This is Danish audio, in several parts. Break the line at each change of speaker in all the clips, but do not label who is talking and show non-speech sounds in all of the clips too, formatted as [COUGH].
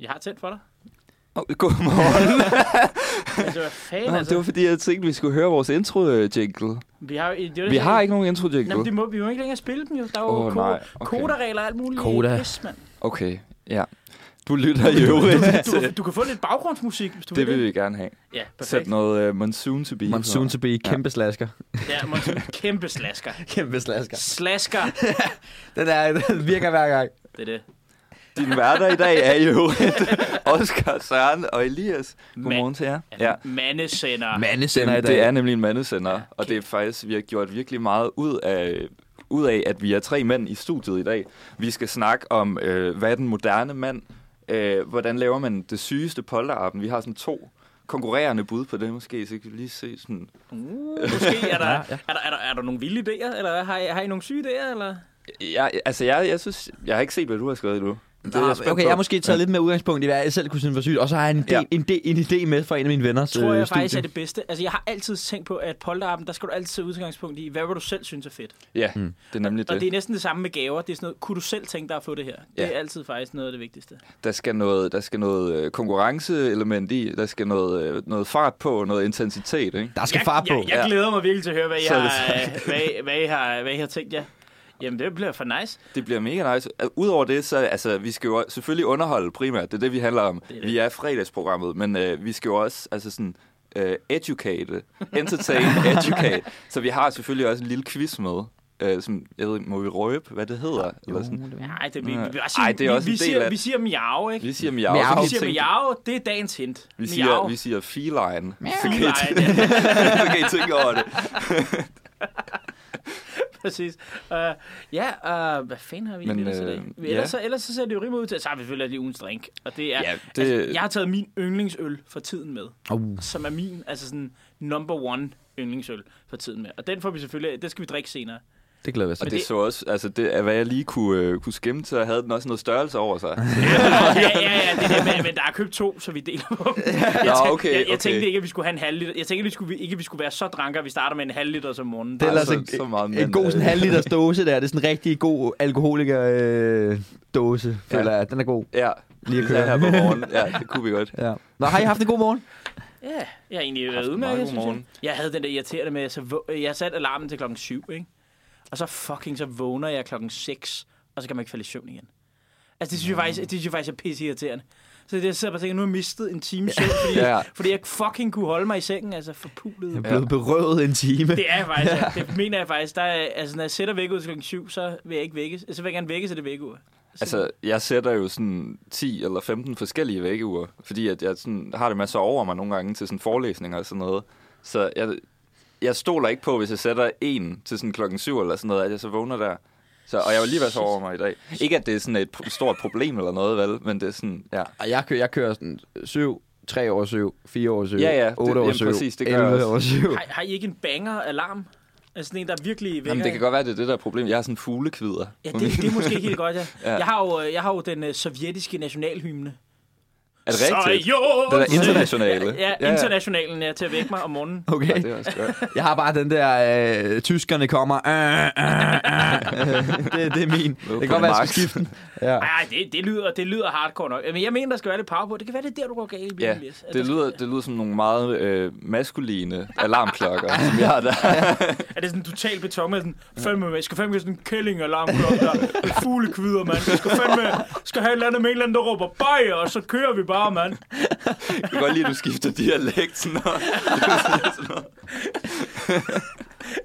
Jeg har tændt for
[LAUGHS]
dig.
Oh, godmorgen.
Altså, hvad fanden,
Nå,
altså.
det var fordi, jeg tænkte, vi skulle høre vores intro-jingle.
Vi har, jo, det er jo det,
Vi har
jeg-
ikke nogen intro-jingle.
Jamen, det må, vi må ikke længere spille dem, jo. Der er jo
Åh,
ko-
nej, okay.
koderegler og alt muligt.
Koda.
Pis,
[LAUGHS]
mand.
Okay, ja. Du lytter i øvrigt.
Du, kan- du kan få lidt baggrundsmusik, hvis du
det
vil.
vil vi gerne have.
Ja, perfekt.
Sæt noget uh, Monsoon to be.
Monsoon to be. Kæmpe slasker.
Ja, Monsoon. Kæmpe
[LAUGHS]
slasker.
[LAUGHS] Kæmpe slasker.
Slasker.
Den, er, den virker hver gang.
Det er det.
Din værter i dag er i øvrigt Oscar, Søren og Elias. Godmorgen til jer. [LAUGHS] Ja.
Mandesender.
Mandesender
Nej,
i
det
dag.
er nemlig en mandesender, ja, og det er faktisk, vi har gjort virkelig meget ud af, ud af, at vi er tre mænd i studiet i dag. Vi skal snakke om, øh, hvad er den moderne mand? Øh, hvordan laver man det sygeste polterappen? Vi har sådan to konkurrerende bud på det måske, så kan vi lige se sådan...
Uh, måske er der, ja, ja. Er, der, er, der, er der nogle vilde idéer, eller har I, har I nogle syge idéer? Eller?
Øh, Jeg, altså, jeg, jeg synes... Jeg har ikke set, hvad du har skrevet endnu. Det
Nå,
spændt
Ah, okay,
på.
jeg har måske taget lidt med udgangspunkt i, hvad jeg selv kunne synes var sygt. Og så har jeg en,
Ja.
ja. en, de, en idé med fra en af mine venners
tror jeg
øh, studie.
faktisk er det bedste. Altså, jeg har altid tænkt på, at polterappen, der skal du altid tage udgangspunkt i, hvad vil du selv synes er fedt.
Ja, mm. det er nemlig
Og
det.
det er
det.
næsten det samme med gaver. Det er sådan noget, kunne du selv tænke dig at få det her?
Ja.
Det er altid faktisk noget af det vigtigste.
Der skal noget, der skal noget øh, konkurrenceelement i, der skal noget, øh, noget fart på, noget intensitet, ikke?
Der skal
jeg,
far på.
Jeg, jeg
Ja.
glæder mig virkelig til at høre, hvad I,
Så er det
har, hvad, I- hvad, I har, hvad I har tænkt jer. Jamen, det bliver for nice.
Det bliver mega nice. Udover det, så altså, vi skal jo selvfølgelig underholde primært. Det er det, vi handler om.
er
Det
det.
er vi er fredagsprogrammet, men øh, vi skal jo også altså sådan, øh, educate,
[LAUGHS]
entertain, educate. Så vi har selvfølgelig også en lille quiz med. Øh, som, jeg ved, ikke, må vi røbe, hvad det hedder? Eller sådan.
Nej, det, vi, vi,
Nej.
vi, siger,
Ej, det er
vi,
også
vi,
en del
siger,
af-
vi siger miau, ikke?
Vi siger miau.
Miau.
så kan
Vi
I
siger
tænke-
miau, det er dagens hint.
vi siger,
Miau.
vi siger feline. Så kan, I
Nej, det
tænke,
er
så kan I tænke
[LAUGHS]
over det.
præcis. Uh, ja, uh, hvad fanden har vi
Men,
Men, ellers i dag?
øh,
Vi- Ellers,
ja.
så, ellers så ser det jo rimelig ud til, at så har vi selvfølgelig lige ugens drink. Og det er,
Ja,
det...
det-
Altså, jeg har taget min yndlingsøl for tiden med.
Uh.
Som er min, altså sådan number one yndlingsøl for tiden med. Og den får vi selvfølgelig, det skal vi drikke senere.
Det glæder jeg
Og
sig.
det,
det-
så også, altså det, er, hvad jeg lige kunne, øh, kunne skimme, så havde den også noget størrelse over sig.
[LAUGHS] ja, ja, ja, det er det, men, men der er købt to, så vi deler på dem. Jeg, tænkte-
okay,
jeg, jeg
okay.
tænkte ikke, at vi skulle have en halv liter. Jeg tænkte vi skulle, ikke, at vi skulle være så dranker, at vi starter med en halv liter som morgenen.
Det er
Ej,
ellers
så-
en,
så meget
en
mand øh. er
god sådan
det.
halv liters dåse der. Det er sådan en rigtig god alkoholiker øh, dåse, føler
Ja.
jeg. Den er god.
Ja,
Lige at
især
køre.
her på
[LAUGHS]
morgenen. Ja, det kunne vi godt.
Ja. Nå, har I haft en god morgen?
Ja, jeg har egentlig
haft
været
en
udmærket,
meget god
synes jeg.
morgen.
Jeg havde den der irriterende med, at så vå- jeg satte alarmen til klokken 7, ikke? Og så fucking så vågner jeg klokken 6, og så kan man ikke falde i søvn igen. Altså, det synes, jeg faktisk, det synes jeg faktisk er pisse irriterende. Så det, jeg sidder bare og tænker, nu har jeg mistet en time søvn, fordi,
Ja.
jeg, fordi jeg fucking kunne holde mig i sengen, altså forpulet.
Jeg er blevet berøvet en time.
Det er jeg faktisk, ja. det mener jeg faktisk. Der er, altså, når jeg sætter væk ud til klokken 7, så vil jeg ikke vækkes. Så vil jeg gerne vækkes af det vækkeur.
Altså, jeg sætter jo sådan 10 eller 15 forskellige vækkeuger, fordi at jeg sådan, har det med at sove over mig nogle gange til sådan forelæsninger og sådan noget. Så jeg, jeg stoler ikke på, hvis jeg sætter en til sådan klokken 7 eller sådan noget, at jeg så vågner der. Så, og jeg var lige ved at sove over mig i dag. Ikke, at det er sådan et pro- stort problem eller noget, vel? Men det er sådan, ja.
Og jeg kører, jeg kører sådan 7, 3 år 7, 4 år 7,
Ja, ja, det-
8 år
jamen,
7,
præcis, det gør jeg
11
også.
år 7.
Har, har I ikke en banger-alarm? Altså sådan en, der virkelig vækker
Jamen, det
jer?
kan godt være, det er det, der er problemet. Jeg har sådan fuglekvider.
Ja, det, det er måske ikke helt godt, ja.
[LAUGHS] Ja.
Jeg har jo, øh, jeg har jo den øh, sovjetiske nationalhymne.
Er det rigtigt?
Så øh, jo!
Den er
[LAUGHS]
internationale.
Ja, ja, internationalen er til at vække mig om morgenen.
Ja,
Okay,
det er også godt.
jeg har bare den der, øh, tyskerne kommer, øh, [LAUGHS] øh, øh. det, det er min. Det kan godt være, jeg skal skifte den. Ja.
Ej, det, det, lyder, det lyder hardcore nok. Men jeg mener, der skal være lidt power på. Det kan være, det er der, du går galt i bilen,
Ja,
Elias. At altså, der
det lyder, det lyder som nogle meget øh, maskuline alarmklokker, som jeg har der.
[LAUGHS] Er det sådan totalt beton med sådan, fandme, jeg skal fandme sådan en kællingalarm der, med fuglekvider, mand. Jeg skal fandme, skal have et eller andet med en eller anden, der råber bajer, og så kører vi bare, mand.
Jeg kan godt lide, at du skifter dialekt. Sådan noget.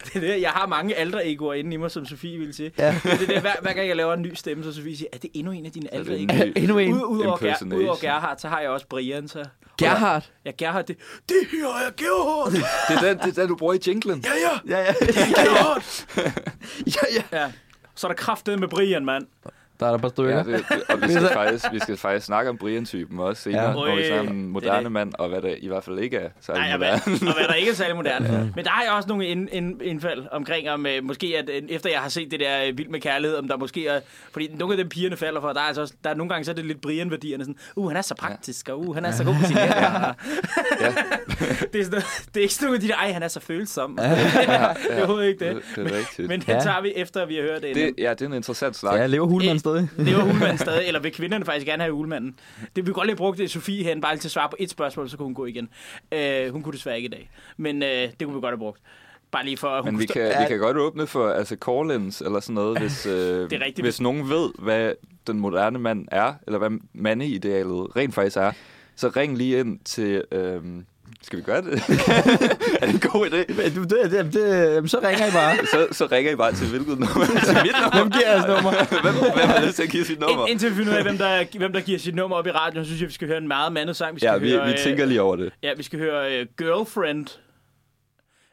Det er det, jeg har mange aldre egoer inde i mig, som Sofie ville sige. Ja.
Ja.
Det er det, der, hver, hver, gang jeg laver en ny stemme, så Sofie siger, er det endnu en af dine aldre egoer? [LAUGHS]
Endnu en.
Ud, ud, over Ger,
impersonation.
ud over Gerhard, så har jeg også Brian, så...
Gerhard.
Ja, Gerhard, det, det her er Gerhard!
Det er den, det er den, du bruger i jinglen.
Ja, ja,
Ja, ja.
det er Gerhard!
ja, ja.
Ja. Så er der kraftet med Brian, mand.
Der er der bare stykker.
Ja, det, det, og vi skal, faktisk, vi skal faktisk snakke om Brian-typen også senere,
Ja.
ja. hvor vi
Ui,
snakker om
det
den
er
moderne
det.
mand, og hvad det i hvert fald ikke er særlig
Nej, og hvad,
moderne.
og hvad der ikke er særlig moderne. Men der har jeg også nogle ind, ind, indfald omkring, om øh, måske at øh, efter jeg har set det der øh, Vild med Kærlighed, om der måske er... Fordi nogle af dem pigerne falder for, der er altså også, der er nogle gange så er det lidt Brian-værdierne. Sådan, uh, han er så praktisk, og uh, han er så god på sin hænder.
Ja.
[LAUGHS] det, er sådan, noget- det er ikke sådan nogle af de der, ej, han er så følsom. [LAUGHS] det er overhovedet ikke det.
[LAUGHS] Det, det er rigtigt.
Men
Men,
det
Ja.
tager vi efter, vi har hørt det.
Øh, det, ja, det er en interessant snak.
Ja, lever
Inden-
hulmand stadig?
Det
[LAUGHS]
var ulemanden stadig, eller vil kvinderne faktisk gerne have ulemanden? Det vi godt lige brugt det, Sofie hen, bare lige til at svare på et spørgsmål, så kunne hun gå igen. Øh, hun kunne desværre ikke i dag, men øh, det kunne vi godt have brugt. Bare lige for, at hun
Men vi
kunne
kan, vi kan godt åbne for altså call-ins eller sådan noget, hvis,
[LAUGHS]
øh,
Det er rigtigt.
hvis nogen ved, hvad den moderne mand er, eller hvad mandeidealet rent faktisk er, så ring lige ind til... Øh, skal vi gøre det? [LAUGHS] er det en god idé?
Men du, det, det, det, jamen, så ringer I [LAUGHS] bare.
Så, så ringer I bare til hvilket nummer? [LAUGHS] til mit nummer?
Hvem giver jeres nummer?
Hvem, hvem har lyst til at give sit nummer?
Ind, indtil vi finder ud af, hvem der, hvem der giver sit nummer op i radioen, synes jeg, vi skal høre en meget mandet sang. Vi skal
Ja, vi,
høre,
vi tænker lige over det.
Øh, ja, vi skal høre øh, Girlfriend.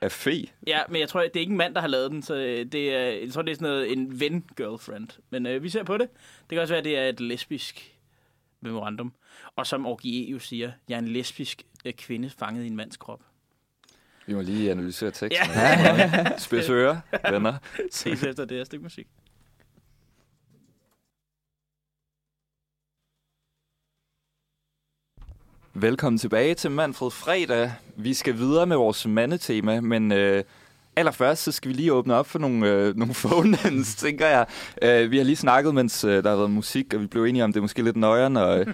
Er fe?
Ja, men jeg tror, det er ikke en mand, der har lavet den, så øh, det er, jeg tror, det er sådan noget, en ven-girlfriend. Men øh, vi ser på det. Det kan også være, at det er et lesbisk memorandum. Og som Orgie E jo siger, jeg er en lesbisk øh, kvinde fanget i en mands krop.
Vi må lige analysere teksten.
Ja.
Ja. Spids ører, venner.
Ses efter det her stykke musik.
Velkommen tilbage til Manfred Fredag. Vi skal videre med vores mandetema, men øh, allerførst så skal vi lige åbne op for nogle, øh, nogle [LAUGHS] phone tænker jeg. Øh, vi har lige snakket, mens øh, der har været musik, og vi blev enige om, det er måske lidt
[LAUGHS]
nøjeren at,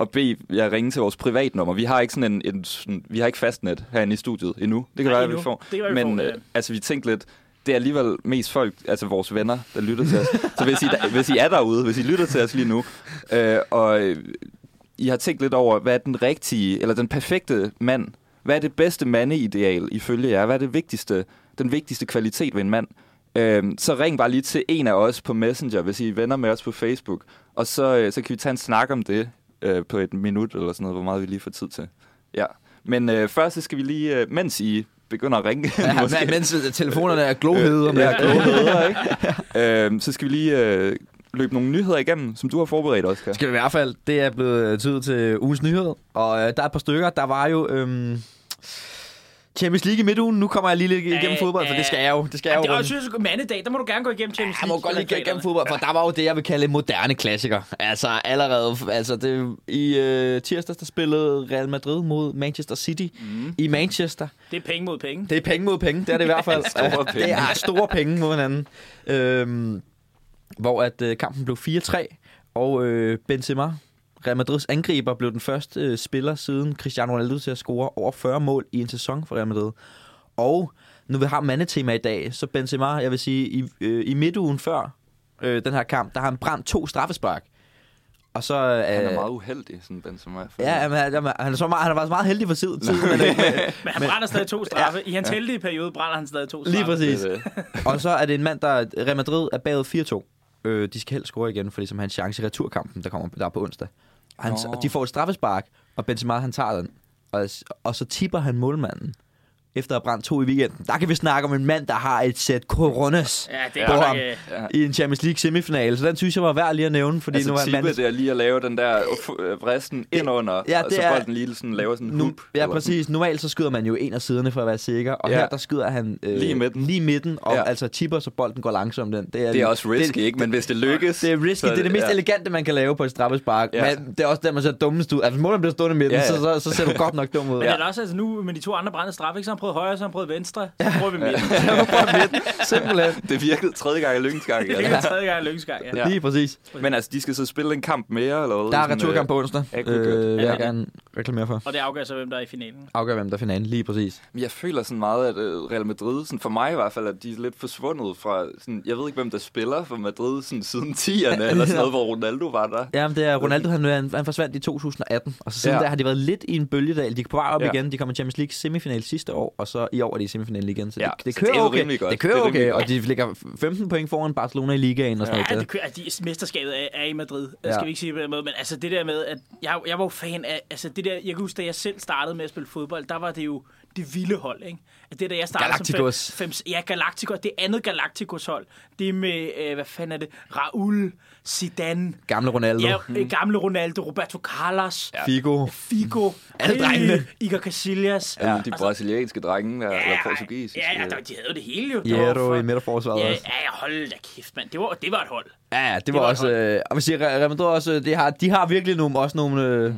at bede jer ringe til vores privatnummer. Vi har ikke sådan en, en sådan, vi har ikke fastnet herinde i studiet endnu. Det kan
Nej,
være,
endnu.
vi får.
Det kan være, vi
men
får, ja.
øh, altså, vi tænkte lidt, det er alligevel mest folk, altså vores venner, der lytter til os. Så hvis I, der, hvis I er derude, hvis I lytter til os lige nu, øh, og øh, I har tænkt lidt over, hvad er den rigtige, eller den perfekte mand? Hvad er det bedste mandeideal ifølge jer? Hvad er det vigtigste, den vigtigste kvalitet ved en mand? Øh, så ring bare lige til en af os på Messenger, hvis I er venner med os på Facebook, og så, øh, så kan vi tage en snak om det øh, på et minut eller sådan noget, hvor meget vi lige får tid til. Ja. Men øh, først så skal vi lige, øh, mens I begynder at ringe, [LAUGHS]
Ja, men- mens telefonerne er glohede om
Ja,
lidt.
kloge hoveder, ikke? [LAUGHS] øhm, så skal vi lige øh, løbe nogle nyheder igennem, som du har forberedt, Oscar.
Skal vi i hvert fald. Det er blevet øh, tid til ugens nyhed. Og øh, der er et par stykker. Der var jo... Øhm, Champions League i midtugen. Nu kommer jeg lige lidt igennem
Øh,
fodbold, for
øh,
det skal jeg jo. Det skal jeg
Ja,
jo.
det er
runde.
også synes, at mandedag, der må du gerne gå igennem Champions
Jeg må godt lige gå igennem
finalerne.
fodbold, for der var jo det, jeg vil kalde en moderne klassiker. Altså allerede, altså det, i øh, tirsdags, der spillede Real Madrid mod Manchester City mm. i Manchester.
Det er penge mod penge.
Det er penge mod penge, det er det i hvert
[LAUGHS]
fald.
Store penge.
Det er ah, store penge mod hinanden. Øhm, hvor at øh, kampen blev 4-3, og øh, Benzema, Real Madrids angriber, blev den første øh, spiller siden Cristiano Ronaldo til at score over 40 mål i en sæson for Real Madrid. Og nu vi har mandetema i dag, så Benzema, jeg vil sige, i, øh, i midtugen før øh, den her kamp, der har han brændt to straffespark. Og så,
Han
øh,
er meget uheldig, sådan Benzema.
Ja, jamen, han, jamen, han, er så meget, han har været meget heldig for tiden. men,
Men han brænder stadig
[LAUGHS]
to straffe. I hans heldige periode brænder han stadig to straffe.
Lige præcis.
Det er
og så er det en mand, der... Real Madrid er bagud 4-2. Øh, de skal helst score igen, for ligesom han har en chance i returkampen, der kommer der er på onsdag. Og Han,
Nå.
oh. De får et straffespark, og Benzema han tager den. Og, og så tipper han målmanden efter at have brændt to i weekenden. Der kan vi snakke om en mand, der har et sæt coronas
Ja, det er
på
godt
ham
nok... øh,
Ja.
i en Champions League semifinale. Så den synes jeg var værd lige at nævne, fordi
Altså,
nu er
tippet
manden...
det er lige at lave den der øh, vristen ind under,
ja,
ja, og
det
så
er-
bolden lige sådan, laver sådan en
Nu,
hoop.
ja,
eller-
præcis. Normalt så skyder man jo en af siderne for at være sikker, og
Ja.
her der skyder han øh,
Lige i midten.
lige i midten, og
Ja.
altså tipper, så bolden går langsomt den. Det er,
Det er også risky, ikke? Men hvis det lykkes...
Det er risky.
så-
det er det mest
ja.
ja. elegante, man kan lave på et straffespark.
Ja.
Ja. Men det er også der, man ser dummest ud. Altså, hvis måleren bliver stående i midten,
Ja,
ja,
ja.
ja. Så, så, så ser du godt nok dum ud.
Men
Ja.
ja. også, altså nu med de to andre brændte straffe, ikke? Så har han prøvet højre, så har han prøvet venstre. Så prøver vi
[LAUGHS]
midten.
[LAUGHS] Simpelthen.
[LAUGHS] Det virkede tredje gang i lykkens gang.
[LAUGHS]
Det er tredje gang i lykkes gang, ja.
Ja.
Ja. Lige præcis.
Men altså, de skal så spille en kamp mere, eller hvad?
Der er
Sådan, øh,
returkamp på onsdag.
ja, good, good.
Øh, vil jeg
Ja.
gerne reklamere for.
Og det afgør så, hvem der er i finalen.
Afgør, hvem der er finalen. Lige præcis.
Men øh, Jeg føler sådan meget, at øh, Real Madrid, sådan for mig i hvert fald, at de er lidt forsvundet fra, sådan, jeg ved ikke, hvem der spiller for Madrid sådan, siden 10'erne, eller sådan noget, hvor Ronaldo var der.
Ja, men det er Ronaldo, han, han, han forsvandt i 2018, og så siden
Ja.
ja. der har de været lidt i en bølgedal. De er på vej op
Ja.
ja. igen, de kom i Champions League semifinal sidste år, og så i år er de i semifinalen igen. Så
Ja,
ja. det, det
så det
kører
er jo rimelig
okay.
godt.
Det
Det
kører
er
okay,
rimelig
og de ligger 15 point foran Barcelona i ligaen og sådan
Ja,
noget.
det kører, altså, de- mesterskabet er, er i Madrid. Ja.
Ja.
Skal vi ikke sige på den måde, men altså det der med, at jeg, jeg var jo fan af, altså det der, jeg kan huske, da jeg selv startede med at spille fodbold, der var det jo det vilde hold, ikke? At det der, jeg startede
Galacticos.
som fem, fem, ja, Galacticos, det andet Galacticos hold, det med, øh, hvad fanden er det, Raul, Zidane,
Gamle Ronaldo,
ja, øh, gamle Ronaldo, Roberto Carlos, ja.
Figo.
Figo,
Mm. Alle drengene.
Iker Casillas.
Ja,
altså-
de brasilianske drenge, der, eller portugisiske.
Ja, ja, der, de havde jo det hele jo. Det var
Jero
for-
øh. i midterforsvaret
Ja,
også.
ja, hold da kæft, mand. Det var, det var et hold.
Ja, ja, det, det
var
var,
et
også... Øh, og man siger, Real Madrid også, øh, det har, de har virkelig nogle, også nogle... Øh,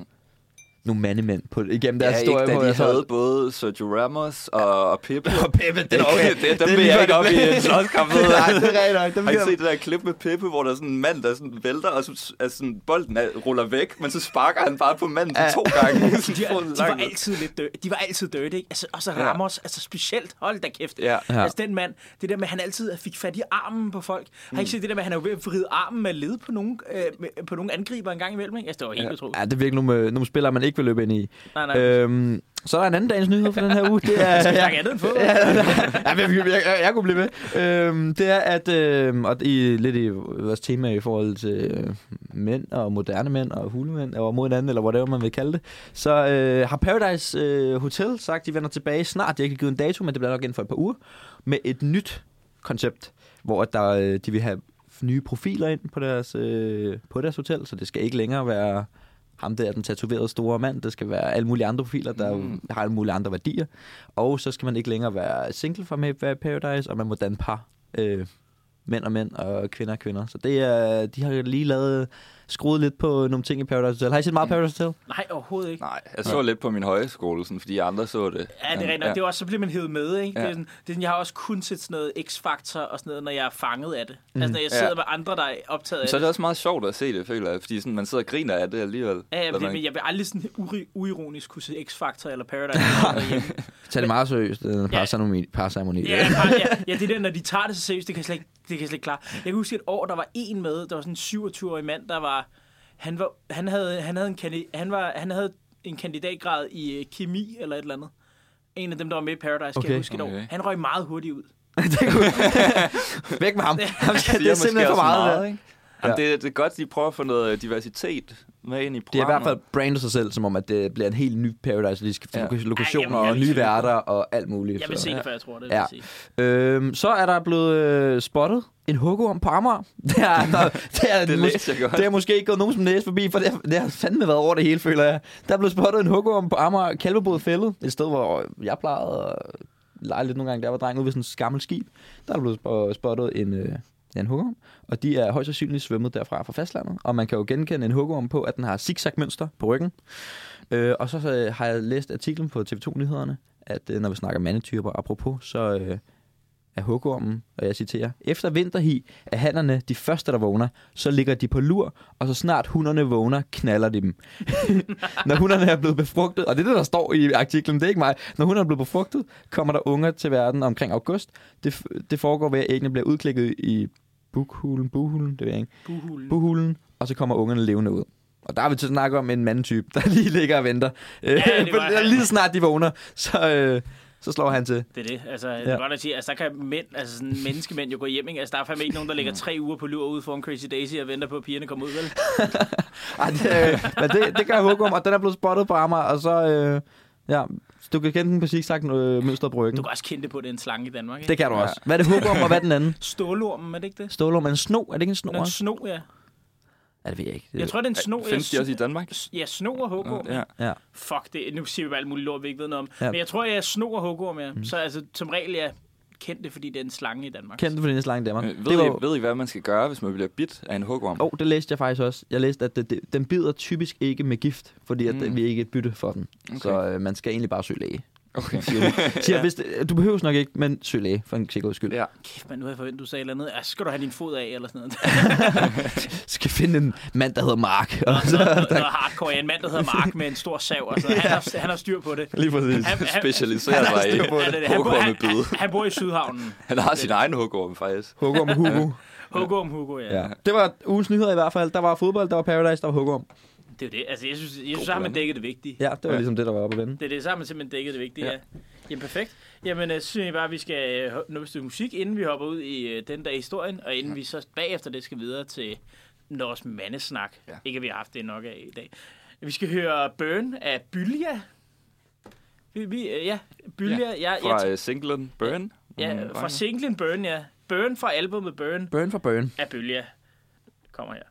nogle mandemænd på, igennem
Ja,
deres
ikke,
historie.
da
hvor
de
jeg så-
havde både Sergio Ramos og, og Pep.
Og Peppe, det er
Okay,
okay.
det, dem
er
vil
lige
jeg
før,
ikke
det
op i
bliver-
en slåskamp. ved
Det er
jeg.
[LAUGHS] nej, det er rigtigt nok. Dem
Har I
bliver-
set det der klip med Peppe, hvor der er sådan en mand, der sådan vælter, og så altså sådan, bolden er, ruller væk, men så sparker han bare på manden ja. to gange.
De,
Sådan
var,
får den
de var
langt.
altid lidt dø- de var altid døde, ikke? Altså, og så
Ja.
Ramos, altså specielt, hold da kæft.
Ja.
Ja.
Altså den mand, det der med, at han altid fik fat i armen på folk. Har I ikke set det der med, at han er jo ved at vride armen med led på nogle, øh, med- på nogle angriber en gang imellem, ikke? Altså, det var helt utroligt.
Ja, det er virkelig nogle, øh, nogle spillere, man ikke vil løbe ind i.
Nej, nej.
Øhm, så er der en anden dagens nyhed for den her
[LAUGHS]
uge. Det er,
Skal vi snakke Altså, andet end fodbold?
Ja, nej, nej. ja, men jeg, jeg, jeg, jeg kunne blive ved. Øhm, det er, at... Øhm, og i, lidt i vores tema i forhold til øh, mænd og moderne mænd og hulemænd, og mod hinanden, eller whatever man vil kalde det, så øh, har Paradise øh, Hotel sagt, de vender tilbage snart. De har ikke givet en dato, men det bliver nok inden for et par uger. Med et nyt koncept, hvor at der, øh, de vil have nye profiler ind på deres, øh, på deres hotel, så det skal ikke længere være ham der, den tatoverede store mand. Det skal være alle mulige andre profiler, der mm. har alle mulige andre værdier. Og så skal man ikke længere være single for med være i Paradise, og man må danne par. Øh, mænd og mænd, og kvinder og kvinder. Så det er, de har lige lavet, skruet lidt på nogle ting i Paradise Hotel. Har I set meget Paradise Hotel?
Nej, overhovedet ikke.
Nej, jeg så lidt på min højskole, sådan, fordi andre så det.
Ja, det er rigtigt. nok. Det er også, så bliver man hævet med, ikke? Ja.
Ja.
Det er sådan, det er sådan, jeg har også kun set sådan noget X-Factor og sådan noget, når jeg er fanget af det. Altså, når jeg sidder
Ja.
med andre, der er optaget af
Så er
det.
det også meget sjovt at se det, føler jeg, fordi sådan, man sidder og griner af det alligevel.
Ja, ja,
Eller
men, det-
man-
men jeg vil aldrig sådan uri- uironisk kunne se X-Factor eller Paradise. Hotel derhjemme.
Tag det meget seriøst, den
Ja.
parceremoni. parceremoni.
Ja, bare, ja, ja, det der, når de tager det så seriøst, det kan jeg slet ikke, det kan jeg slet ikke klare. Jeg kan huske et år, der var en med, der var sådan en 27-årig mand, der var, han, var, han, havde, han, havde en kandi, han, var, han havde en kandidatgrad i øh, kemi eller et eller andet. En af dem, der var med i Paradise, okay. kan
Okay.
jeg huske et år.
Okay.
Han røg meget hurtigt ud.
[LAUGHS] Væk med ham. ham skal, det
siger
er
måske
simpelthen
også
for meget.
meget,
meget
ikke? Jamen, det, det er godt, de prøver at få noget øh, diversitet med ind i programmet.
det er i hvert fald brandet sig selv, som om, at det bliver en helt ny Paradise. De skal
Ja.
finde lokationer
Ej, jeg- jeg-
og nye værter og alt muligt.
Jeg vil
så-
se det, før jeg tror det.
Ja.
Ja. Sige.
Øhm, så er der blevet øh, spottet en hugger om på Amager. [LAUGHS] Det er, der, det er,
Det
mås-
læste jeg godt.
det er måske ikke gået nogen som næse forbi, for det har, det har fandme været over det hele, føler jeg. Der er blevet spottet en hugger på Amager Kalvebod Fællet, et sted, hvor jeg plejede at lege lidt nogle gange, der var dreng ude ved sådan et gammelt skib. Der er blevet sp- spottet en, øh, ja, en hugger og de er højst sandsynligt svømmet derfra fra fastlandet. Og man kan jo genkende en hugger på, at den har zigzag-mønster på ryggen. Øh, og så, så har jeg læst artiklen på TV2-nyhederne, at øh, når vi snakker mandetyper, apropos, så øh, er hugormen, og jeg citerer, efter vinterhi er hannerne de første, der vågner, så ligger de på lur, og så snart hunderne vågner, knaller
[LAUGHS]
de dem. Når hunderne er blevet befrugtet, og det er det, der står i artiklen, det er ikke mig. Når hunderne er blevet befrugtet, kommer der unger til verden omkring august. Det, f- det foregår ved, at æggene bliver udklækket i bukhulen, buhulen, det ved jeg ikke,
Buhulen.
buhulen, og så kommer ungerne levende ud. Og der er vi til at snakke om en mandtype, der lige ligger og venter. [LAUGHS] Ja,
det var-
lige snart de vågner, så, øh, så slår han til.
Det er det. Altså, ja. det er godt at sige, altså, der kan mænd, altså sådan menneskemænd jo gå hjem, ikke? Altså, der er fandme ikke nogen, der ligger tre uger på lur ude foran Crazy Daisy og venter på, at pigerne kommer ud, vel?
Ej, det, øh, men det, det gør Hugum, og den er blevet spottet på Amager, og så... Øh, ja, du kan kende den på zigzag øh, mønstret på
Du
ryggen.
kan også kende det på, at det er en slange i Danmark, ikke?
Det kan du også. Hvad er det Hugum, og hvad er den anden?
Stålormen, er det ikke det?
Stålum er en sno. Er det ikke en snor?
Nå, en sno, ja.
Ja, det ved jeg ikke. Det,
Jeg tror, det er en sno. jeg
Findes de også i Danmark?
Ja, sno og hugorm.
Ja.
Ja.
Ja.
Fuck det. Nu siger vi bare alt muligt lort, vi ikke ved noget om.
Ja.
Ja. Men jeg tror, jeg er sno og hugorm, ja. Mm. Så altså, som regel, jeg kendte det, fordi det er en slange i Danmark.
Kendt for din slange Danmark.
Øh,
det
Ved, I, ved I, hvad man skal gøre, hvis man bliver bidt af en hugorm?
Oh, det læste jeg faktisk også. Jeg læste, at det, det, den bider typisk ikke med gift, fordi at
Mm.
vi ikke bytte for den. Okay. Så øh, man skal egentlig bare søge læge.
Okay. [LAUGHS]
Siger, ja. hvis det, du behøver nok ikke, men søg læge for en sikkerheds skyld. Ja.
Ja.
Kæft, man, nu havde jeg forventet, du sagde et eller andet. Ja, så skal du have din fod af, eller
[LAUGHS]
sådan noget.
Skal finde en mand, der hedder Mark. Og så,
noget, noget hardcore. Ja, en mand, der hedder Mark med en stor sav. Altså, han, har, han har styr på det.
lige præcis.
Han, han,
Specialiserer sig i
Ja, det er det. Han, bor, han,
hugormebid.
han, han bor i Sydhavnen.
Han har sin egen hugorm, faktisk.
Hugum med Hugo.
Hugorm, Hugo, ja. ja.
Ja. Det var ugens nyheder i hvert fald. Der var fodbold, der var Paradise, der var hugorm.
Det er jo det. Altså, jeg synes, jeg synes så har man
blanding.
dækket det vigtige.
Ja, det var ligesom det, der var oppe at vende.
Det er det, så har man simpelthen dækket det vigtige. Ja. Ja. Jamen perfekt. Jamen øh, så synes jeg bare, at vi skal øh, nå et stykke musik, inden vi hopper ud i øh, den der historien, og inden ja. vi så bagefter det skal videre til Nors mandesnak. Ja.
Ja.
Ikke at vi har haft det nok af i dag. Vi skal høre Burn af Bylja. Vi, vi, øh, ja, Bylja. Ja. øh, Jeg, jeg,
Fra
tæ-
uh, singlen Burn.
ja,
Mm,
fra singlen Burn, ja. Burn fra albumet Burn
Burn for burn.
af Bylja. Kommer her.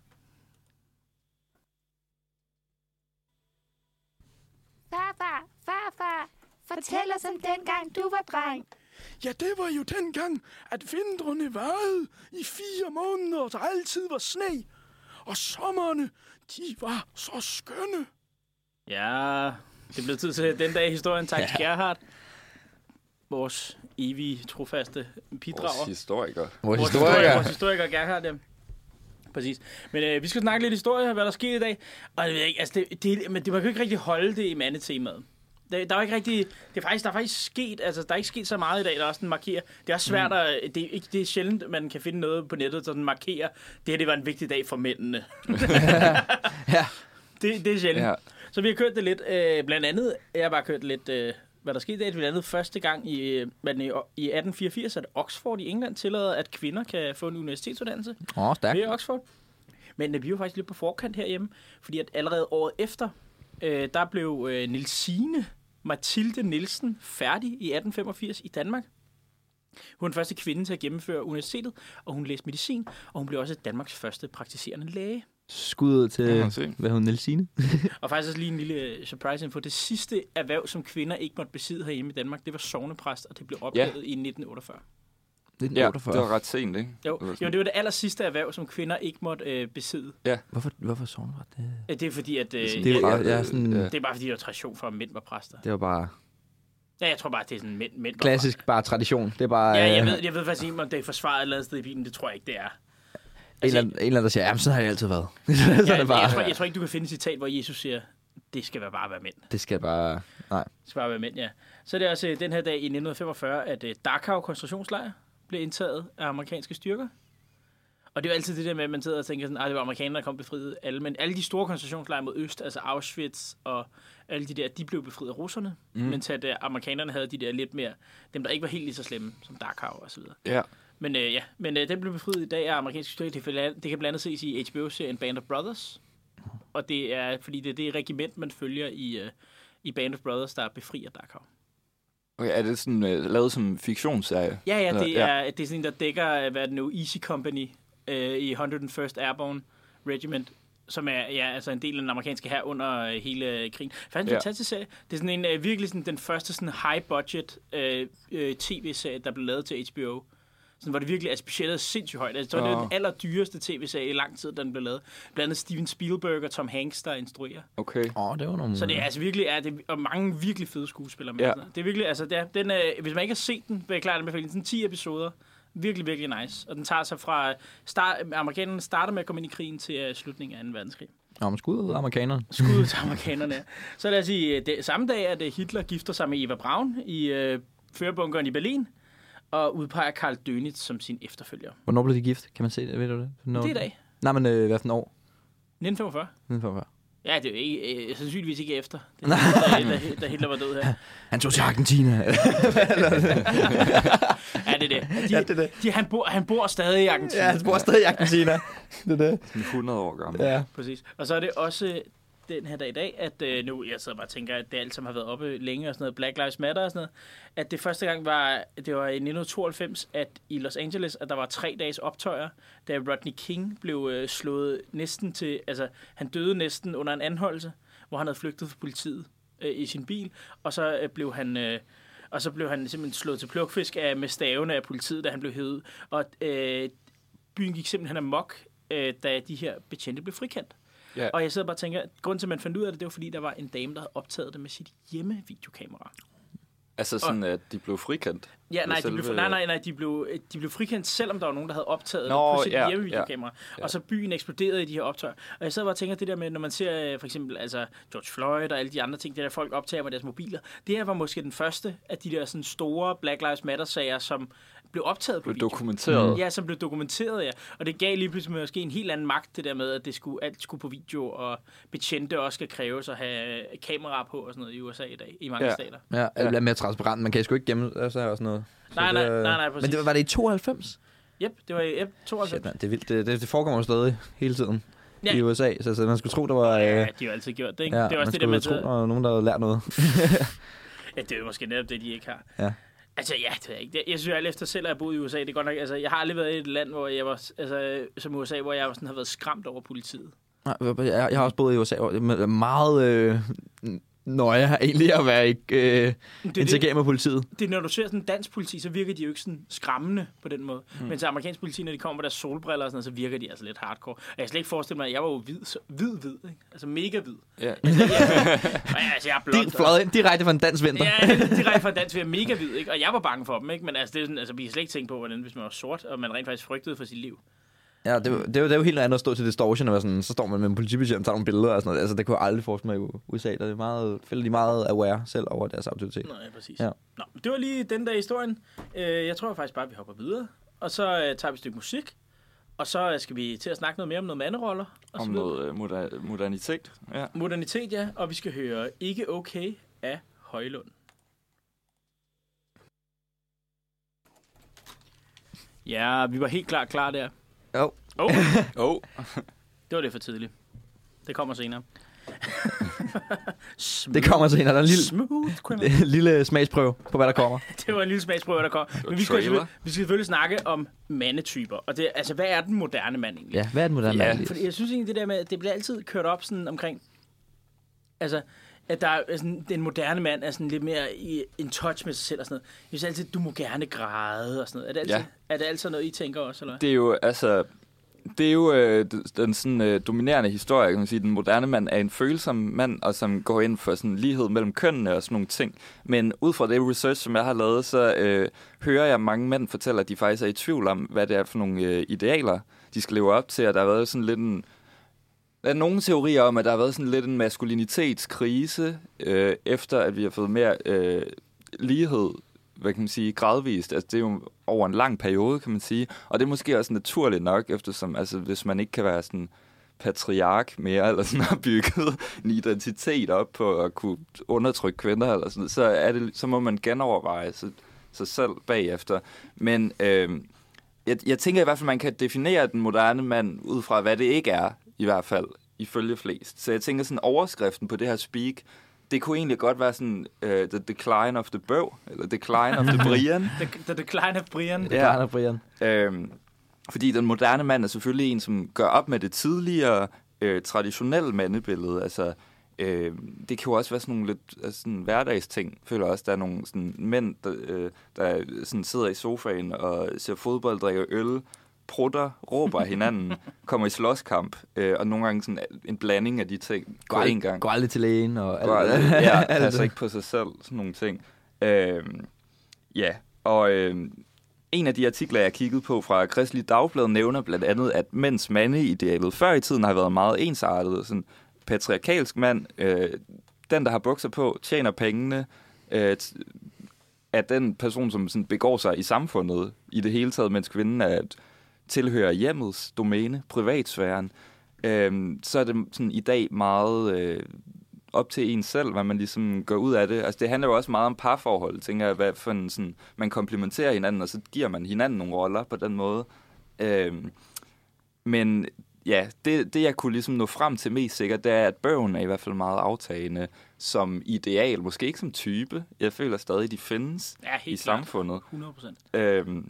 Farfar, farfar, fortæl os om dengang du var dreng.
Ja, det var jo dengang, at vintrene varede i fire måneder, og der altid var sne. Og sommerne, de var så skønne.
Ja, det blev tid til den dag i historien. [LAUGHS] Tak til Gerhard. Vores evige, trofaste bidrager.
Vores historiker.
Vores
Vores historiker. Vores historiker Gerhard, ja. Præcis. Men øh, vi skal snakke lidt historie, hvad der skete i dag. Og jeg ved ikke, altså, det, det, men det, man kan jo ikke rigtig holde det i mandetemaet. Der, der er jo ikke rigtig, det er faktisk, der er faktisk sket, altså der er ikke sket så meget i dag, der også sådan markerer. Det er også svært, mm. at, det, er ikke, det er sjældent, man kan finde noget på nettet, der sådan markerer, det her det var en vigtig dag for mændene.
Ja.
Det, det er sjældent.
Ja.
Ja. Så vi har kørt det lidt, øh, blandt andet, jeg har bare kørt lidt, øh, hvad der skete i dag, blandt andet første gang i, øh, hvad den, i, i 1884, at Oxford i England tillader, at kvinder kan få en universitetsuddannelse
Åh, oh, stærkt.
ved Oxford. Men øh, vi var faktisk lidt på forkant herhjemme, fordi at allerede året efter, øh, der blev øh, Nilsine Mathilde Nielsen færdig i 1885 i Danmark. Hun er den første kvinde til at gennemføre universitetet, og hun læste medicin, og hun blev også Danmarks første praktiserende læge.
Skud til,
Det må man se.
hvad hun Nelsine?
Og faktisk også lige en lille øh, surprise info. Det sidste erhverv, som kvinder ikke måtte besidde herhjemme i Danmark, det var sovnepræst, og det blev opdaget ja. i 1948.
Ja, det var ret sent, ikke?
Jo,
Det var sådan-
jo, det var det aller sidste erhverv, som kvinder ikke måtte øh, besidde.
Hvorfor, hvorfor sovn var det?
Øh, Det er fordi, at... Øh, det,
Det
ja,
er jo ja, sådan...
ja.
Ja.
det er bare fordi, der er tradition for, at mænd var præster.
Det var bare
Ja, jeg tror bare, det er sådan mænd, mænd var
klassisk, bare tradition. Det er bare
præster. Ja, jeg
øh,
ved, jeg ved faktisk ikke, om det er forsvaret et eller andet sted i Bibelen. Det tror jeg ikke, det er.
en, eller, anden- [LAUGHS] en eller anden, der siger, jamen sådan har det altid været. [LAUGHS] så er
jeg,
det
altså-
bare,
jeg, tror, jeg tror ikke, du kan finde et citat, hvor Jesus siger, det skal være bare være mænd.
det skal bare... Nej.
Svarer med mænd, ja. Så er det også øh, den her dag i 1945, at øh, Dachau koncentrationslejr blev indtaget af amerikanske styrker. Og det er jo altid det der med, at man sidder og tænker sådan, at det var amerikanerne, der kom og befriede alle. Men alle de store koncentrationslejre mod øst, altså Auschwitz og alle de der, de blev befriet af russerne. Mm. Mens at øh, amerikanerne havde de der lidt mere, dem der ikke var helt lige så slemme, som Dachau og så videre.
Ja.
Men øh, ja, men øh, den blev befriet i dag af amerikanske styrker. Det, kan blandt- det kan blandt andet ses i HBO-serien Band of Brothers. Og det er, fordi det er det regiment, man følger i, øh, i Band of Brothers, der befrier Dachau.
Okay, er det sådan øh, lavet som en fiktionsserie?
Ja, ja, det, ja.
Eller-
Er, det er sådan en, der dækker, øh, hvad er det nu, Easy Company øh, i 101st Airborne Regiment, som er ja, altså en del af den amerikanske her under øh, hele øh, krigen. Faktisk en
Ja.
fantastisk serie. Det er sådan en, øh, virkelig sådan den første sådan high-budget øh, øh, tv-serie, der blev lavet til HBO. Sådan, hvor det virkelig altså, budgettet er sindssygt højt. Altså, det var
Nå.
den allerdyreste tv-serie i lang tid, da den blev lavet. Blandt andet Steven Spielberg og Tom Hanks, der instruerer.
Okay.
Åh, oh, det var nogle...
Så det er altså virkelig, er det, og mange virkelig fede skuespillere med.
Ja.
Ja. Det er virkelig, altså, det er, den, øh, hvis man ikke har set den, vil jeg klart anbefale den. Sådan 10 episoder. Virkelig, virkelig nice. Og den tager sig fra, øh, start, amerikanerne starter med at komme ind i krigen til øh, slutningen af 2. verdenskrig.
Nå, men skud ud af amerikanerne.
Skud til amerikanerne. Så lad os sige, øh, det, samme dag, at øh, Hitler gifter sig med Eva Braun i øh, førerbunkeren i Berlin, og udpeger Karl Dönitz som sin efterfølger.
Hvornår blev de gift? Kan man se det? Ved du det? Når...
Det er i dag.
Nej, men øh, hvad for en år?
1945.
Neden for før.
Ja, det er jo ikke, øh, sandsynligvis ikke efter, det er, da, da, da Hitler var død her.
Han tog
[LAUGHS]
til Argentina.
Ja, det er det. De,
Ja, det er det.
De, han, bor, han bor stadig i Argentina.
ja, han bor stadig i Argentina. det er det.
Sådan 100 år gammel.
Ja.
Præcis. Og så er det også øh, den her dag i dag, at øh, nu, jeg sidder bare og tænker, at det alt, som har været oppe længe og sådan noget, Black Lives Matter og sådan noget, at det første gang var, det var i 1992, at i Los Angeles, at der var tre dages optøjer, da Rodney King blev øh, slået næsten til, altså han døde næsten under en anholdelse, hvor han havde flygtet fra politiet øh, i sin bil, og så øh, blev han... Øh, og så blev han simpelthen slået til plukfisk af, med stavene af politiet, da han blev hævet. Og øh, byen gik simpelthen amok, øh, da de her betjente blev frikendt.
Ja.
Ja. Og jeg sidder bare og tænker, at grunden til, at man fandt ud af det, det var, fordi der var en dame, der havde optaget det med sit hjemmevideokamera.
Altså sådan, at de blev frikendt.
Ja, nej, de
selve-
blev, nej, nej, nej, de blev, øh, de blev frikendt, selvom der var nogen, der havde optaget
Nå,
Nå, det på sit
ja,
ja, hjemmevideokamera. Ja,
ja.
Og så byen eksploderede i de her optøjer. Og jeg sad bare og tænker, det der med, når man ser øh, for eksempel altså George Floyd og alle de andre ting, det der folk optager med deres mobiler, det her var måske den første af de der sådan store Black Lives Matter-sager, som blev optaget på
Blev
video.
dokumenteret.
Mm. Ja, som blev dokumenteret, ja. Og det gav lige pludselig måske en helt anden magt, det der med, at det skulle, alt skulle på video, og betjente også skal kræves at have øh, kamera på og sådan noget i USA i dag, i mange
Ja.
ja. stater.
Ja, det bliver mere transparent. Man kan sgu ikke gemme altså, og sådan noget.
Nej, nej,
det-
nej, nej, præcis.
Men det, var det i 92?
Yep, det var i yep, 92.
Shit, man, det er vildt. Det, det, det forekommer jo stadig hele tiden
Ja.
i USA. Så, så man skulle tro, der var... Øh,
Ja,
ja,
de har jo altid gjort det, ikke?
det
det er også
man
det der med,
skulle tro, der
at
var nogen, der havde lært noget.
ja, det er jo måske netop det, de ikke har.
Ja.
Altså, ja, det ved jeg ikke. Det- Jeg synes jo alt efter selv, at jeg boede i USA. Det er godt nok, altså, jeg har aldrig været i et land, hvor jeg var, altså, som USA, hvor jeg sådan har været skræmt over politiet.
Nej, Jeg, jeg har også boet i USA, hvor det er meget øh, nøje egentlig at være øh,
det.
interagere med politiet.
det, er, når du ser sådan dansk politi, så virker de jo ikke sådan skræmmende på den måde. Mm. Men til amerikansk politi, når de kommer med deres solbriller og sådan noget, så virker de altså lidt hardcore. Og jeg kan slet ikke forestille mig, at jeg var jo hvid, så, hvid, hvid, ikke? Altså mega hvid.
Ja.
Og jeg, altså, jeg er blond.
Det er fløjet ind direkte fra en dansk vinter.
Ja, direkte fra dansk, vi er mega hvid, ikke? Og jeg var bange for dem, ikke? Men altså, det er sådan, altså, vi kan slet ikke tænke på, hvordan hvis man var sort, og man rent faktisk frygtede for sit liv.
Ja, det, er jo- det, er jo- det er jo helt noget andet at stå til distortion, og være sådan, så står man med en politibetjent og tager nogle billeder og sådan noget. Altså, det kunne jeg aldrig forestille mig i U- USA. Der er meget, føler de er meget aware selv over deres autoritet.
Nå, ja, præcis. Ja.
Ja.
Nå, men det var lige den der historien. Øh, jeg tror faktisk bare, at vi hopper videre. Og så øh, tager vi et stykke musik. Og så øh, skal vi til at snakke noget mere om noget manderoller. Og
Om
så videre.
noget øh, moder- modernitet. Ja.
Modernitet, ja. Og vi skal høre Ikke Okay af Højlund. Ja, vi var helt klar klar der.
Jo.
Oh,
Oh.
[LAUGHS] det var det for tidligt. Det kommer [LAUGHS] senere.
Det kommer senere. Der er en lille,
Smooth
[LAUGHS]
criminal.
lille smagsprøve på, hvad der kommer.
Det var en lille smagsprøve, der kom. Men vi skal,
trailer.
selvfølgelig- vi skal selvfølgelig snakke om mandetyper. Og det, altså, hvad er den moderne mand egentlig?
Ja, hvad er det moderne
Ja.
ja,
Fordi jeg synes egentlig, det der med, det bliver altid kørt op sådan omkring, altså, at der er sådan, den moderne mand er sådan lidt mere i en touch med sig selv og sådan noget. Jeg synes altid, du må gerne græde og sådan noget. Er det altid,
Ja.
er det altid noget, I tænker også, eller? Det,
Det er jo, altså... Det er jo øh, den sådan, øh, dominerende historie, kan man sige. Den moderne mand er en følsom mand, og som går ind for sådan, lighed mellem kønnene og sådan nogle ting. Men ud fra det research, som jeg har lavet, så øh, hører jeg mange mænd fortælle, at de faktisk er i tvivl om, hvad det er for nogle øh, idealer, de skal leve op til. Og der har været sådan lidt en, Der er nogle teorier om, at der har været sådan lidt en maskulinitetskrise, øh, efter at vi har fået mere øh, lighed, hvad kan man sige, gradvist. Altså, det er jo over en lang periode, kan man sige. Og det er måske også naturligt nok, eftersom, altså, hvis man ikke kan være sådan patriark mere, eller sådan har bygget en identitet op på at kunne undertrykke kvinder, eller sådan, så, er det, så må man genoverveje sig, sig selv bagefter. Men øh, jeg, jeg tænker i hvert fald, man kan definere den moderne mand ud fra, hvad det ikke er, i hvert fald, ifølge flest. Så jeg tænker sådan, overskriften på det her speak, det kunne egentlig godt være sådan, uh, the decline of the bøv, eller decline of the brian.
the, the decline of Brian.
Ja. Klar, Brian.
Øhm, fordi den moderne mand er selvfølgelig en, som gør op med det tidligere øh, traditionelle mandebillede. Altså, øh, det kan jo også være sådan nogle lidt altså, sådan hverdagsting. Jeg føler også, der er nogle sådan, mænd, der, øh, der sådan, sidder i sofaen og ser fodbold, drikker øl, prutter, råber af hinanden, kommer i slåskamp, øh, og nogle gange sådan en blanding af de ting på én gang.
Går aldrig til lægen og alt.
Går aldrig, [LAUGHS] ja,
alt
passer
det. altså
ikke på sig selv, sådan nogle ting. Øhm, ja, og øhm, en af de artikler, jeg kiggede på fra Kristelig Dagblad, nævner blandt andet, at mænds mandeidealet før i tiden har været meget ensartet. Sådan patriarkalsk mand, øh, den, der har bukser på, tjener pengene, øh, t- er den person, som sådan begår sig i samfundet i det hele taget, mens kvinden er, tilhører hjemmets domæne, privatsfæren. Øhm, så er det sådan i dag meget øh, op til en selv, hvad man ligesom går ud af det. Altså, det handler jo også meget om parforhold, tænker jeg, hvad for en, sådan, man komplementerer hinanden, og så giver man hinanden nogle roller på den måde. Øhm, men ja, det, det jeg kunne ligesom nå frem til mest sikkert, det er, at bøgen er i hvert fald meget aftagende som ideal, måske ikke som type. Jeg føler stadig, de findes
Ja,
i
helt klart.
samfundet.
100 procent.
Øhm,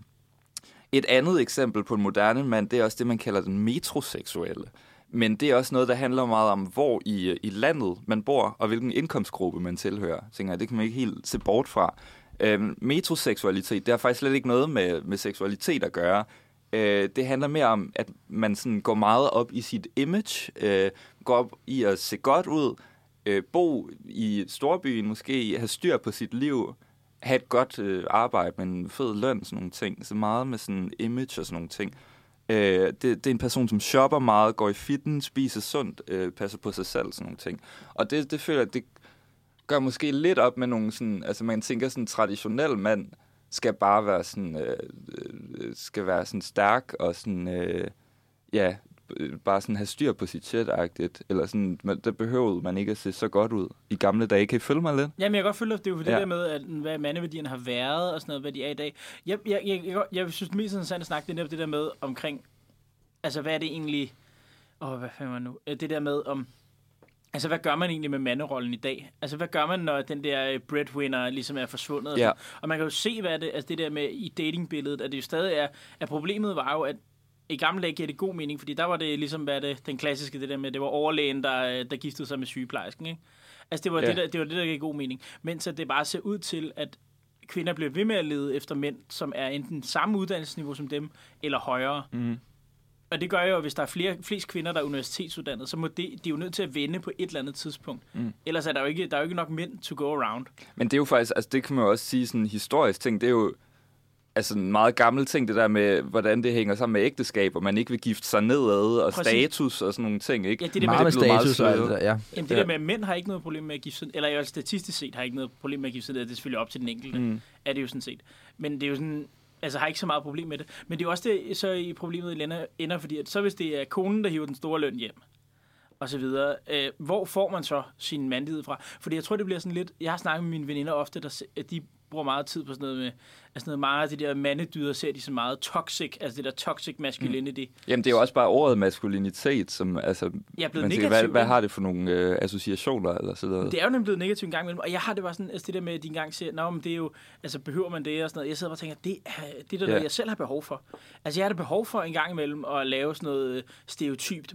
et andet eksempel på en moderne mand, det er også det, man kalder den metroseksuelle. Men det er også noget, der handler meget om, hvor i, i landet man bor, og hvilken indkomstgruppe man tilhører. Tænker jeg, det kan man ikke helt se bort fra. Øhm, metroseksualitet, det har faktisk slet ikke noget med, med seksualitet at gøre. Øh, det handler mere om, at man sådan går meget op i sit image, øh, går op i at se godt ud, øh, bo i storbyen måske, have styr på sit liv, have et godt øh, arbejde med en fed løn, sådan nogle ting. Så meget med sådan image og sådan nogle ting. Øh, det, det er en person, som shopper meget, går i fitness, spiser sundt, øh, passer på sig selv, sådan nogle ting. Og det, det føler jeg, det gør måske lidt op med nogle sådan... Altså man tænker sådan en traditionel mand skal bare være sådan... Øh, øh, skal være sådan stærk og sådan... Øh, ja, øh, bare sådan have styr på sit shit-agtigt. Eller sådan, man, der behøvede man ikke at se så godt ud i gamle dage. Kan I følge mig lidt?
Jamen, jeg kan godt følge dig, det er jo det ja.
Ja.
der med, at, hvad mandeværdierne har været, og sådan noget, hvad de er i dag. Jeg, jeg, jeg, jeg, jeg synes, det mest interessante at snakke, det er netop det der med omkring, altså, hvad er det egentlig, åh, oh, hvad fanden var det nu, Øh, det der med om, altså, hvad gør man egentlig med manderollen i dag? Altså, hvad gør man, når den der øh, breadwinner ligesom er forsvundet? og
Ja.
sådan? Og man kan jo se, hvad det, altså det der med i datingbilledet, at det jo stadig er, at problemet var jo, at i gamle dage giver det god mening, fordi der var det ligesom hvad er det, den klassiske, det der med, det var overlægen, der, øh, der giftede sig med sygeplejersken. Ikke? Altså det var,
Ja.
det, der, det var det, der gav god mening. Mens at det bare ser ud til, at kvinder bliver ved med at lede efter mænd, som er enten samme uddannelsesniveau som dem, eller højere.
Mhm.
Og det gør jo, at hvis der er flere, flest kvinder, der er universitetsuddannede, så må det, de er jo nødt til at vende på et eller andet tidspunkt. Mm. Ellers er der jo ikke, der er jo ikke nok mænd to go around.
Men det er jo faktisk, altså det kan man jo også sige sådan en historisk ting, det er jo altså en meget gammel ting, det der med, hvordan det hænger sammen med ægteskab, og man ikke vil gifte sig nedad, og
Præcis.
Præcis. status og sådan nogle ting, ikke?
Ja, det er
Det
det
meget med
det blev meget
status
sløret.
og alt det der, ja.
Jamen det
Ja.
der med, at mænd har ikke noget problem med at gifte sig, eller jo statistisk set har ikke noget problem med at gifte sig, ned. det er selvfølgelig op til den enkelte, mm. er det jo sådan set. Men det er jo sådan, altså har ikke så meget problem med det. Men det er jo også det, så i problemet i Lena ender, fordi at så hvis det er konen, der hiver den store løn hjem, og så videre. Øh, hvor får man så sin mandlighed fra? Fordi jeg tror, det bliver sådan lidt... Jeg har snakket med mine veninder ofte, der, se- at de bruger meget tid på sådan noget med... Altså noget meget af det der mandedyder, ser de så meget toxic, altså det der toxic masculinity. Mm.
Jamen, det er jo også bare ordet maskulinitet, som altså...
Jeg er blevet
man tænker,
negativ,
hvad, hvad
ikke?
har det for nogle øh, associationer, eller sådan noget?
Det er jo nemlig blevet negativt en gang imellem, og jeg har det bare sådan, altså det der med, at de engang siger, nå, men det er jo, altså behøver man det og sådan noget. Jeg sidder bare og tænker, det er det, er der,
Ja.
yeah. jeg selv har behov for. Altså jeg har det behov for en gang imellem at lave sådan noget øh, stereotypt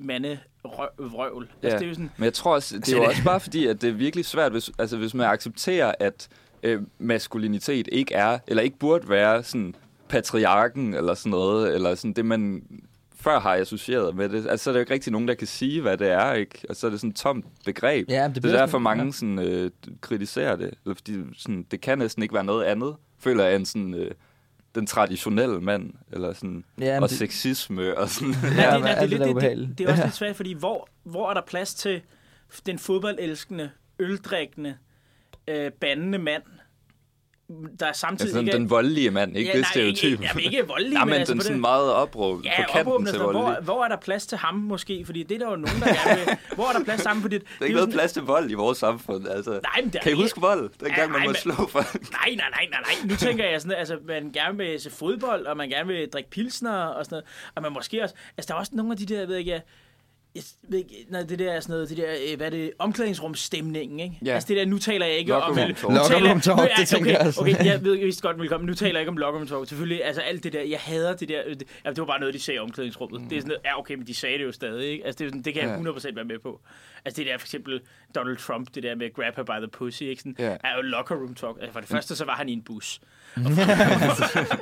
mandevrøvl. Altså det er jo sådan,
Men jeg tror også, det er jo også bare fordi, at det er virkelig svært, hvis, altså, hvis man accepterer, at øh, maskulinitet ikke er, eller ikke burde være sådan patriarken, eller sådan noget, eller sådan det, man før har associeret med det. Altså, så er der jo ikke rigtig nogen, der kan sige, hvad det er, ikke? Og så er det sådan et tomt begreb.
Ja, men det
det, det
bliver
er derfor
sådan-
mange sådan, øh, kritiserer det. Eller fordi, sådan, det kan næsten ikke være noget andet, føler jeg, end sådan, øh, den traditionelle mand, eller sådan,
Ja,
ja,
men
og
det-
det... sexisme, og sådan. altså,
Ja,
Ja,
det,
men
nej, det,
alt
er
det
lidt-
der
det,
ubehagelige.
det, det er
[LAUGHS]
også lidt svært, fordi hvor, hvor er der plads til den fodboldelskende, øldrikkende, øh, bandende mand, der er
Ja,
samtidig
Altså, sådan,
ikke er-
den voldelige mand, ikke ja, det stereotyp.
Ikke, jamen ikke
[LAUGHS]
voldelig,
Ja, men
altså
den
på
sådan
den,
meget opråb
Ja,
på kanten
opåbner
til
sig. hvor,
voldelig.
hvor er der plads til ham måske? Fordi det er der jo nogen, der gerne vil. Hvor er der plads til ham?
[LAUGHS]
Fordi det,
Der er
jo
ikke noget
sådan-
plads til vold i vores samfund, altså.
Nej, men der er
kan I
ikke-
huske vold? Dengang
nej,
man måtte
men-
slå folk.
Nej, nej, nej, nej, nej. Nu tænker jeg sådan, altså, man gerne vil se fodbold, og man gerne vil drikke pilsner og sådan noget. Og man måske også... Altså, der er også nogle af de der, jeg ved ikke, jeg, jeg ved ikke, nej, det der, sådan noget, det der, øh, hvad er det, omklædningsrumstemningen, ikke?
Ja.
Altså det der, nu taler jeg ikke om...
Locker room talk.
nu taler-
Locker room talk,
nu-
det
altså,
tænker jeg også.
Okay, okay, jeg ved ikke, hvis godt velkommen. Nu taler jeg ikke om locker room talk. Selvfølgelig, altså alt det der, jeg hader det der. øh, Det, ja, det var bare noget, de sagde i omklædningsrummet. Mm. Det er sådan noget, ja okay, men de sagde det jo stadig, ikke? Altså det, er sådan, det kan
Ja.
jeg 100% være med på. Altså det der for eksempel Donald Trump, det der med grab her by the pussy, ikke? Sådan,
Ja.
er jo locker room talk. Altså for
Mm.
det første, så var han i en
[LAUGHS]
bus. Og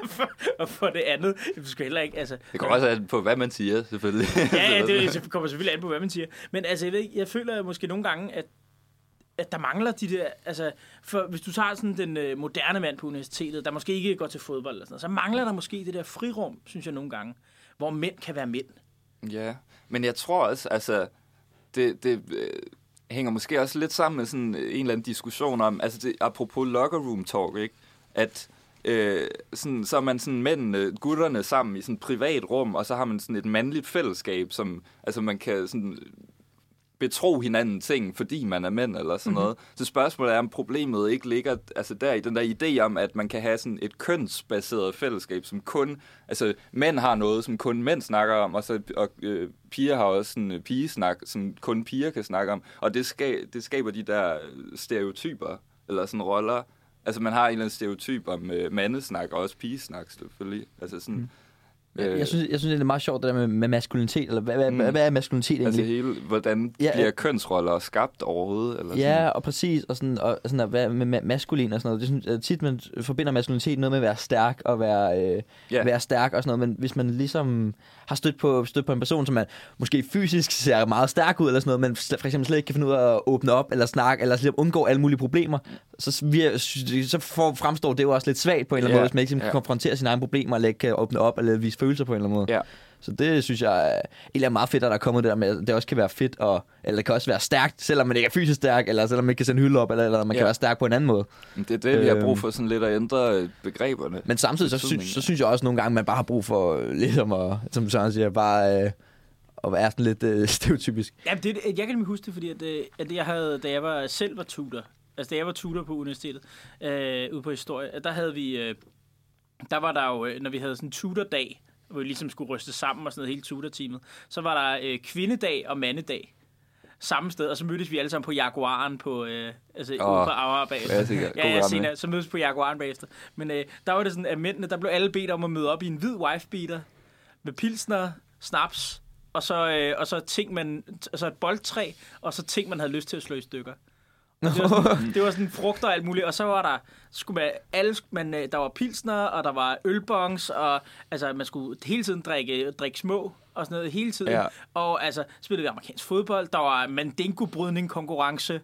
for, [LAUGHS] og for det andet, du skal heller ikke, altså...
Det kommer også an på, hvad man siger, selvfølgelig.
[LAUGHS] Ja, ja,
[LAUGHS]
det det kommer selvfølgelig an på, hvad man siger. Men altså, jeg, ved, ikke, jeg føler måske nogle gange, at, at der mangler de der... Altså, for hvis du tager sådan den øh, moderne mand på universitetet, der måske ikke går til fodbold eller sådan noget, så mangler der måske det der frirum, synes jeg nogle gange, hvor mænd kan være mænd.
Ja, men jeg tror også, altså, det, det øh, hænger måske også lidt sammen med sådan en eller anden diskussion om, altså det, apropos locker room talk, ikke? at øh, sådan, så er man sådan mændene, gutterne sammen i sådan et privat rum, og så har man sådan et mandligt fællesskab, som altså man kan sådan betro hinanden ting, fordi man er mænd eller
Mhm.
sådan noget. Så spørgsmålet er, om problemet ikke ligger altså der i den der idé om, at man kan have sådan et kønsbaseret fællesskab, som kun, altså mænd har noget, som kun mænd snakker om, og, så, og øh, piger har også sådan øh, pigesnak, som kun piger kan snakke om, og det, ska, det skaber de der øh, stereotyper, eller sådan roller. Altså man har en eller anden stereotyp om øh, mandesnak, og også pigesnak selvfølgelig. Altså sådan,
Mm. Jeg, jeg, synes, jeg synes, det er meget sjovt, det der med, med maskulinitet, eller hvad, hvad,
Øh. Mm.
hvad, hvad er maskulinitet egentlig?
altså hele, hvordan
Ja,
ja, bliver
ja.
kønsroller skabt overhovedet? Eller sådan.
Ja, og præcis, og sådan, og sådan at være med ma- maskulin og sådan noget. Det synes, jeg tit man forbinder maskulinitet noget med at være stærk og være, øh,
Ja.
yeah. være stærk og sådan noget, men hvis man ligesom har stødt på, stødt på en person, som man måske fysisk ser meget stærk ud eller sådan noget, men sl- for eksempel slet ikke kan finde ud af at åbne op eller snakke, eller slet undgå alle mulige problemer, så, s- vi, så for, fremstår det jo også lidt svagt på en eller anden
Ja,
måde, hvis man ikke yeah. kan
ja.
konfrontere sine egne problemer, eller ikke kan åbne op, eller vise følelser på en eller anden måde.
Ja.
Så det synes jeg er- egentlig er meget fedt, at der er kommet det der med, at det også kan være fedt, og, eller det kan også være stærkt, selvom man ikke er fysisk stærk, eller selvom man ikke kan sende hylde op, eller, eller man ja. kan
Ja.
være stærk på en anden måde.
Men Det er det, vi har brug
Øhm.
for sådan lidt at ændre øh, begreberne.
Men samtidig så,
Betydningen.
synes, så synes jeg også nogle gange, man bare har brug for, øh, ligesom at, som Søren siger, bare øh, at være sådan lidt øh, [LAUGHS] stereotypisk.
Ja, det, jeg kan nemlig huske det, fordi at, øh, at jeg havde, da jeg var, selv var tutor, altså da jeg var tutor på universitetet, øh, ude på historie, at der havde vi, øh, der var der jo, øh, når vi havde sådan en tutordag, hvor vi ligesom skulle ryste sammen og sådan noget, hele tutorteamet, så var der øh, kvindedag og mandedag samme sted, og så mødtes vi alle sammen på Jaguaren på, øh, altså ude på
Åh,
Aura bagefter.
klassiker. God
Ja, ja,
gammel.
senere, så mødtes vi på Jaguaren bagefter. Men øh, der var det sådan, at mændene, der blev alle bedt om at møde op i en hvid wifebeater, med pilsner, snaps, og så, øh, og så ting, man, altså et boldtræ, og så ting, man havde lyst til at slå i stykker. Og Det var, sådan, det var sådan frugt og alt muligt, og så var der, skulle man, alle, man, øh, der var pilsner, og der var ølbongs, og altså, man skulle hele tiden drikke, øh, drikke små, og sådan noget, hele tiden.
Ja.
Ja. Og altså, spillede vi amerikansk fodbold, der var mandingo-brydning konkurrence,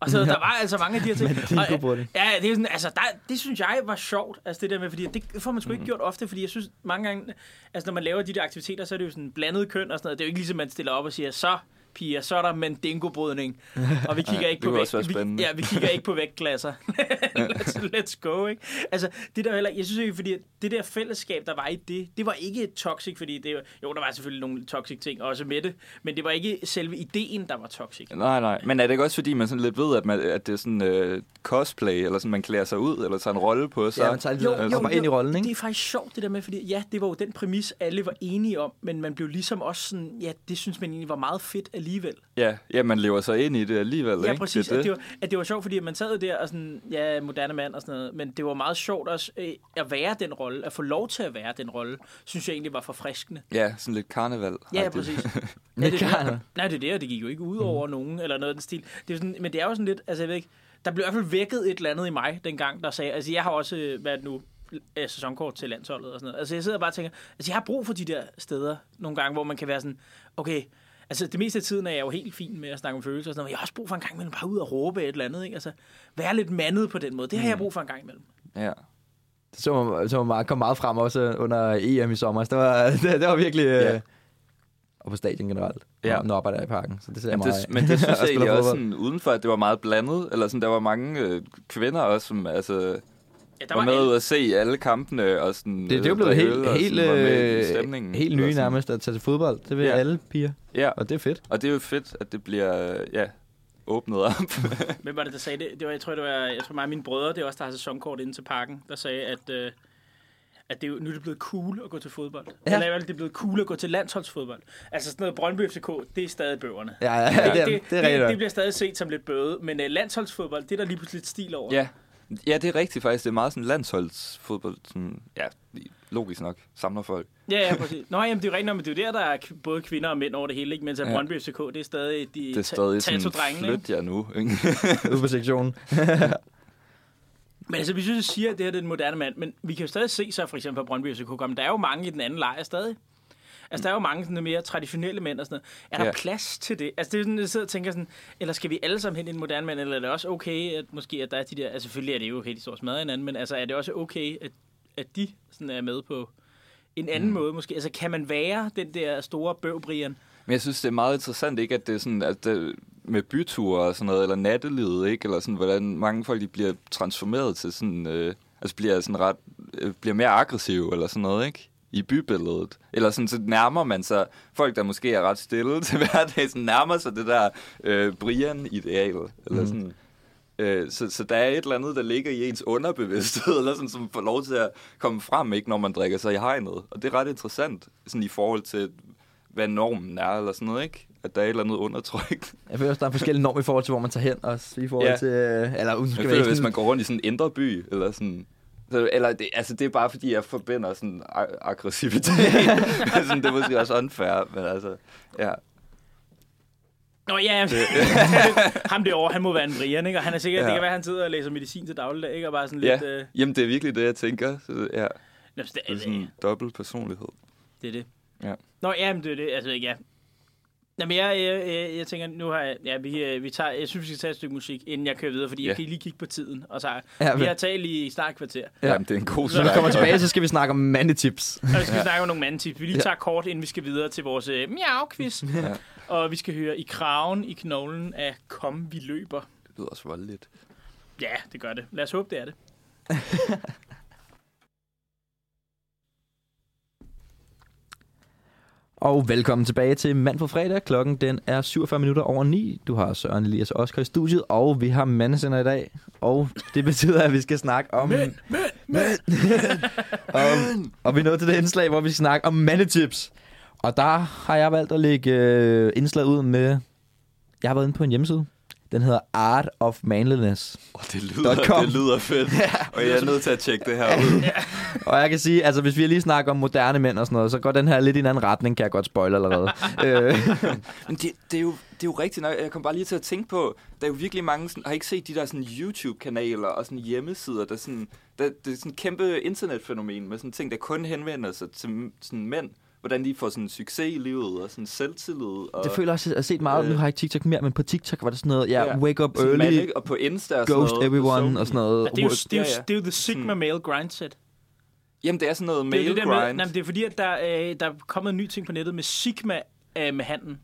og så der var altså mange af de her ting. Og,
Mandingo-brydning.
Ja, det, er sådan, altså, der, det synes jeg var sjovt, altså det der med, fordi det får man sgu ikke gjort ofte, fordi jeg synes mange gange, altså når man laver de der aktiviteter, så er det jo sådan blandet køn og sådan noget. Det er jo ikke ligesom, man stiller op og siger, så piger, så er der mandingo-brydning, og vi kigger ikke på
kunne
vægt,
også være
vi,
spændende.
ja, vi kigger ikke på vægtklasser. [LAUGHS] let's, let's go, ikke? Altså, det der heller, jeg synes ikke, fordi det der fællesskab, der var i det, det var ikke toxic, fordi det, var- jo, der var selvfølgelig nogle toxic ting også med det, men det var ikke selve ideen, der var toxic.
Nej, nej. Men er det ikke også, fordi man sådan lidt ved, at, man, at det er sådan øh, cosplay, eller sådan, man klæder sig ud, eller tager en rolle på sig?
Ja, man tager lidt
Jo,
og
jo,
kommer altså, ind i
jo.
rollen, ikke?
Det er faktisk sjovt, det der med, fordi ja, det var jo den præmis, alle var enige om, men man blev ligesom også sådan, ja, det synes man egentlig var meget fedt alligevel.
Ja, ja, man lever sig ind i det alligevel,
Ja,
ikke?
præcis.
Det er
At, det
det.
var, at det var sjovt, fordi man sad der og sådan, ja, moderne mand og sådan noget, men det var meget sjovt også øh, at være den rolle, at få lov til at være den rolle, synes jeg egentlig var forfriskende.
Ja, sådan lidt karneval.
Ja, præcis. Ja, det, er det, nej, det er det, og det gik jo ikke ud over nogen, eller noget af den stil. Det er sådan, men det er jo sådan lidt, altså jeg ved ikke, der blev i hvert fald vækket et eller andet i mig dengang, der sagde, altså jeg har også øh, været nu øh, sæsonkort til landsholdet og sådan noget. Altså jeg sidder bare og tænker, altså jeg har brug for de der steder nogle gange, hvor man kan være sådan, okay, altså det meste af tiden er jeg jo helt fin med at snakke om følelser og sådan noget, men jeg har også brug for en gang imellem bare ud og råbe et eller andet, ikke? Altså være lidt mandet på den måde, det har jeg brug for en gang imellem.
Ja.
Det så man, så man meget, kom meget frem også under EM i sommer. Så det var, [LAUGHS] det, det var virkelig... Ja.
Ja.
Øh, og på stadion generelt.
Ja.
Ja. Nu arbejder jeg i parken, så det ser jeg
Jamen,
meget
det,
af. [LAUGHS]
men det synes jeg
spiller
egentlig også
fodbold.
sådan, udenfor, at det var meget blandet. Eller sådan, der var mange øh, kvinder også, som altså,
Ja,
der var, med ud at se alle kampene. Og sådan,
Det, det er jo
øh,
blevet
drikke øl,
helt,
og
helt,
sådan var med i
øh,
stemningen,
helt
eller
nye
sådan.
nærmest at tage til fodbold. Det vil
Ja.
alle piger,
Ja,
og det er fedt.
og det er jo fedt, at det bliver øh, ja, åbnet op.
Hvem var det, der sagde det? det var, jeg tror, det var jeg tror, mig og mine brødre, det er også, der har sæsonkort inde til parken, der sagde, at, øh, at det, er jo- nu er det blevet cool at gå til fodbold. Ja. Eller i hvert fald, det er blevet cool at gå til landsholdsfodbold. Altså sådan noget Brøndby FCK, det er stadig bøverne.
Ja, ja, ja det, det, det, er
det, det,
rigtigt. nok.
bliver stadig set som lidt bøde, men øh, landsholdsfodbold, det er der lige pludselig lidt stil over.
ja. ja, det er rigtigt faktisk. Det er meget sådan landsholdsfodbold. Sådan, ja, logisk nok. Samler folk.
ja, ja præcis. Nå, jamen, det er jo rent nok, men det er jo der, der er k- både kvinder og mænd over det hele, ikke? mens at
Ja.
Brøndby FCK, det er stadig de
Det er stadig
ta-
sådan,
tato-drengene, ikke?
flyt jer nu. ikke?
Ude på sektionen.
Men altså, vi synes, at siger, at det her det er den moderne mand, men vi kan jo stadig se så for eksempel på Brøndby FCK komme. Der er jo mange i den anden lejr stadig. Altså, der er jo mange sådan, mere traditionelle mænd og sådan noget. Er der
Ja.
ja. plads til det? Altså, det er sådan, jeg sidder og tænker sådan, eller skal vi alle sammen hen i en moderne mand, eller er det også okay, at måske, at der er de der... Altså, selvfølgelig er det jo okay, de står og smadrer hinanden, men altså, er det også okay, at, at de sådan er med på en anden mm. måde måske? Altså, kan man være den der store bøvbrian?
Men jeg synes, det er meget interessant, ikke, at det er sådan, at det, med byture og sådan noget, eller nattelivet, ikke, eller sådan, hvordan mange folk de bliver transformeret til sådan, øh, altså bliver sådan ret, øh, bliver mere aggressive eller sådan noget, ikke? i bybilledet. Eller sådan, så nærmer man sig folk, der måske er ret stille [LAUGHS] til hverdag, sådan nærmer sig det der øh, Brian-ideal. Eller sådan. Øh, så, så der er et eller andet, der ligger i ens underbevidsthed, [LAUGHS] eller sådan, som får lov til at komme frem, ikke, når man drikker sig i hegnet. Og det er ret interessant, sådan i forhold til, hvad normen er, eller sådan noget, ikke? At der er et eller andet undertryk.
Jeg føler også, der er forskellige normer i forhold til, hvor man tager hen også. I forhold
Ja.
ja. til... øh, Eller uden
Jeg
skal
føler,
være
hvis man går rundt i sådan en indre by, eller sådan... Så, eller det, altså, det er bare, fordi jeg forbinder sådan ag-
[LAUGHS]
aggressivitet. sådan, det er måske også unfair, men altså... Ja.
Nå ja, [LAUGHS] ham derovre, han må være en Brian, ikke? Og han er sikkert,
Ja.
ja. det kan være, han sidder og læser medicin til dagligdag, ikke? Og bare sådan lidt...
ja.
Øh,
Jamen, det er virkelig det, jeg tænker. Så, det- ja.
Nå, så det,
Det er sådan en dobbelt personlighed.
Det er det.
Ja.
Nå, ja, men det er det. Altså, ja. Jamen, jeg, jeg, jeg, jeg tænker, nu har jeg... Ja, vi, øh, vi tager, jeg synes, vi skal tage et stykke musik, inden jeg kører videre, fordi ja.
Ja.
jeg kan lige kigge på tiden. Og så,
Ja,
ja, vi
vel.
har talt i snart et kvarter.
Ja.
Ja.
Jamen, det er en god
Så
Når vi
snak.
kommer tilbage, så skal vi snakke om mandetips.
Og vi skal ja. snakke om nogle mandetips. Vi lige tager kort, inden vi skal videre til vores øh, miau-quiz.
Ja.
Ja. Og vi skal høre i kraven, i knoglen af Kom, vi løber.
Det lyder også voldeligt.
Ja, det gør det. Lad os håbe, det er det.
[LAUGHS] Og velkommen tilbage til Mand på fredag. Klokken den er 47 minutter over 9. Du har Søren Elias og Oscar i studiet, og vi har mandesender i dag. Og det betyder, at vi skal snakke om... Men, men, [LAUGHS] men! om, og vi er nået til det indslag, hvor vi skal snakke om mandetips. Og der har jeg valgt at lægge øh, indslag ud med... Jeg har været inde på en hjemmeside. Den hedder Art of Manliness.
Oh, det, lyder,
Dot com.
det lyder
[LAUGHS]
fedt. Og jeg er nødt til at tjekke det her ud.
Og jeg kan sige, altså hvis vi lige snakker om moderne mænd og sådan noget, så går den her lidt i en anden retning, kan jeg godt spoil
[LAUGHS]
allerede. øh,
Men det, det, er jo, det er jo rigtigt nok. Jeg kom bare lige til at tænke på, der er jo virkelig mange, sådan, har I ikke set de der sådan, YouTube-kanaler og sådan, hjemmesider, der, sådan, der det er sådan et kæmpe internetfænomen med sådan ting, der kun henvender sig til sådan, mænd. Hvordan de får sådan succes i livet og sådan selvtillid. Og,
det føler jeg også, at jeg har set meget,
Øh.
nu har jeg ikke TikTok mere, men på TikTok var det sådan noget, ja,
Ja.
wake up
sådan
early,
manic, og på Insta og
ghost
sådan noget,
everyone og
Sony.
sådan noget.
Altså, Det er jo, det er jo,
Ja, ja.
det er jo the Sigma male grindset.
Jamen, det er sådan noget
Det er,
male
jo det, der med,
grind.
nej, men det er fordi, at der, øh, der er kommet en ny ting på nettet med Sigma øh, med handen.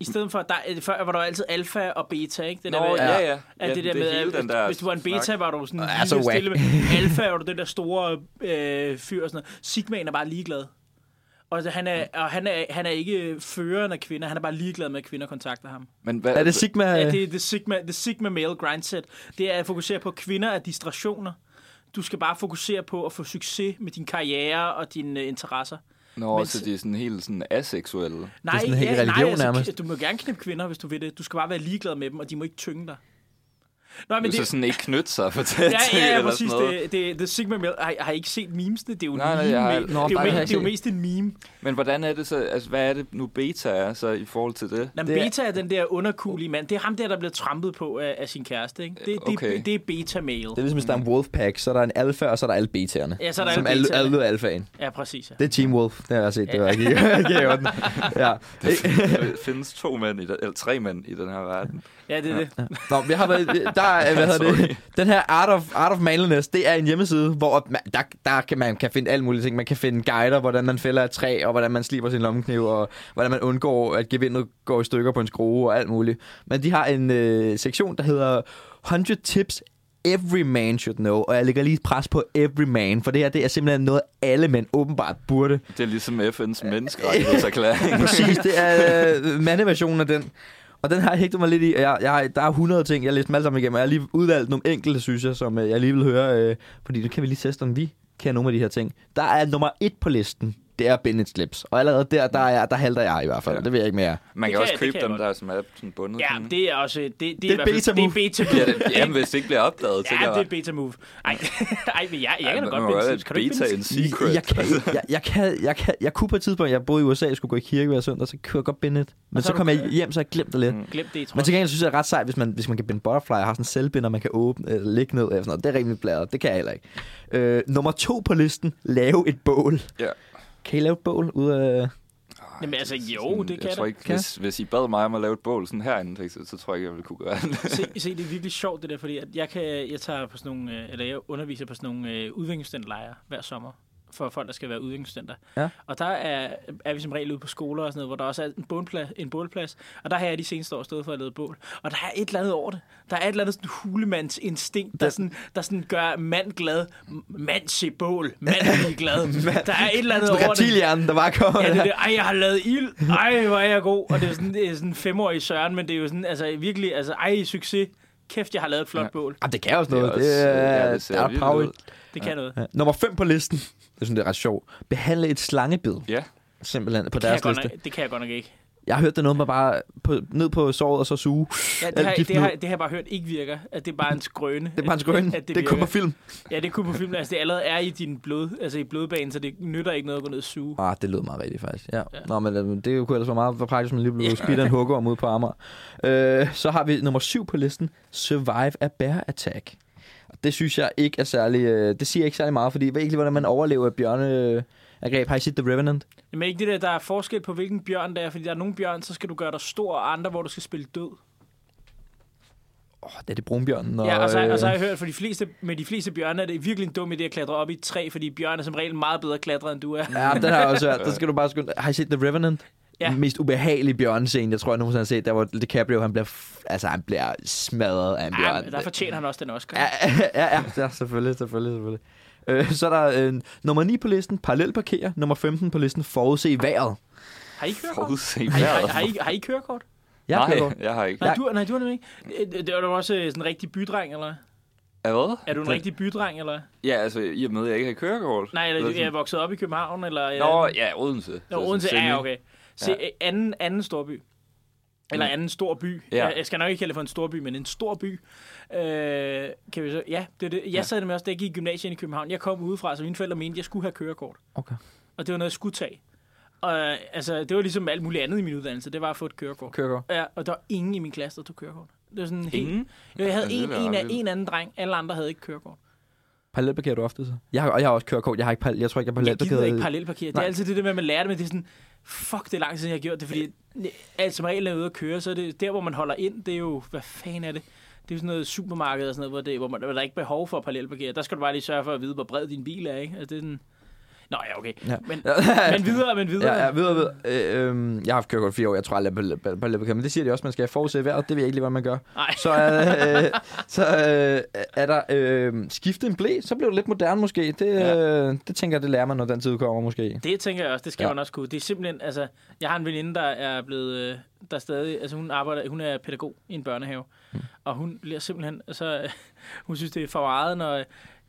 I stedet for, der, øh, før var der jo altid alfa og beta, ikke? Det
Nå,
med,
ja, ja.
At
Ja,
det der
det er
med,
hele
at
den
hvis,
der
hvis du var en beta,
snak.
var du sådan en
Ja,
lille
så
stille med.
[LAUGHS]
Alfa var du den der store øh, fyr og sådan noget. Sigmaen er bare ligeglad. Og, så han, er, og han, er, han er ikke føreren af kvinder, han er bare ligeglad med, at kvinder kontakter ham.
Men hvad, altså,
Er det Sigma?
Ja, det er the Sigma, the Sigma male grindset. Det er at fokusere på kvinder af distraktioner. Du skal bare fokusere på at få succes med din karriere og dine øh, interesser.
Nå,
men-
så de er sådan helt sådan aseksuelle.
Nej, altså,
sådan en hel religion nærmest.
Du må gerne knippe kvinder, hvis du vil det. Du skal bare være ligeglad med dem, og de må ikke tynge dig. Nå,
Men
men
det... Så
det...
sådan ikke knytte sig [LAUGHS] for tæt
Ja, ja, ja,
eller
præcis.
sådan noget.
Det, det, the Sigma male... Har, har I ikke set memesene? Det er jo en
Nej, nej,
meme.
jeg har-
male.
Nå,
det, er jo,
nej,
me-
jeg har
det er jo
ikke
mest en meme.
Men hvordan er det så, altså hvad er det nu beta er så i forhold til det?
Nå, men
Det er-
beta er den der underkulige mand. Det er ham der, der bliver trampet på af, af sin kæreste. Ikke? Det, det,
Okay.
det, det er beta male.
Det er ligesom, hvis der er en wolfpack, så er der en alfa, og så er der alle beta'erne.
Ja, så er der
som
alle
alle,
beta'erne.
alle lyder alfaen.
Ja, præcis. Ja.
Det er Team Wolf, det har [LAUGHS] jeg set, det var ikke ikke i orden. Ja.
[LAUGHS]
Der findes to mænd, i den, eller tre mænd i den her verden.
ja, det er det.
Nå, vi har været, der er, hvad hedder det, den her Art of, Art of Manliness, det er en hjemmeside, hvor man, der, der kan, man kan finde alle mulige ting. Man kan finde guider, hvordan man fælder et træ, og hvordan man sliber sin lommekniv, og hvordan man undgår, at gevindet går i stykker på en skrue og alt muligt. Men de har en øh, sektion, der hedder 100 tips every man should know, og jeg lægger lige et pres på every man, for det her det er simpelthen noget, alle mænd åbenbart burde.
Det er ligesom FN's
[LAUGHS]
menneskerettighedserklæring.
Præcis, det er øh, mandeversionen af den. Og den har jeg hægtet mig lidt i. og Jeg, jeg, har- der er 100 ting, jeg har læst dem alle sammen igennem, og jeg har lige udvalgt nogle enkelte, synes jeg, som øh, jeg lige vil høre. Øh, fordi nu kan vi lige teste, om vi kan nogle af de her ting. Der er nummer et på listen, det er bindet slips. Og allerede der, der, er, jeg- der halter jeg i hvert fald.
Ja.
Ja. Det ved jeg ikke mere.
Man
Det
kan
kan-
også
det
købe
kan jeg
dem
godt.
der, som er sådan bundet.
Ja,
sådan.
men det er også... Det, det,
er
i hvert fald-
beta-move.
Det er beta
[LAUGHS] Ja,
move.
det, jamen, hvis det ikke bliver opdaget,
Ja,
tænker jeg.
det er et beta move. Ej, [LAUGHS] ej men jeg, jeg kan da
man
godt
må
binde
være
slips. Kan du ikke
beta
binde
en
slips?
secret.
Jeg, kan, jeg, jeg, kan, jeg, kan, jeg kunne på et tidspunkt, jeg boede i USA, jeg skulle gå i kirke hver søndag, så kunne jeg godt binde et. Men
så
så
har
kom
du-
jeg hjem, så jeg glemte det lidt.
Glem det, tror
Men
jeg.
til gengæld synes jeg, det er ret sejt, hvis man, hvis man kan binde butterfly og har sådan en selvbinder, man kan åbne eller ligge ned eller sådan noget. Det er rimelig bladret. Det kan jeg heller ikke. Øh, nummer to på listen. Lave et bål.
Ja.
Kan I lave et bål ud af...
Jamen altså, jo,
Sådan,
det kan
jeg tror
jeg
ikke,
Kan
hvis, hvis I bad mig om at lave et bål sådan herinde, for eksempel, så tror jeg ikke, jeg ville kunne gøre
[LAUGHS]
det.
Se, se, det er virkelig sjovt det der, fordi at jeg, kan, jeg, tager på sådan nogle, øh, eller jeg underviser på sådan nogle øh, udviklingsstudentlejre hver sommer for folk, der skal være udviklingsstudenter.
Ja.
Og der er, er vi som regel ude på skoler og sådan noget, hvor der også er en bålplads, en bålplads og der har jeg de seneste år stået for at lave bål. Og der er et eller andet over det. Der er et eller andet sådan hulemandsinstinkt, der, sådan, der sådan gør mand glad. M- Mand se bål. Mand er glad. der er et eller andet over det.
Reptilhjernen, der bare kommer.
Ja, det, er det, ej, jeg har lavet ild. Ej, hvor er jeg god. Og det er sådan, det er sådan femårig Søren, men det er jo sådan, altså virkelig, altså, ej, succes. Kæft, jeg har lavet et flot
Ja.
ja. bål.
Jamen, Ah, det kan også
Det er
noget.
også-
Det er,
ja, det
det
ser
der er
vildt
power.
ud.
i.
Det kan noget.
Ja. Nummer 5 på listen. Jeg synes, det er ret sjovt. Behandle et slangebid,
Ja,
simpelthen, på
Det kan, jeg
deres
godt
liste.
nok, det kan jeg godt nok ikke.
Jeg har hørt, det er noget med bare på, ned på såret og så suge.
Ja, det,
Alt
har,
giften
det, har,
ud.
det har jeg bare hørt ikke virker. At det er bare en skrøne.
Det er
[LAUGHS]
bare en
at-
skrøn.
at
Det, det er kun
virker.
på film.
Ja, det er kun på film. Altså, det allerede er i din blod, altså i blodbanen, så det nytter ikke noget at gå ned og suge.
Ah, det lød meget rigtigt, faktisk. Ja.
Ja.
ja. Nå, men øh, det kunne ellers være meget for praktisk, hvis man lige blev
Ja.
yeah. spidt af en hugger ude på Amager. Øh, så har vi nummer syv på listen. Survive a bear attack. Og det synes jeg ikke er særlig... Øh, det siger jeg ikke særlig meget, fordi jeg ved ikke lige, hvordan man overlever et bjørneangreb. Har I set The Revenant?
Men ikke det der, der er forskel på, hvilken bjørn der er. Fordi der er nogle bjørn, så skal du gøre dig stor, og andre, hvor du skal spille død.
Åh, oh, det er det brunbjørnen. Og,
Ja, og så, og så har
øh,
jeg hørt, for de fleste, med de fleste bjørne er det virkelig en dum idé at klatre op i et træ, fordi bjørne er som regel meget bedre klatret, end du er.
Ja, den har jeg også hørt. Der skal du bare skynde. Har I set The Revenant?
Ja.
Den mest ubehagelige bjørnescene, jeg tror, jeg nogensinde har set, der hvor DiCaprio, han bliver, f- altså, han bliver smadret af en bjørn.
Ja, men der fortjener han også den Oscar.
Ja, ja, ja, ja, selvfølgelig, selvfølgelig, selvfølgelig. Øh, så er der øh, nummer 9 på listen, parallel parkere. Nummer 15 på listen, forudse vejret.
Har I kørekort?
forudse
Har I, har, har,
vejret.
I, har I kørekort?
Jeg kører
Nej,
godt.
jeg har ikke.
Nej, du, nej, du har nemlig ikke. Øh, Det, det var du også øh, sådan en rigtig bydreng, eller? hvad?
Er hvad?
Er du en rigtig bydreng, eller? hvad?
Ja, altså, i og med, at jeg ikke har kørekort.
Nej, eller
Eller
du- jeg er
sådan-
vokset op i København, eller? øh,
Nå, ja, Odense.
Nå,
Så
Odense
sådan
er
semi.
okay. Se, øh, anden, anden eh, storby. Eller anden stor by.
Mm. Ja.
Ja. Jeg skal nok ikke kalde det for en stor by, men en stor by. Øh, kan vi så? Ja, det er det. Jeg
Ja.
ja. sad med også, da jeg gik i gymnasiet i København. Jeg kom udefra, så mine forældre mente, at jeg skulle have kørekort.
Okay.
Og det var noget, jeg skulle tage. Og øh, altså, det var ligesom alt muligt andet i min uddannelse. Det var at få et kørekort.
Kører godt.
Ja, og der var ingen i min klasse, der tog kørekort. Det var sådan helt...
Ingen?
Jo, jeg havde
Altså, det
en,
er da
en, af,
ret vildt.
en anden dreng. Alle andre havde ikke kørekort.
Parallelparkerer du ofte så? Jeg har, og jeg har også kørekort. Jeg har ikke parallel, jeg tror ikke, jeg
Jeg gider
parallelparkerer.
ikke parallelparkere. Det er
Nej.
altid det der med, at man lærer det, men det er sådan... Fuck, det er lang tid, siden jeg har gjort det, fordi alt som regel er ude at køre, så er det der, hvor man holder ind, det er jo... Hvad fanden er det? Det er jo sådan noget supermarked og sådan noget, hvor, det, hvor, man, hvor der er ikke behov for at parallelparkere. Der skal du bare lige sørge for at vide, hvor bred din bil er, ikke? Altså, det er sådan... Nå ja, okay.
Ja. [LAUGHS]
Men, men videre, men videre.
Ja, ja, videre, videre. Øh, øhm, jeg har haft kørekort i fire år, jeg tror aldrig, jeg er parallelparkerer, men det siger de også, man skal forudse vejret, det ved jeg ikke lige, hvad man gør.
Nej.
Så, er, øh, så øh, er der øh, skiftet en blæ, så blev det lidt moderne måske. Det,
Ja.
ja. øh, det tænker jeg, det lærer man, når den tid kommer måske.
Det tænker jeg også, det skal
Ja.
ja. man også kunne. Det er simpelthen, altså, jeg har en veninde, der er blevet, øh, der stadig, altså hun arbejder, hun er pædagog i en børnehave, mm. og hun bliver simpelthen, altså, øh, [LAUGHS] hun synes, det er for meget, når øh,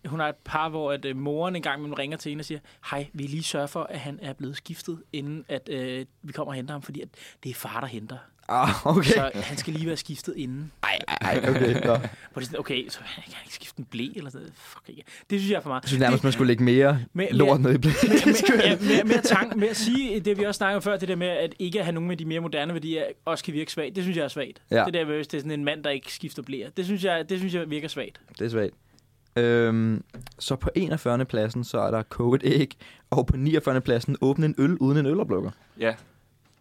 hun har et par, hvor at, øh, moren en gang imellem ringer til hende og siger, hej, vi lige sørge for, at han er blevet skiftet, inden at øh, vi kommer og henter ham, fordi at det er far, der henter.
Ah, okay.
Så han skal lige være skiftet inden.
Ej, ej, okay. Nå.
Hvor det er sådan, okay, så han kan ikke skifte en blæ eller sådan noget. Fuck ikke. Det synes jeg er for meget.
Jeg synes nærmest, man skulle lægge
[LAUGHS]
mere
Men-
lort
men-
ned i
[LAUGHS]
blæ. Det skulle
Ja,
jeg-
mere, mere tanken med at sige det, vi også snakkede om før, det der med at ikke at have nogen med de mere moderne værdier, også kan virke svagt. Det synes jeg er svagt.
Ja.
Ja. Det der med, hvis det er sådan en mand, der ikke skifter blære. Det synes jeg, det synes jeg virker svagt.
Det er svagt. Øhm, så på 41. pladsen, så er der koge et æg, og på 49. pladsen åbne en øl uden en øloplukker.
Ja.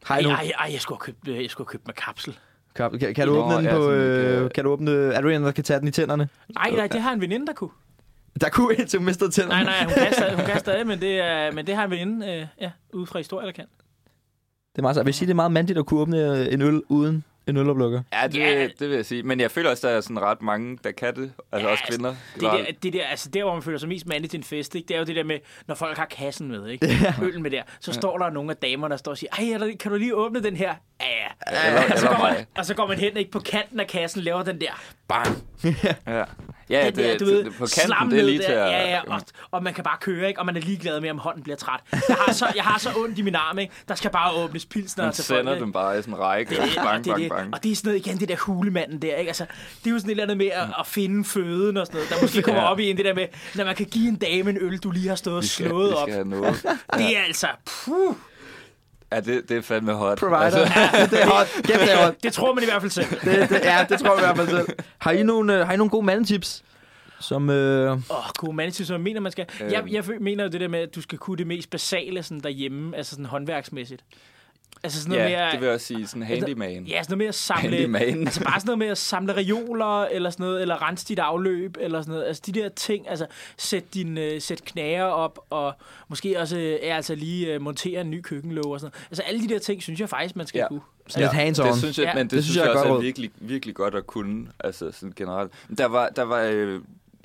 Hej
Ej,
nu.
ej, ej, jeg skulle have købt, øh, jeg skulle have købt med kapsel.
Kan, kan, kan du
Nå,
åbne den
ja,
på...
sådan,
Øh,
øh,
kan du åbne... Er du en, der kan tage den i tænderne?
Nej, nej, det har en veninde, der kunne.
Der kunne en til mistet tænderne.
Nej, nej, hun kan stadig, hun kan stadig men, det er, men det har en veninde øh, ja, ude fra historie, der kan.
Det er meget, sejt. jeg vil sige, det er meget mandigt at kunne åbne øh, en øl uden en øloplukker.
Ja, det,
Ja.
det vil jeg sige. Men jeg føler også, der er sådan ret mange, der kan det. Altså
Ja,
også kvinder.
Det der, det der, altså der, hvor man føler sig mest mandlig til en fest, ikke? det er jo det der med, når folk har kassen med, ikke? Øllen med der, så står der nogle af damerne, der står og siger, ej, er der- kan du lige åbne den her? Ja, ja.
Eller,
Og så,
eller
går
mig.
man, og så går man hen ikke på kanten af kassen laver den der.
Ja, ja
den
det,
der,
det,
du ved,
på kanten,
slam
det er
ned
lige til
der.
at...
Ja, ja, og, og, man kan bare køre, ikke? Og man er ligeglad med, om hånden bliver træt. Jeg har så, jeg har så ondt i min arm, ikke? Der skal bare åbnes pilsner
Man
til folk.
sender
ikke?
dem bare i sådan en række.
Det er det, og
Bang,
det, er
bang,
det.
bang.
Og det er sådan noget, igen, det der hulemanden der, ikke? Altså, det er jo sådan et eller andet med at, at finde føden og sådan noget, der måske kommer op i en, det der med, når man kan give en dame en øl, du lige har stået og
Vi skal,
slået
vi
op.
skal have noget.
Det er altså, puh,
Ja, det, det er fandme hot.
Provider. Altså, [LAUGHS] det er hot. Kæft, det er hot.
det tror man i hvert fald
[LAUGHS]
selv.
Det, det, ja, det tror jeg i hvert fald selv. Har I nogle, øh, har I nogle gode mandetips? Som, øh,
Åh, oh, god mand, som jeg mener, man skal.
Øhm.
Jeg, jeg fø- mener jo det der med, at du skal kunne det mest basale sådan derhjemme, altså sådan håndværksmæssigt. Altså sådan noget
ja,
mere... Altså,
det vil jeg også sige. Sådan handyman.
Ja, sådan noget med at samle...
Handyman.
Altså bare sådan noget med at samle reoler, eller sådan noget, eller rense dit afløb, eller sådan noget. Altså de der ting, altså sæt, din, øh, sæt knager op, og måske også øh, ja, altså lige øh, montere en ny køkkenlåge og sådan noget. Altså alle de der ting, synes jeg faktisk, man skal
Ja.
kunne.
sådan lidt hands-on.
Det synes jeg,
Ja.
men det,
Det
det
synes
synes,
jeg er
jeg også
godt
er
råd.
virkelig, virkelig godt at kunne, altså sådan generelt. Der var, der var øh,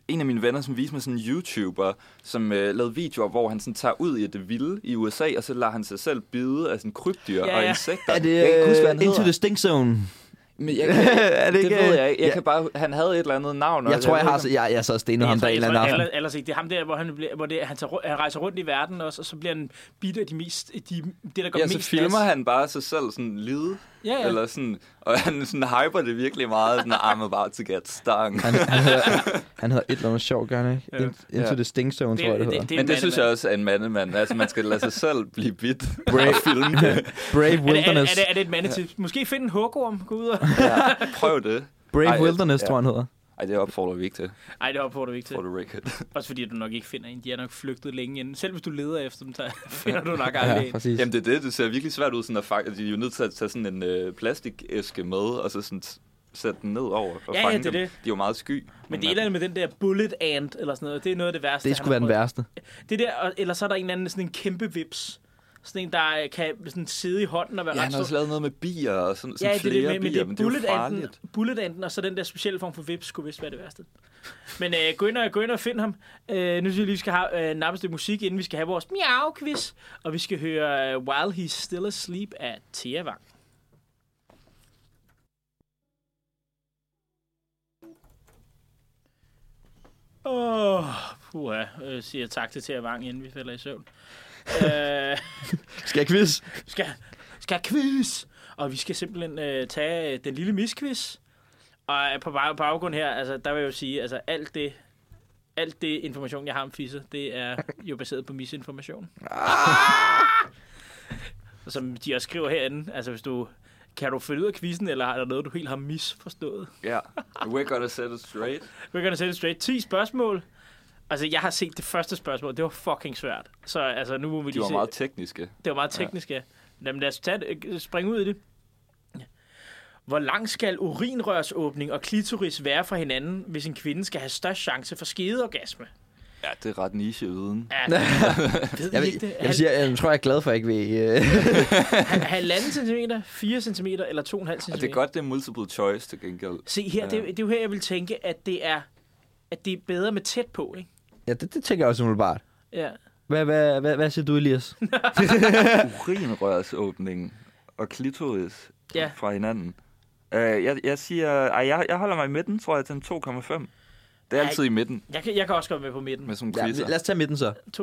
en af mine venner, som viste mig sådan en YouTuber, som øh, lavede videoer, hvor han sådan tager ud i det vilde i USA, og så lader han sig selv bide af sådan krybdyr
Ja,
og
ja.
insekter.
er det
jeg kan ikke huske, hvad
øh,
han
Into
hedder.
the Stink Zone?
Men jeg, kan,
[LAUGHS] er
det,
ikke,
det ved
øh,
jeg ikke. Jeg
ja.
kan bare, han havde et eller andet navn.
Jeg
også.
tror, jeg
ved
har
ikke,
jeg, jeg sad og stenet ham der en eller anden aften.
Eller, ellers ikke. Det er ham der, hvor han, bliver, hvor det, han, tager, ru- han rejser rundt i verden også, og så bliver han bidt af de mest, de, det, der går
om- Ja,
mest
så filmer
plads.
han bare sig selv sådan lide,
Ja, ja.
eller sådan, og han sådan hyper det virkelig meget, sådan, I'm about to get
[LAUGHS]
stung.
Han, han, hedder, han hedder et eller andet sjovt, gør han ikke?
Ja.
In- Into
Ja.
the Stink Zone, tror jeg, det hedder.
er
Men
en
det synes
mandemand.
jeg også er en mandemand. Altså, man skal lade sig selv blive bidt og filme det.
[LAUGHS] Brave
Er det, er,
Wilderness.
er, det, er det et mandetip? Ja. Måske finde en hukkorm, gå ud og...
Ja, prøv det.
Brave
Ej,
Wilderness,
ja.
tror jeg, han hedder.
Ej, det opfordrer vi ikke til.
[LAUGHS] Ej, det opfordrer vi ikke til.
For the record.
Også fordi du nok ikke finder en. De er nok flygtet længe inden. Selv hvis du leder efter dem, så [LAUGHS] finder du nok aldrig en.
præcis.
Jamen, det er det. Det ser virkelig svært ud, sådan at fange. De er jo nødt til at tage sådan en øh, plastikæske med, og så sådan s- sætte den ned over og
Ja, ja,
fange
det er
dem.
det.
De er jo meget sky.
Men det er et eller andet med den der bullet ant, eller sådan noget. Det er noget af det værste.
Det skulle være den
værste.
værste.
Det der, og- eller så er der en eller anden sådan en kæmpe vips. Sådan en, der øh, kan sådan sidde i hånden og være
Ja,
ret
han har
stor.
også lavet noget med bier og sådan, sådan
Ja, det er
flere
det, men, men det
bier,
er
men det er jo
bullet anten,
farligt.
bullet anten, og så den der specielle form for vips, skulle vist være det værste. Men øh, gå, ind og, gå ind og find ham. Øh, nu synes jeg lige, vi skal have øh, nappes lidt musik, inden vi skal have vores miau-quiz. Og vi skal høre øh, While He's Still Asleep af Thea Wang. Åh, oh, puha, øh, siger jeg tak til Thea Wang, inden vi falder i søvn. øh,
Skal jeg quiz?
skal, skal quiz, og vi skal simpelthen øh, tage øh, den lille misquiz. Og øh, på bag- baggrund her, altså, der vil jeg jo sige, altså alt det, alt det information, jeg har om Fisse, det er jo baseret på misinformation.
Ah!
Som de også skriver herinde, altså hvis du, kan du følge ud af quizzen, eller er der noget, du helt har misforstået? [LAUGHS]
Ja. We're gonna set it straight.
We're gonna set it straight. 10 spørgsmål. Altså, jeg har set det første spørgsmål. Det var fucking svært. Så altså, nu må vi
De
lige
var
se.
meget tekniske.
Det var meget teknisk, ja. Jamen, lad os tage det, øh, springe ud i det. Hvor lang skal urinrørsåbning og klitoris være fra hinanden, hvis en kvinde skal have størst chance for skedeorgasme?
Ja, det er ret niche-viden. [LAUGHS]
Ja, det- ved
Jeg,
jeg,
vil,
ikke det.
jeg, vil sige, jeg, jeg tror, jeg er glad for, at jeg ikke ved... Øh.
Hal- halvanden centimeter, 4 centimeter eller 2,5 centimeter?
Og det er godt, det er multiple choice til gengæld.
Se her, det, er- det er jo her, jeg vil tænke, at det er, at det er bedre med tæt på, ikke?
Ja, det, det tænker jeg også umiddelbart.
Ja.
Hvad, hvad, hvad, hvad siger du, Elias?
Urinrørsåbningen og klitoris
Ja.
ja. fra hinanden. Uh, jeg, jeg siger... Ej, jeg, jeg holder mig i midten, tror jeg, til en 2,5. Det er
Ej.
altid i midten
Jeg kan, jeg kan også godt være med på midten.
med sådan
Ja,
nogle
lad
quizzer.
os tage midten så.
2,5.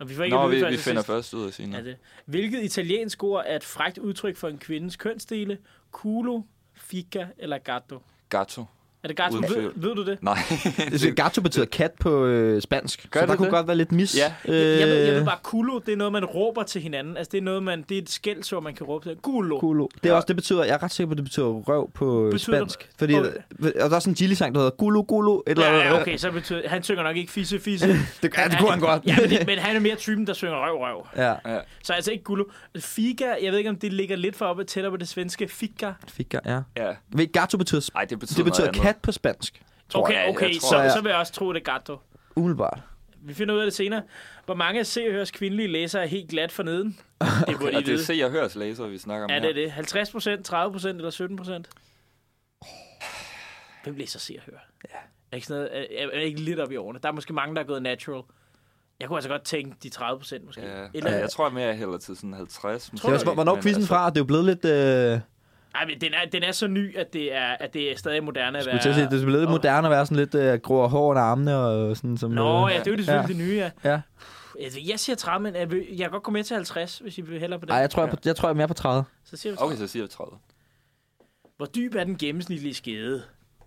Og vi får ikke
Nå,
at vide
vi,
før
vi
til
finder
sidst.
først ud af sine.
Er det. Hvilket italiensk ord er et frækt udtryk for en kvindes kønsdele? Culo, fica eller gatto?
Gatto.
Er det gatto?
Uden
Ved,
tvivl.
ved du det?
[LAUGHS]
Nej.
Det siger, gato betyder kat på øh, spansk.
Gør
så
det
der kunne
det?
godt være lidt mis.
Ja.
Øh.
Jeg, jeg, ved, jeg ved bare, culo, det er noget, man råber til hinanden. Altså, det er, noget, man, det er et skældsord, man kan råbe til. Culo.
Culo. Det er også, det betyder, jeg er ret sikker på, at det betyder røv på øh,
Betyder det-
spansk. Fordi,
Okay.
og der er sådan en Gilly-sang, der hedder Gulo Gulo. Et eller andet.
Ja, okay, så betyder, han synger nok ikke fisse, fisse.
[LAUGHS] Det, [LAUGHS] ja, det kunne han godt.
Ja, men, det- men han er mere typen, der synger røv, røv.
[LAUGHS] ja.
Ja.
Så altså ikke gulo. Figa, jeg ved ikke, om det ligger lidt for op tættere på det svenske. Figa.
Fik jeg, ja.
ja.
Ved, gato betyder, sp-
Ej, det betyder
det betyder
noget andet.
kat på spansk. Tror
Okay,
jeg, jeg
okay,
tror,
så,
jeg-
så vil jeg også tro, det er gatto.
Umiddelbart.
Vi finder ud af det senere. Hvor mange af Se og Hørs kvindelige læsere er helt glat for
[LAUGHS]
neden? Det burde
Og
I
det er
vide.
se og hørs laser, vi snakker om
Er
her.
det det? 50 procent, 30 procent eller 17 procent? Hvem læser Se og Hør? Ja. Er ikke, sådan noget, er, er ikke lidt op i årene? Der er måske mange, der er gået natural. Jeg kunne altså godt tænke de 30 procent måske.
Ja.
Eller,
Ja, jeg tror mere, jeg hælder til sådan 50.
Tror
Det er
du det?
også,
altså-
hvornår er quizzen
altså-
fra? Det er jo blevet lidt... Øh,
Ej, men den er, den er så ny, at det er, at det er stadig moderne at
skulle til at sige, det er blevet lidt
Åh.
moderne at være sådan lidt øh, grå og hår under armene og sådan som...
Nå,
øh,
ja, det er jo selvfølgelig det nye, ja.
ja.
Altså, Jeg siger 30, men jeg, vil, jeg kan godt gå med til 50, hvis I vil hellere på det.
Ej, jeg tror, jeg, er på- jeg tror, jeg er mere på 30.
Så siger vi 30.
Okay, så siger jeg 30.
Hvor dyb er den gennemsnitlige skede?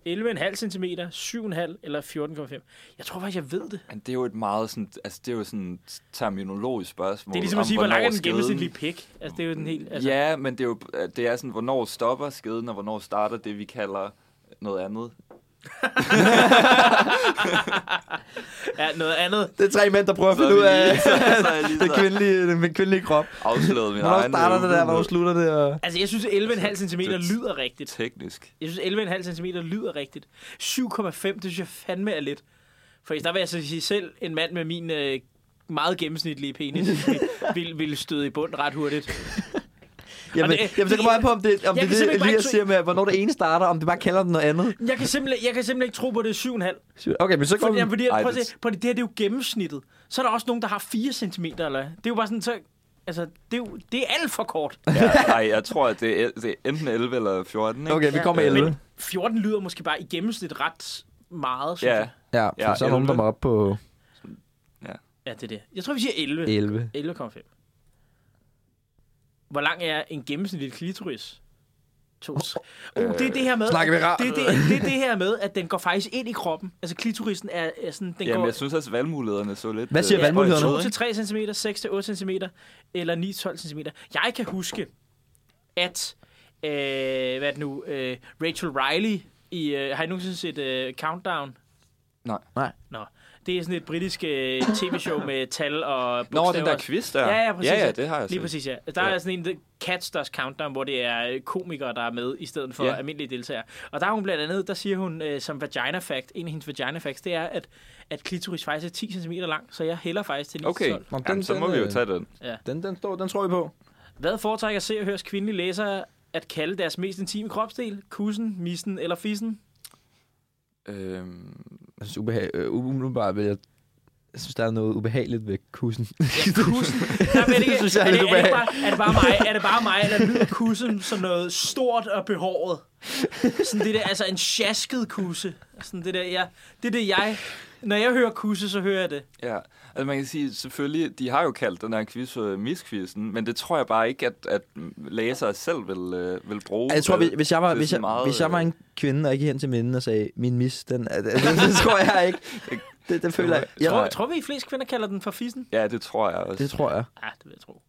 11,5 cm, 7,5 eller 14,5? Jeg tror faktisk, jeg ved det.
Men det er jo et meget sådan, altså det er jo sådan et terminologisk spørgsmål.
Det er ligesom at
om,
sige, hvor lang er
hvornår
den
skeden-
gennemsnitlige pik? Altså, det er jo den helt... Altså,
Altså... Ja, men det er jo det er sådan, hvornår stopper skeden, og hvornår starter det, vi kalder noget andet.
ja, noget andet.
Det er tre mænd, der prøver at
Så er
finde
vi
[LAUGHS] ud af
lige- så er
[LAUGHS]
jeg lige
den
så
kvindelige, den kvindelige krop.
afsløret min
Hvornår
egen
starter det der,
uvidenhed.
hvornår slutter det? Og...
Altså, jeg synes, 11,5 cm lyder rigtigt.
Teknisk.
Jeg synes, 11,5 cm lyder rigtigt. 7,5, det synes jeg fandme er lidt. For der vil jeg så sige selv, en mand med min øh, meget gennemsnitlige penis, [LAUGHS] ville, ville støde i bund ret hurtigt.
Jamen,
det-
jamen, så kommer an på, om det, om
Jeg
det,
kan
det
simpelthen bare
Elias
ikke-
siger med, hvornår det ene starter, om det bare kalder den noget andet.
Jeg kan simpelthen, jeg kan simpelthen ikke tro på, at det er 7,5.
Okay, men så går
Fordi,
vi...
ja, fordi,
Ej,
prøv at
det-
se, prøv at, se, det her det er jo gennemsnittet. Så er der også nogen, der har 4 cm. Eller, hvad. det er jo bare sådan, så, altså, det, er jo, det er alt for kort.
Ja, nej, jeg tror, at det er, det er enten 11 eller 14, ikke?
Okay, vi kommer med 11.
Men 14 lyder måske bare i gennemsnit ret meget, synes
Ja,
jeg.
Ja,
Ja,
for så er nogen, der
11.
må op på
Ja, det er det. Jeg tror, vi siger 11.
11.
11,5. Hvor lang er en gennemsnitlig klitoris? To. Oh, det er det her med...
Snakker vi rart?
det, er det, det er det her med, at den går faktisk ind i kroppen. Altså klitorisen er, er sådan... Den
Jamen,
går,
jeg synes også, valgmulighederne så lidt...
Hvad siger
øh,
valgmulighederne?
spøjst ud, ikke?
2-3 cm, 6-8 cm eller 9-12 cm. Jeg kan huske, at øh, hvad er det nu, øh, Rachel Riley i... Øh, har I nogensinde set øh, Countdown?
Nej.
Nej.
Nå. Det er sådan et britisk øh, tv-show med tal og
Nå,
bogstaver.
den der quiz der.
Ja, ja, præcis.
Ja, ja, det har jeg
Lige
set.
præcis, ja. Der er sådan en der- Cats Does Countdown, hvor det er øh, komikere, der er med, i stedet for
Ja.
almindelige deltagere. Og der er hun blandt andet, der siger hun øh, som vagina fact, en af hendes vagina facts, det er, at, at klitoris faktisk er 10 cm lang, så jeg hælder faktisk til 9
Okay,
okay.
Nå, den-
Jamen, så
den,
må vi jo
øh,
tage den.
Den, den, står, den tror vi på.
Hvad foretrækker se og høres kvindelige læsere at kalde deres mest intime kropsdel? Kussen, missen eller fissen?
Øhm,
Jeg synes, ubehag, øh, umiddelbart vil jeg... Jeg synes, der er noget ubehageligt ved kussen. [LAUGHS]
Kussen. Jeg ved ikke,
Det synes jeg er
er, det,
lidt
er, det bare, er det bare mig, er det bare mig eller lyder kussen som noget stort og behåret? Sådan det der, altså en sjasket kusse. Sådan det der, ja. Det er det, jeg... Når jeg hører kusse, så hører jeg det.
Ja, altså man kan sige, selvfølgelig, de har jo kaldt den her quiz for miskvisten, men det tror jeg bare ikke, at, at læsere selv vil, øh, vil bruge.
Altså, Jeg tror, hvis,
Vel,
hvis, jeg var,
det er
hvis,
sådan
jeg,
meget,
hvis jeg var
øh,
en kvinde, og ikke hen til mændene og sagde, min mis, den er, det, det tror jeg ikke. Det, det føler jeg.
Jeg
jeg
tror, tror vi, at flest kvinder kalder den for fissen?
Ja, det tror jeg også.
det tror jeg.
Ja, det vil jeg tro.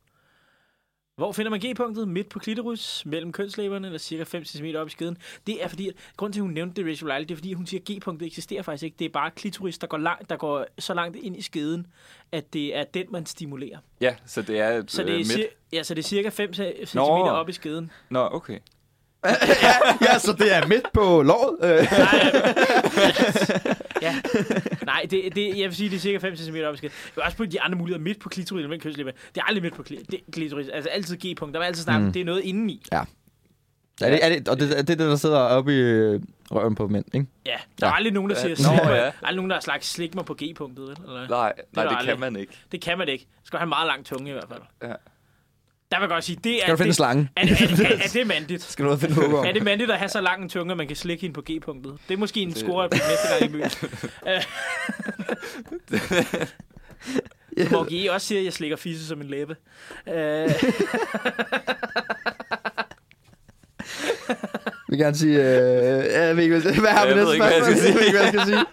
Hvor finder man G-punktet? Midt på klitoris, mellem kønslæberne eller cirka 5 cm op i skeden. Det er fordi, at, grunden til, at hun nævnte det Rachel Riley, det er fordi, hun siger, at G-punktet eksisterer faktisk ikke. Det er bare klitoris, der går, langt, der går så langt ind i skeden, at det er den, man stimulerer.
Ja, så det er et
Så
øh,
det er,
midt.
cir- ja, så det er cirka 5 cm
Nå.
op i
[LAUGHS]
skeden.
Nå, okay.
Ja, så det er midt på låret. Øh,
Ja. Nej, det, det, jeg vil sige, det er cirka 5 cm op i skeden. Jeg vil også på de andre muligheder midt på klitoris eller mellem kønslæberne. Det er aldrig midt på kli- det, klitoris. Altså altid G-punkt. Der er altid snart, mm. det er noget indeni.
er det, er det, og det, er det det, der sidder oppe i øh, røven på mænd, ikke?
Ja, der er
Ja.
aldrig nogen, der siger
Nå,
slik mig.
ja.
Der er aldrig nogen, der har slags slik mig på G-punktet, vel? Eller? hvad?
Nej, nej,
der
det
aldrig.
kan man ikke.
Det kan man ikke. Så skal han have en meget lang tunge i hvert fald.
Ja.
Der vil jeg godt sige, det er...
Skal du finde en
det,
slange?
er, er, er, er, det
[LAUGHS]
mandigt?
Skal du ud og finde hugger om?
Er det mandigt at have så lang en tunge, at man kan slikke hende på G-punktet? Det er måske en
Det-
score, jeg bliver næste
[LAUGHS]
gang i byen.
[LAUGHS]
Øh. Hvor G også siger, at jeg slikker fisse som en læbe. Øh,
Vi kan gerne sige... Øh, jeg ved ikke, hvad, hvad har vi
Jeg ved
næste
ikke, hvad jeg skal
spørgsmål? Jeg ved ikke, hvad jeg skal sige.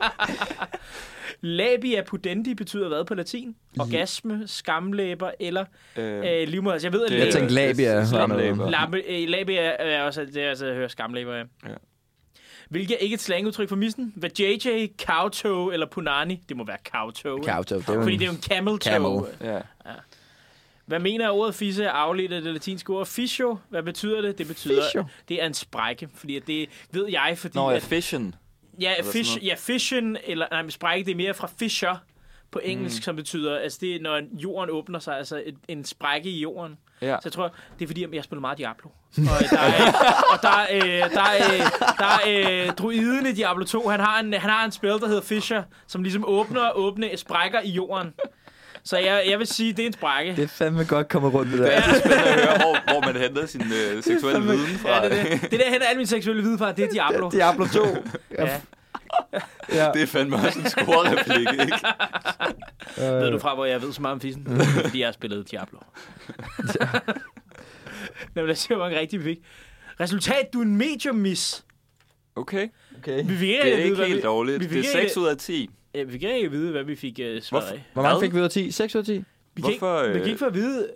labia pudendi betyder hvad på latin? Orgasme, skamlæber eller
Øh,
øh, livmoder. Altså, jeg ved, at
det-
Jeg
læber-
tænkte labia
det-
eller noget.
skamlæber.
Lampe, øh, labia er også det, er altså, jeg hører skamlæber af. Ja.
Ja.
Hvilket er ikke et slangudtryk for missen. Hvad JJ, cowtoe eller punani? Det må være cowtoe. ikke?
Cowtop, det er jo
Fordi det er
en-
jo en camel toe.
Camel.
Ja.
Hvad mener jeg, ordet fisse er afledt af det latinske ord fisio? Hvad betyder det? Det betyder,
Fisio.
det er en sprække. Fordi at det ved jeg, fordi...
Nå, ja,
at,
fission.
ja,
eller sådan
fish,
noget.
ja, fission, eller nej, men sprække, det er mere fra fisher på engelsk, mm. som betyder, altså det er, når en- jorden åbner sig, altså et, en sprække i jorden.
Ja.
Så jeg tror, det er fordi, jeg spiller meget Diablo. Og øh, der er, og der, er, øh, der, er, øh, der er øh, druiden i Diablo 2. Han har, en, han har en spil, der hedder Fisher, som ligesom åbner og åbne sprækker i jorden. Så jeg, jeg vil sige, det er en sprække.
Det er fandme godt kommet rundt, det der.
Det er så spændende at [LAUGHS] høre, hvor, hvor man henter sin øh, seksuelle viden fra.
Ja, det, er det. det der henter al min seksuelle viden fra, det er Diablo.
[LAUGHS] Diablo 2.
Ja.
ja.
det er fandme også en score-replik, ikke?
Øh,
Ved du fra, hvor jeg ved så meget om fissen? Fordi jeg har spillet Diablo. [LAUGHS] Nå, men lad os se, hvor mange rigtige vi fik. Resultat, du er en medium miss.
Okay,
Okay.
Vi fik
det er
at vide,
ikke
hvad vi-
helt dårligt.
vi fik
Det er
ikke-
6 ud af 10.
Ja, vi kan ikke at vide, hvad vi fik uh, svaret
Hvorfor?
af.
Hvor mange fik vi ud af 10? 6 ud af 10?
Vi kan,
Hvorfor,
ikke, vi
øh,
kan ikke få at vide...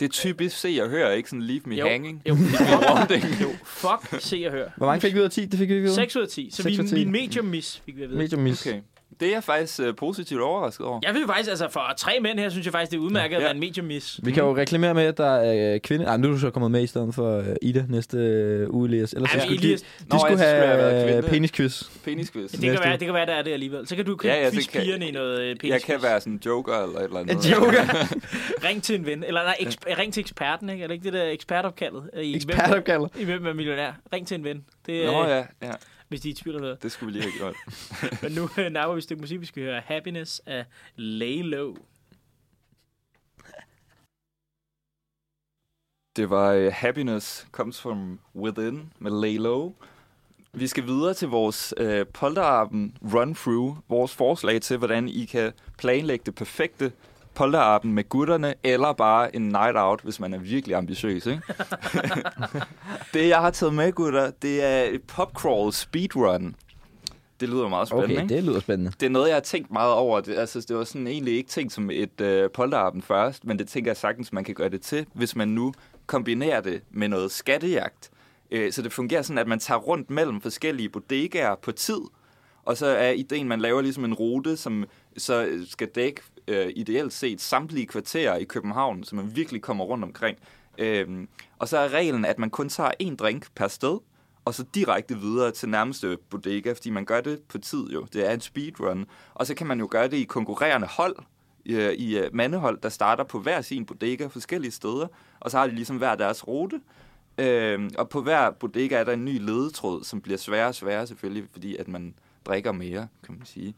Det er typisk se og høre, ikke sådan leave me
Jo.
hanging.
Jo,
[LAUGHS] Rounding.
jo, fuck, se og hør.
Hvor mange fik vi ud af 10? Det fik vi ikke ud af.
6 ud af 10. Så
Seks
min,
ud af ti.
min medium miss fik vi at vide.
Medium miss.
Okay. Det er jeg faktisk øh, positivt overrasket over.
Jeg vil faktisk, altså for tre mænd her, synes jeg faktisk, det er udmærket at
Ja.
være en medium miss.
Vi kan jo reklamere med, at der er øh, kvinde... Nej, nu er du så kommet med i stedet for øh, Ida næste øh, uge, Elias. Ellers
Ja,
så
men
skulle
Elias,
de,
Nå,
de skulle
jeg synes, jeg har været
have øh,
kvinde.
penisquiz.
Penisquiz.
det kan,
næste
være,
uge.
det kan være, der er det alligevel. Så kan du
Ja, ja,
ja,
det
quiz
kan-
pigerne i noget øh, penis.
Jeg kan være sådan en joker eller et eller andet.
Ring til en ven, eller nej, eksp- ring til eksperten, ikke? Er det ikke det der ekspertopkaldet? øh, I hvem-
Ekspertopkaldet.
I hvem er millionær? Ring til en ven. Det,
[LAUGHS] Nå
øh,
ja, ja.
Hvis de er i tvivl om noget.
Det skulle vi lige have gjort.
Men nu øh, napper vi et stykke musik, vi skal høre Happiness af Lay Low.
Det var uh, Happiness Comes From Within med Lay Low. Vi skal videre til vores uh, polterappen run-through. Vores forslag til, hvordan I kan planlægge det perfekte polterappen med gutterne, eller bare en night out, hvis man er virkelig ambitiøs. Ikke? det, jeg har taget med, gutter, det er et popcrawl speedrun. Det lyder meget spændende,
Okay,
ikke?
det lyder spændende.
det er noget, jeg har tænkt meget over. Det, altså, det var sådan egentlig ikke tænkt som et øh, polterappen først, men det tænker jeg sagtens, man kan gøre det til, hvis man nu kombinerer det med noget skattejagt. Øh, så det fungerer sådan, at man tager rundt mellem forskellige bodegaer på tid, og så er ideen, man laver ligesom en rute, som så øh, skal dække øh, ideelt set samtlige kvarterer i København, så man virkelig kommer rundt omkring. Øhm, og så er reglen, at man kun tager en drink per sted, og så direkte videre til nærmeste bodega, fordi man gør det på tid jo. Det er en speedrun. Og så kan man jo gøre det i konkurrerende hold, øh, i øh, mandehold, der starter på hver sin bodega forskellige steder, og så har de ligesom hver deres rute. Øhm, og på hver bodega er der en ny ledetråd, som bliver sværere og sværere selvfølgelig, fordi at man drikker mere, kan man sige.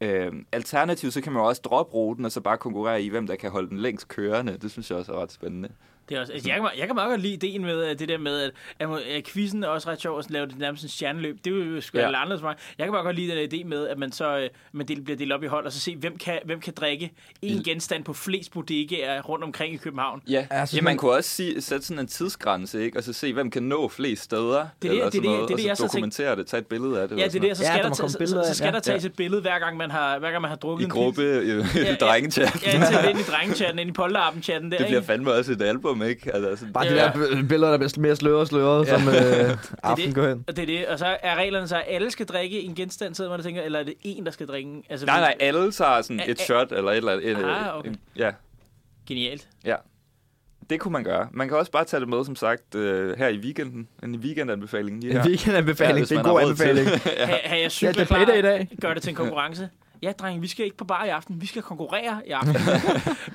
Øhm, alternativt så kan man jo også droppe ruten, og så bare konkurrere i, hvem der kan holde den længst kørende. Det synes jeg også er ret spændende.
Det er også, altså, jeg, kan, jeg kan meget godt lide ideen med øh, det der med, at, at, må- at quizzen er også ret sjov, og så laver det nærmest en stjerneløb. Det er jo sgu
Ja.
ja. anderledes for mig. Jeg kan meget godt lide den der idé med, at man så øh, man del, bliver delt op i hold, og så se, hvem kan, hvem kan drikke en genstand på flest bodegaer rundt omkring i København.
Ja,
Ja, jeg
altså,
synes,
ja man,
man-
kunne også sige, sætte sådan en tidsgrænse, ikke? Og så se, hvem kan nå flest steder,
det-
eller
det-
sådan
det-
noget,
det- det- jeg
og
så
så
tænkte-
dokumentere det, tage et billede af det.
Ja, det
eller
er
sådan
det, og så
Ja,
skal,
der
der,
må
tage,
komme
så,
billeder
så,
af,
så skal
ja.
der tages
Ja.
et billede, hver gang man har, hver gang man har drukket
noget.
en
I gruppe, [LAUGHS] i,
ja.
i drengechatten.
Ja, jeg tager ind i drengechatten, ind i polterappen-chatten der,
Det bliver
ikke?
fandme også et album, ikke? Altså, sådan,
Bare de
Ja.
der b- billeder, der bliver mere sløret og sløret, ja. som øh, aften
det.
går hen.
Og det er det. Og så er reglerne så, at alle skal drikke en genstand, sidder man og tænker, eller er det en, der skal drikke? en? Altså,
nej, nej, alle tager sådan
Ja,
et
ja.
shot, eller et eller andet. et-
Ah, okay.
en- Ja,
Genialt.
ja. Det kunne man gøre. Man kan også bare tage det med, som sagt, øh, her i weekenden. En weekendanbefaling lige her.
En weekendanbefaling,
Ja,
ja,
hvis
det er en
man har
god
råd til
anbefaling.
Ja. Ha, ha, jeg
Ja,
cykler
det er
klar.
fredag i dag.
Gør det til en konkurrence. Ja, drenge, vi skal ikke på bar i aften. Vi skal konkurrere i
[LAUGHS]
aften.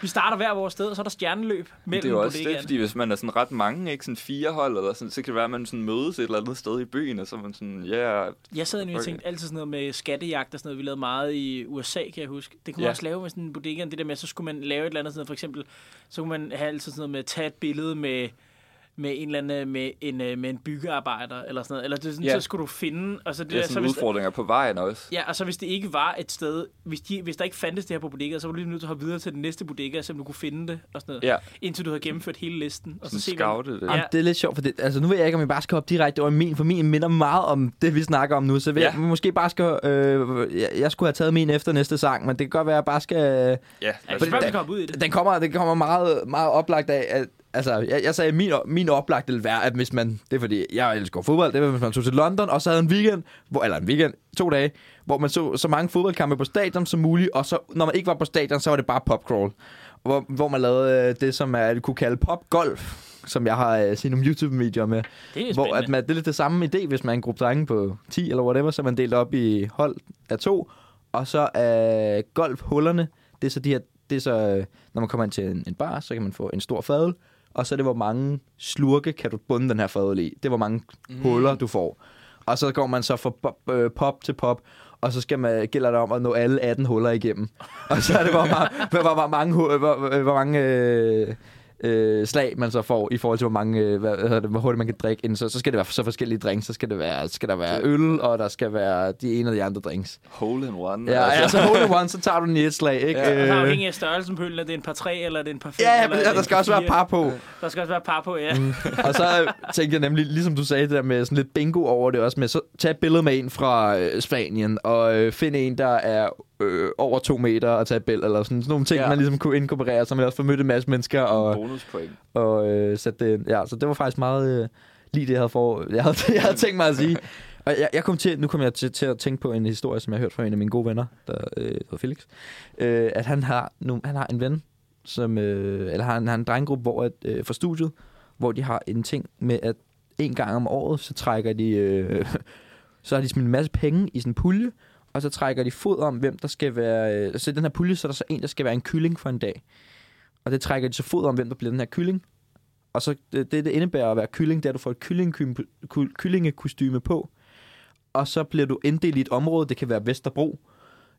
vi starter hver vores sted, og så er der stjerneløb
det
mellem
er jo også det,
kollegaerne.
fordi hvis man er sådan ret mange, ikke sådan fire hold, eller sådan, så kan det være, at man sådan mødes et eller andet sted i byen, og så er man sådan, ja, yeah,
Jeg sad nu og
Okay.
tænkte altid sådan noget med skattejagt og sådan noget, vi lavede meget i USA, kan jeg huske. Det kunne
Ja.
man også lave med sådan en bodega, det der med, så skulle man lave et eller andet sådan noget, for eksempel, så kunne man have altid sådan noget med at tage et billede med med en eller anden, med en, øh, med en byggearbejder eller sådan noget. Eller det, er sådan,
Ja.
så skulle du finde, og så det
det er
der, så
sådan
hvis,
udfordringer på vejen også.
Ja, og så hvis det ikke var et sted, hvis, de, hvis der ikke fandtes det her på bodegaet, så var du lige nødt til at hoppe videre til den næste bodega, så du kunne finde det og sådan noget.
Ja,
Indtil du havde gennemført hele listen. Og
sådan
så se, hvem-
scoute det.
Ja.
Ja. Det er lidt sjovt, for det, altså, nu ved jeg ikke, om vi bare skal hoppe direkte over i min, for min minder meget om det, vi snakker om nu. Så vil
Ja.
ja. jeg måske bare skal... Øh, jeg, jeg skulle have taget min efter næste sang, men det kan godt være, at jeg bare skal... øh,
Ja,
Ja,
altså,
det
det-
er komme ud i det.
Den kommer, den kommer meget, meget oplagt af... At, altså, jeg, jeg sagde, at min, min oplagt ville være, at hvis man... Det er fordi, jeg elsker fodbold. Det var, hvis man tog til London, og så havde en weekend, hvor, eller en weekend, to dage, hvor man så så mange fodboldkampe på stadion som muligt, og så, når man ikke var på stadion, så var det bare popcrawl. Hvor, hvor man lavede øh, det, som man kunne kalde popgolf, som jeg har øh, set nogle YouTube-videoer med.
Det er
Hvor at
spændende.
man, det er lidt det samme idé, hvis man er en gruppe drenge på 10 eller whatever, så er man delt op i hold af to, og så er golfhullerne, det er så de her, det er så, øh, når man kommer ind til en, en bar, så kan man få en stor fadel, og så er det, hvor mange slurke kan du bunde den her fadel i. Det er, hvor mange mm. huller du får. Og så går man så fra pop, øh, pop til pop, og så skal man, gælder det om at nå alle 18 huller igennem. Og så er det, hvor, meget, [LAUGHS] hvor, hvor, hvor mange, hu- hvor, hvor, hvor mange øh, øh, slag man så får, i forhold til, hvor, mange, øh, hvad hedder det, hvor hurtigt man kan drikke. Inden så, så skal det være så forskellige drinks. Så skal, det være, skal der være øl, og der skal være de ene og de andre drinks.
hole in one.
Ja,
altså.
altså, altså hole in one, så tager du den i et slag, ikke?
Ja.
Og så
Øh,
afhængig af størrelsen på hylden, er det en par 3 eller er det en par 5?
Ja, ja, men der skal også være par Mm. på.
Der skal også være par på, ja.
og så tænkte jeg nemlig, ligesom du sagde det der med sådan lidt bingo over det også, med så tag et billede med en fra øh, Spanien, og øh, find en, der er øh, over to meter og tage et billede, eller sådan, sådan nogle ting,
Ja.
ja. man ligesom kunne inkorporere, så man også får mødt en masse mennesker, og,
Bonuspoint.
og øh, sætte det ind. Ja, så det var faktisk meget øh, lige det, jeg havde, for, jeg, havde, [LAUGHS] jeg havde tænkt mig at sige. Og jeg, jeg kom til, nu kom jeg til, til at tænke på en historie, som jeg hørte fra en af mine gode venner, der øh, hedder Felix, øh, at han har, nu, han har en ven, som, øh, eller har en, har en drengegruppe hvor at, øh, fra studiet, hvor de har en ting med, at en gang om året, så trækker de, øh, [LAUGHS] så har de smidt en masse penge i sådan en pulje, og så trækker de fod om, hvem der skal være, øh, så i den her pulje, så er der så en, der skal være en kylling for en dag. Og det trækker de så fod om, hvem der bliver den her kylling. Og så øh, det, det det indebærer at være kylling, det er, at du får et kyllingekym- ku- kyllingekostyme på. Og så bliver du inddelt i et område, det kan være Vesterbro,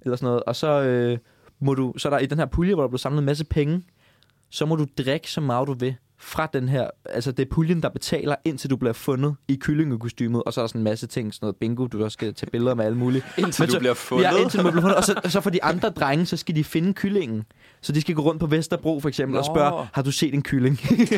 eller sådan noget. Og så, øh, må du, så er der i den her pulje, hvor der bliver samlet en masse penge, så må du drikke så meget du vil fra den her, altså det er puljen, der betaler, indtil du bliver fundet i kyllingekostymet, og så er der sådan en masse ting, sådan noget bingo, du også skal tage billeder med alle mulige.
Indtil
Men
du
så-
bliver fundet.
Ja, indtil man bliver fundet. Og
[LAUGHS]
så, så for de andre drenge, så skal de finde kyllingen. Så de skal gå rundt på Vesterbro for eksempel Nå. og
Nå.
spørge, har du set en kylling? [LAUGHS]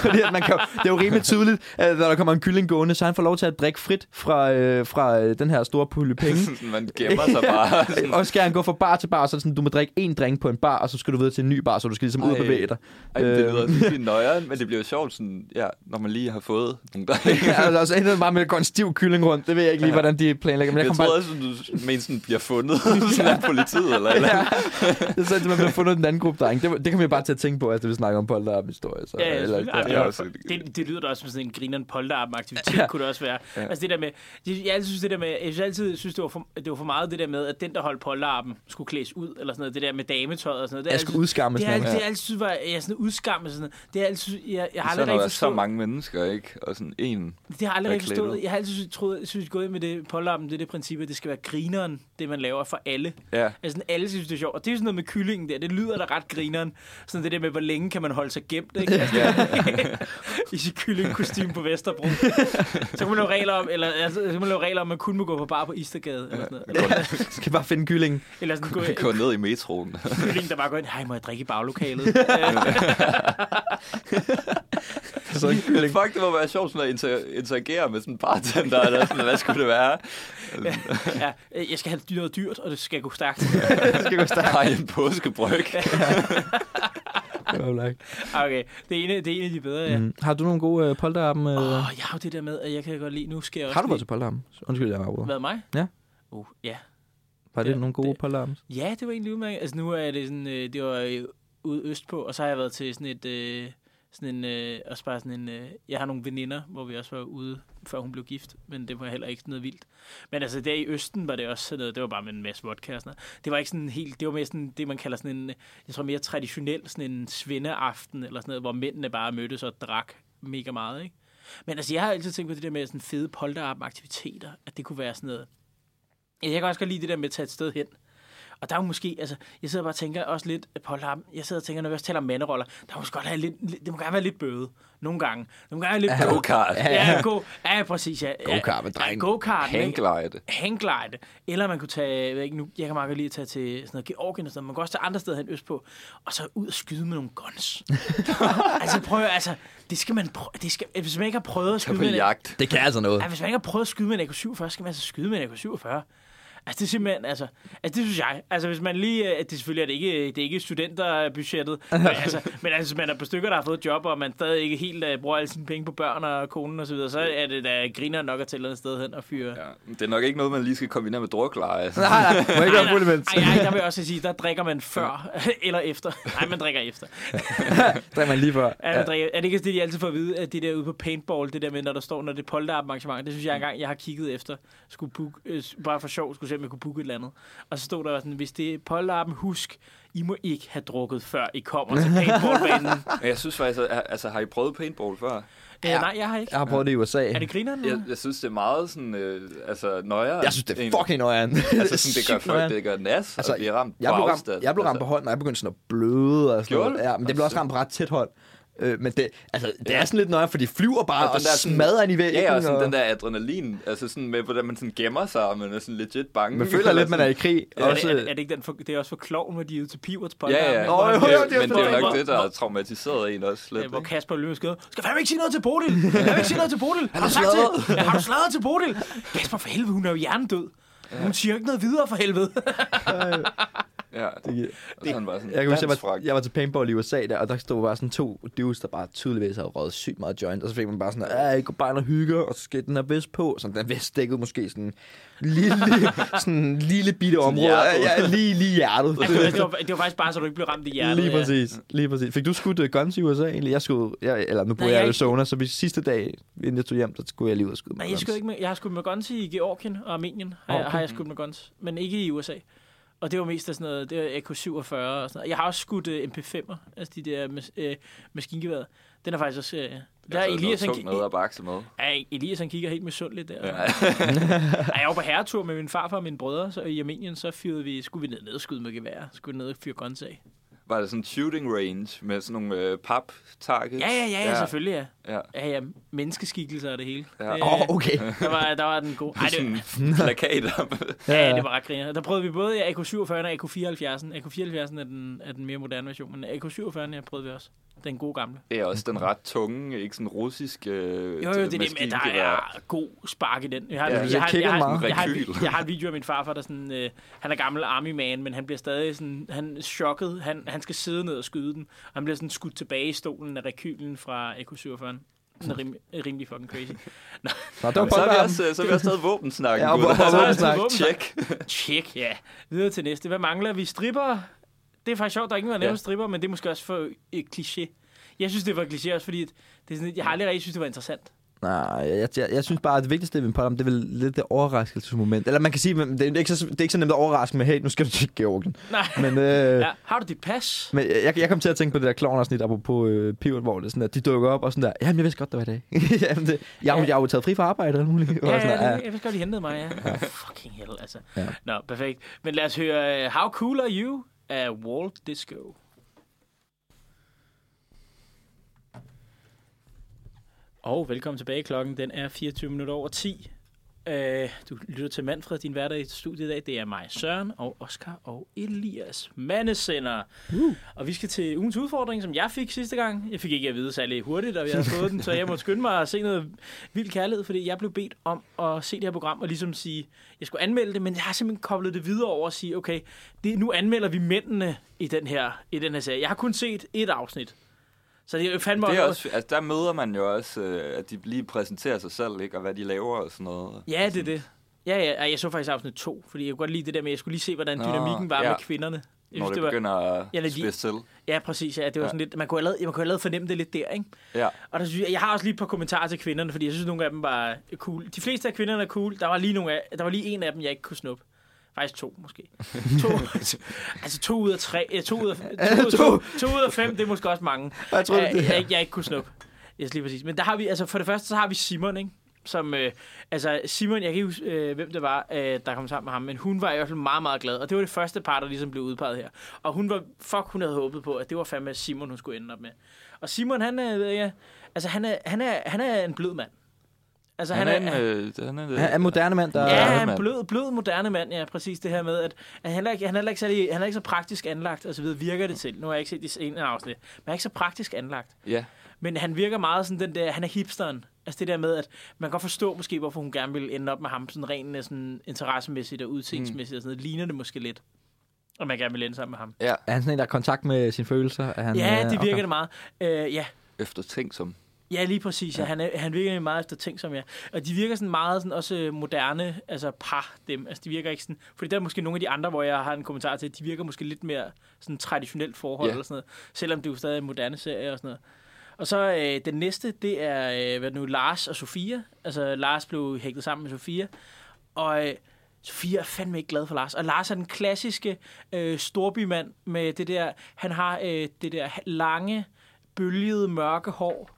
Fordi at man kan, jo- det er jo rimelig tydeligt, at når der kommer en kylling gående, så han får lov til at drikke frit fra, øh, fra øh, den her store pulje penge.
[LAUGHS] Sådan, man gemmer
[LAUGHS]
sig bare. Sådan,
og skal han gå fra bar til bar, så er det sådan, du må drikke en drink på en bar, og så skal du videre til en ny bar, så du skal ligesom ud og
Ej.
bevæge dig.
Ej, det
Øh.
lyder virkelig nøjeren, men det bliver jo sjovt, sådan, ja, når man lige har fået nogle drenge.
Ja, altså, og så ender det bare med at gå en stiv kylling rundt. Det ved jeg ikke lige, hvordan de planlægger. Men jeg,
Jeg,
kom
jeg
bare...
troede også, at du mente sådan, bliver fundet [LAUGHS] sådan af politiet eller eller andet.
Det er sådan, at man bliver fundet den anden gruppe drenge. Det, det kan vi bare til at tænke på, altså, vi snakker om polterabhistorie. Så,
Ja, ja,
eller,
selvfølgelig. Ej, men
det er
det,
også
også,
et-
det, det lyder da også som sådan en grineren polterappen aktivitet,
[LAUGHS]
kunne det også være. Ja. Altså det der med, jeg, jeg altid synes det der med, jeg synes altid synes, det var, for, det var for meget det der med, at den, der holdt polterappen, skulle klædes ud, eller sådan noget, det der med dametøjet og sådan noget. Det er
Jeg skulle
altid-
udskamme
det
sådan
er
noget.
altid, det er altid var jeg sådan udskammet sådan noget. Det er altid synes, jeg, jeg har
Især
aldrig
når der er
rigtig
så
forstået,
mange mennesker, ikke? Og sådan en.
det har jeg aldrig
der er
rigtig forstået.
klædt ud.
Jeg har altid synes, troet, synes gået ind med det pålappen, det er det princip, at det skal være grineren, det man laver for alle.
Ja.
Altså, sådan, alle synes, det er sjovt. Og det er jo sådan noget med kyllingen der. Det lyder da ret grineren. Sådan det der med, hvor længe kan man holde sig gemt, ikke? Altså, [LAUGHS] I sit kyllingkostyme på Vesterbro.
[LAUGHS]
så kan man lave regler om, eller, altså, så kan man lave regler om, at man kun må gå på bar på Istergade. Eller sådan noget. Eller,
Skal bare finde kyllingen.
eller sådan gå
Vi går ned i
[LAUGHS]
metroen.
kylling, der bare går ind. Hej, må jeg drikke i
[LAUGHS]
baglokalet? Øh,
Så en kylling.
Fuck, det må være sjovt sådan at inter- interagere med sådan en bartender, eller sådan, hvad skulle det
[LAUGHS]
være?
ja, øh, jeg skal have dyret dyrt, og det skal gå stærkt.
Det skal gå stærkt. Ej, en påskebryg.
Ah, Okay, det ene, det ene af de bedre, ja.
Mm. Har du nogle gode øh, polterappen? Øh?
Åh, oh, jeg har jo det der med, at jeg kan godt lide, nu skal jeg også
har du været
lige-
til polterappen? Undskyld, jeg var ude.
Været mig?
Ja.
Uh, ja.
Var det
Ja,
nogle gode
det-
polterappen?
[LAUGHS]
Ja, det var egentlig udmærket. Altså nu er det sådan, øh, det var øh, ude østpå, og så har jeg været til sådan et, øh, sådan en, øh, også bare sådan en, øh, jeg har nogle veninder, hvor vi også var ude, før hun blev gift, men det var heller ikke sådan noget vildt. Men altså der i Østen var det også sådan noget, det var bare med en masse vodka og sådan noget. Det var ikke sådan helt, det var mere sådan det, man kalder sådan en, øh, jeg tror mere traditionel, sådan en svendeaften eller sådan noget, hvor mændene bare mødtes og drak mega meget, ikke? Men altså, jeg har altid tænkt på det der med sådan fede polterarm-aktiviteter, at det kunne være sådan noget. Jeg kan også godt lide det der med at tage et sted hen, og der er jo måske, altså, jeg sidder bare og tænker også lidt på ham. Jeg sidder og tænker, når vi også taler om manderoller, der må også godt have lidt, lidt- det må gerne være lidt bøde. Nogle gange. Det må gerne være lidt bøde.
Go-kart.
Ja, ja, go, ja, præcis. Ja,
Go-kart med
Ja,
drengen.
Go-kart. ikke?
Hangglide.
hangglide. Eller man kunne tage, jeg ved ikke, nu, jeg kan meget godt lide at tage til sådan noget Georgien og sådan noget. Man kan også tage andre steder hen østpå, og så ud og skyde med nogle
[LAUGHS]
guns. altså prøv at- altså, det skal man prøve, det skal, hvis man ikke har prøvet at
Tag
skyde
på
med en,
jagt.
Det kan altså noget.
ja, hvis man ikke har prøvet at skyde med en AK-47, skal man altså skyde med en AK-47. Altså det er simpelthen, altså, altså det synes jeg. Altså hvis man lige, øh, det er selvfølgelig er det ikke, det er ikke studenterbudgettet, men altså, men altså hvis man er på stykker, der har fået job, og man stadig ikke helt uh, bruger alle sine penge på børn og konen og så videre, så er det da griner nok at tælle et sted hen og fyre.
Ja, det er nok ikke noget, man lige skal kombinere med drukleje.
[LAUGHS] Nej, nej, må ikke være
Nej,
fuld
nej,
imens.
nej, nej, der vil jeg også sige, der drikker man før [LAUGHS] eller efter. Nej, man drikker efter.
Drik man lige før.
Er, man drikker, er det ikke det, de altid får at vide, at det der ude på paintball, det der med, når der står, når det er polterarrangement, det synes jeg engang, jeg har kigget efter, skulle book, øh, bare for sjov, skulle se, om jeg kunne booke et eller andet. Og så stod der sådan, hvis det er polterappen, husk, I må ikke have drukket, før I kommer til
[LAUGHS]
paintballbanen. Øh,
Men jeg synes faktisk, at, altså, har I prøvet paintball før?
ja. øh, nej, jeg har ikke.
Jeg har prøvet det i USA.
Er det grineren?
Jeg,
Ja.
jeg synes, det er meget sådan, øh, altså, nøjere.
Jeg synes, det er
egentlig.
fucking nøjeren.
[LAUGHS] Altså, sådan,
[LAUGHS]
det gør folk, det gør nas, altså,
Altså,
og bliver ramt
Jeg
på
blev, ramt,
afstand.
jeg blev ramt på
altså,
hånden, og jeg begyndte sådan at bløde. Og sådan
Gjorde
noget.
du?
Ja, men det blev også ramt på ret tæt hånd. Øh, men det, altså, det er sådan lidt nøje, for de flyver bare og,
Og
og
den der sådan-
smadrer ind i væggen.
Ja, og sådan den der adrenalin, altså sådan med, hvordan man sådan gemmer sig, og man er sådan legit bange.
Man føler lidt, man er i krig.
Er,
Også,
det, er, det, er det ikke den for, det er også for kloven, hvor de er ude til Pivots
[LAUGHS] Ja,
polterappen?
ja.
hvor-
Åh,
men,
jo, jo, det er
det, men det er
forstået.
nok det, der har traumatiseret en også lidt.
Øh, hvor
ikke?
Kasper Løve skrev, skal fandme ikke sige noget til Bodil? Skal fandme ikke sige noget til Bodil? Har du sagt til? Ja, har du slået til Bodil? Kasper, for helvede, hun er jo hjernedød. Hun siger jo ikke noget videre for helvede.
Ja,
det,
og så er han bare sådan,
jeg kan huske, jeg var,
dansfrak.
jeg var til paintball i USA der, og der stod bare sådan to dudes, der bare tydeligvis havde røget sygt meget joint, og så fik man bare sådan, at jeg går bare ind og hygger, og så skal den her vest på, sådan den vest dækkede måske sådan lille, [LAUGHS] sådan lille bitte område,
hjertet.
ja, ja, lige, lige
[LAUGHS]
hjertet.
Altså, det, var, det var faktisk bare, så du ikke blev ramt i hjertet.
Lige præcis, lige præcis. Fik du skudt uh, guns i USA egentlig? Jeg skulle, jeg, eller nu bor
Nej,
jeg i
jeg
Arizona, så vi sidste dag, inden jeg tog hjem, så skulle jeg lige ud og skyde med
Nej, jeg,
guns.
skød ikke med, jeg har skudt med guns i Georgien og Armenien, har,
Nå,
jeg,
okay.
har jeg skudt med guns, men ikke i USA. Og det var mest af sådan noget, det var AK-47 og sådan noget. Jeg har også skudt uh, MP5'er, altså de der mas- uh, maskingeværet. Den er faktisk også... Uh, der er
altså, noget
Elias, han,
tungt noget
ki-
at bakse med.
Ej, Elias, han kigger helt misundeligt der.
Ja.
Ej, jeg var på herretur med min farfar og mine brødre, så i Armenien, så fyrede vi, skulle vi ned, ned og skyde med gevær. Skulle ned og fyre guns af.
Var det sådan en shooting range med sådan nogle øh, pap-targets?
Ja, ja, ja, ja, selvfølgelig, ja.
Ja.
Ja, ja, menneskeskikkelser og det hele.
Ja.
Det-
Åh,
[LAUGHS]
oh, okay.
der, var, der var den gode. Ej, det, [LAUGHS]
Sådan plakater. [LAUGHS]
Ja, ja, det var ret griner. Der prøvede vi både AK-47 og AK-74. AK-74 er den, er den mere moderne version, men AK-47 her prøvede vi også. Den gode gamle.
Det er også den ret tunge, ikke sådan russisk øh,
Jo, jo, det er det, men der
maskingevær.
er god spark i den. Jeg har,
Ja,
jeg,
jeg
har,
kigger
jeg, har,
meget.
jeg, har, en
Rekyl.
vi- jeg har en video af min farfar, der sådan, øh, han er gammel army man, men han bliver stadig sådan, han er chokket. Han, han skal sidde ned og skyde den, og han bliver sådan skudt tilbage i stolen af rekylen fra AK-47. Den er rim, rimelig fucking crazy.
Nå, det var
Så er vi
polterappen.
også, øh, så er vi også taget våbensnakken,
Ja, og
gutter.
hvor-
[LAUGHS]
hvor-
Så er det
våbensnak.
våbensnak.
Tjek.
Tjek, ja. Videre til næste. Hvad mangler vi? Stripper? Det er faktisk sjovt, der er ingen, der nævner
Ja.
ja. stripper, men det er måske også for øh, kliché. Jeg synes, det var kliché også, fordi at det er sådan, jeg har aldrig rigtig synes, det var interessant.
Nej, jeg, jeg, jeg synes bare, at det vigtigste ved Impala, det er vel lidt det overraskelsesmoment. Eller man kan sige, men det er ikke så, det er ikke så nemt at overraske med, hey, nu skal du til Georgien.
Nej.
Men, øh,
Ja, har du dit pas?
Men jeg, jeg kom til at tænke på det der klovnerafsnit, apropos øh, pivot, hvor det er sådan der, de dukker op og sådan der, jamen jeg vidste godt, det var i dag. [LAUGHS] jamen, det, jeg, ja.
Ja.
jeg har jo taget fri fra arbejde og alt
[LAUGHS]
muligt.
Ja,
Og sådan der,
jeg, jeg vidste godt, de hentede mig, ja. Oh, fucking hell, altså.
Ja.
Ja. Nå, perfekt. Men lad os høre øh, How Cool Are You af Walt Disco. Og velkommen tilbage. Klokken den er 24 minutter over 10. Øh, du lytter til Manfred, din hverdag i studiet i dag. Det er mig, Søren, og Oscar og Elias Mandesender. Uh. Og vi skal til ugens udfordring, som jeg fik sidste gang. Jeg fik ikke at vide særlig hurtigt, og jeg havde fået den, så jeg måtte skynde mig at se noget vild kærlighed, fordi jeg blev bedt om at se det her program og ligesom sige, jeg skulle anmelde det, men jeg har simpelthen koblet det videre over og sige, okay, det, nu anmelder vi mændene i den, her, i den her serie. Jeg har kun set et afsnit. Så det er jo fandme
Det er også, altså, der møder man jo også, øh, at de lige præsenterer sig selv, ikke? Og hvad de laver og sådan noget.
Ja, det er det. Ja, ja, Ej, jeg så faktisk afsnit 2, fordi jeg kunne godt lide det der med, at jeg skulle lige se, hvordan
Nå,
dynamikken var
ja.
med kvinderne. Jeg
Når det,
det var,
begynder at
Ja, når de-
spidse til.
ja, præcis. Ja, det var
Ja.
sådan lidt, man kunne allerede, man kunne allerede fornemme det lidt der, ikke?
Ja.
Og der synes jeg, jeg har også lige et par kommentarer til kvinderne, fordi jeg synes, nogle af dem var cool. De fleste af kvinderne er cool. Der var lige, nogle af, der var lige en af dem, jeg ikke kunne snuppe. Faktisk to, måske. To,
[LAUGHS]
altså to ud af tre. Ja, to, ud af, to, ud af, to, to ud af fem, det er måske også mange.
jeg troede,
jeg,
det-
jeg, ikke- jeg ikke kunne snuppe. Yes, lige præcis. Men der har vi, altså for det første, så har vi Simon, ikke? Som, øh, altså Simon, jeg kan ikke huske, øh, hvem det var, øh, der kom sammen med ham, men hun var i hvert fald meget, meget glad. Og det var det første par, der ligesom blev udpeget her. Og hun var, fuck, hun havde håbet på, at det var fandme Simon, hun skulle ende op med. Og Simon, han er, ja, altså han er, han er, han er en blød mand. Altså
Han, han er, en, øh, han er,
ja. Han er en moderne mand, der...
Ja,
moderne
han er en
mand.
blød, blød moderne mand, ja, præcis det her med, at, at han, er ikke, han, er heller ikke særlig, han er ikke så praktisk anlagt, og så videre, virker det til. Nu har jeg ikke set det ene afsnit, men han er ikke så praktisk anlagt.
Ja.
Men han virker meget sådan den der, han er hipsteren. Altså det der med, at man kan godt forstå måske, hvorfor hun gerne ville ende op med ham, sådan rent øh, sådan interessemæssigt og udseendsmæssigt og sådan noget. Ligner det måske lidt, og man gerne vil ende sammen med ham.
ja.
Er han sådan en, der har kontakt med sine følelser? Er han,
Ja, det
øh,
virker
okay.
det meget. Øh, ja,
Eftertænksom.
Ja, lige præcis. Ja. Han, er, han virker meget efter ting som jeg. Og de virker sådan meget sådan også øh, moderne, altså par dem. Altså de virker ikke sådan, fordi der er måske nogle af de andre, hvor jeg har en kommentar til, at de virker måske lidt mere sådan traditionelt forhold
Ja.
ja. eller sådan noget. Selvom det jo stadig er en moderne serie og sådan noget. Og så øh, den næste, det er, øh, hvad er det nu, Lars og Sofia. Altså Lars blev hægtet sammen med Sofia. Og øh, Sofia er fandme ikke glad for Lars. Og Lars er den klassiske øh, storbymand med det der, han har øh, det der lange, bølgede, mørke hår.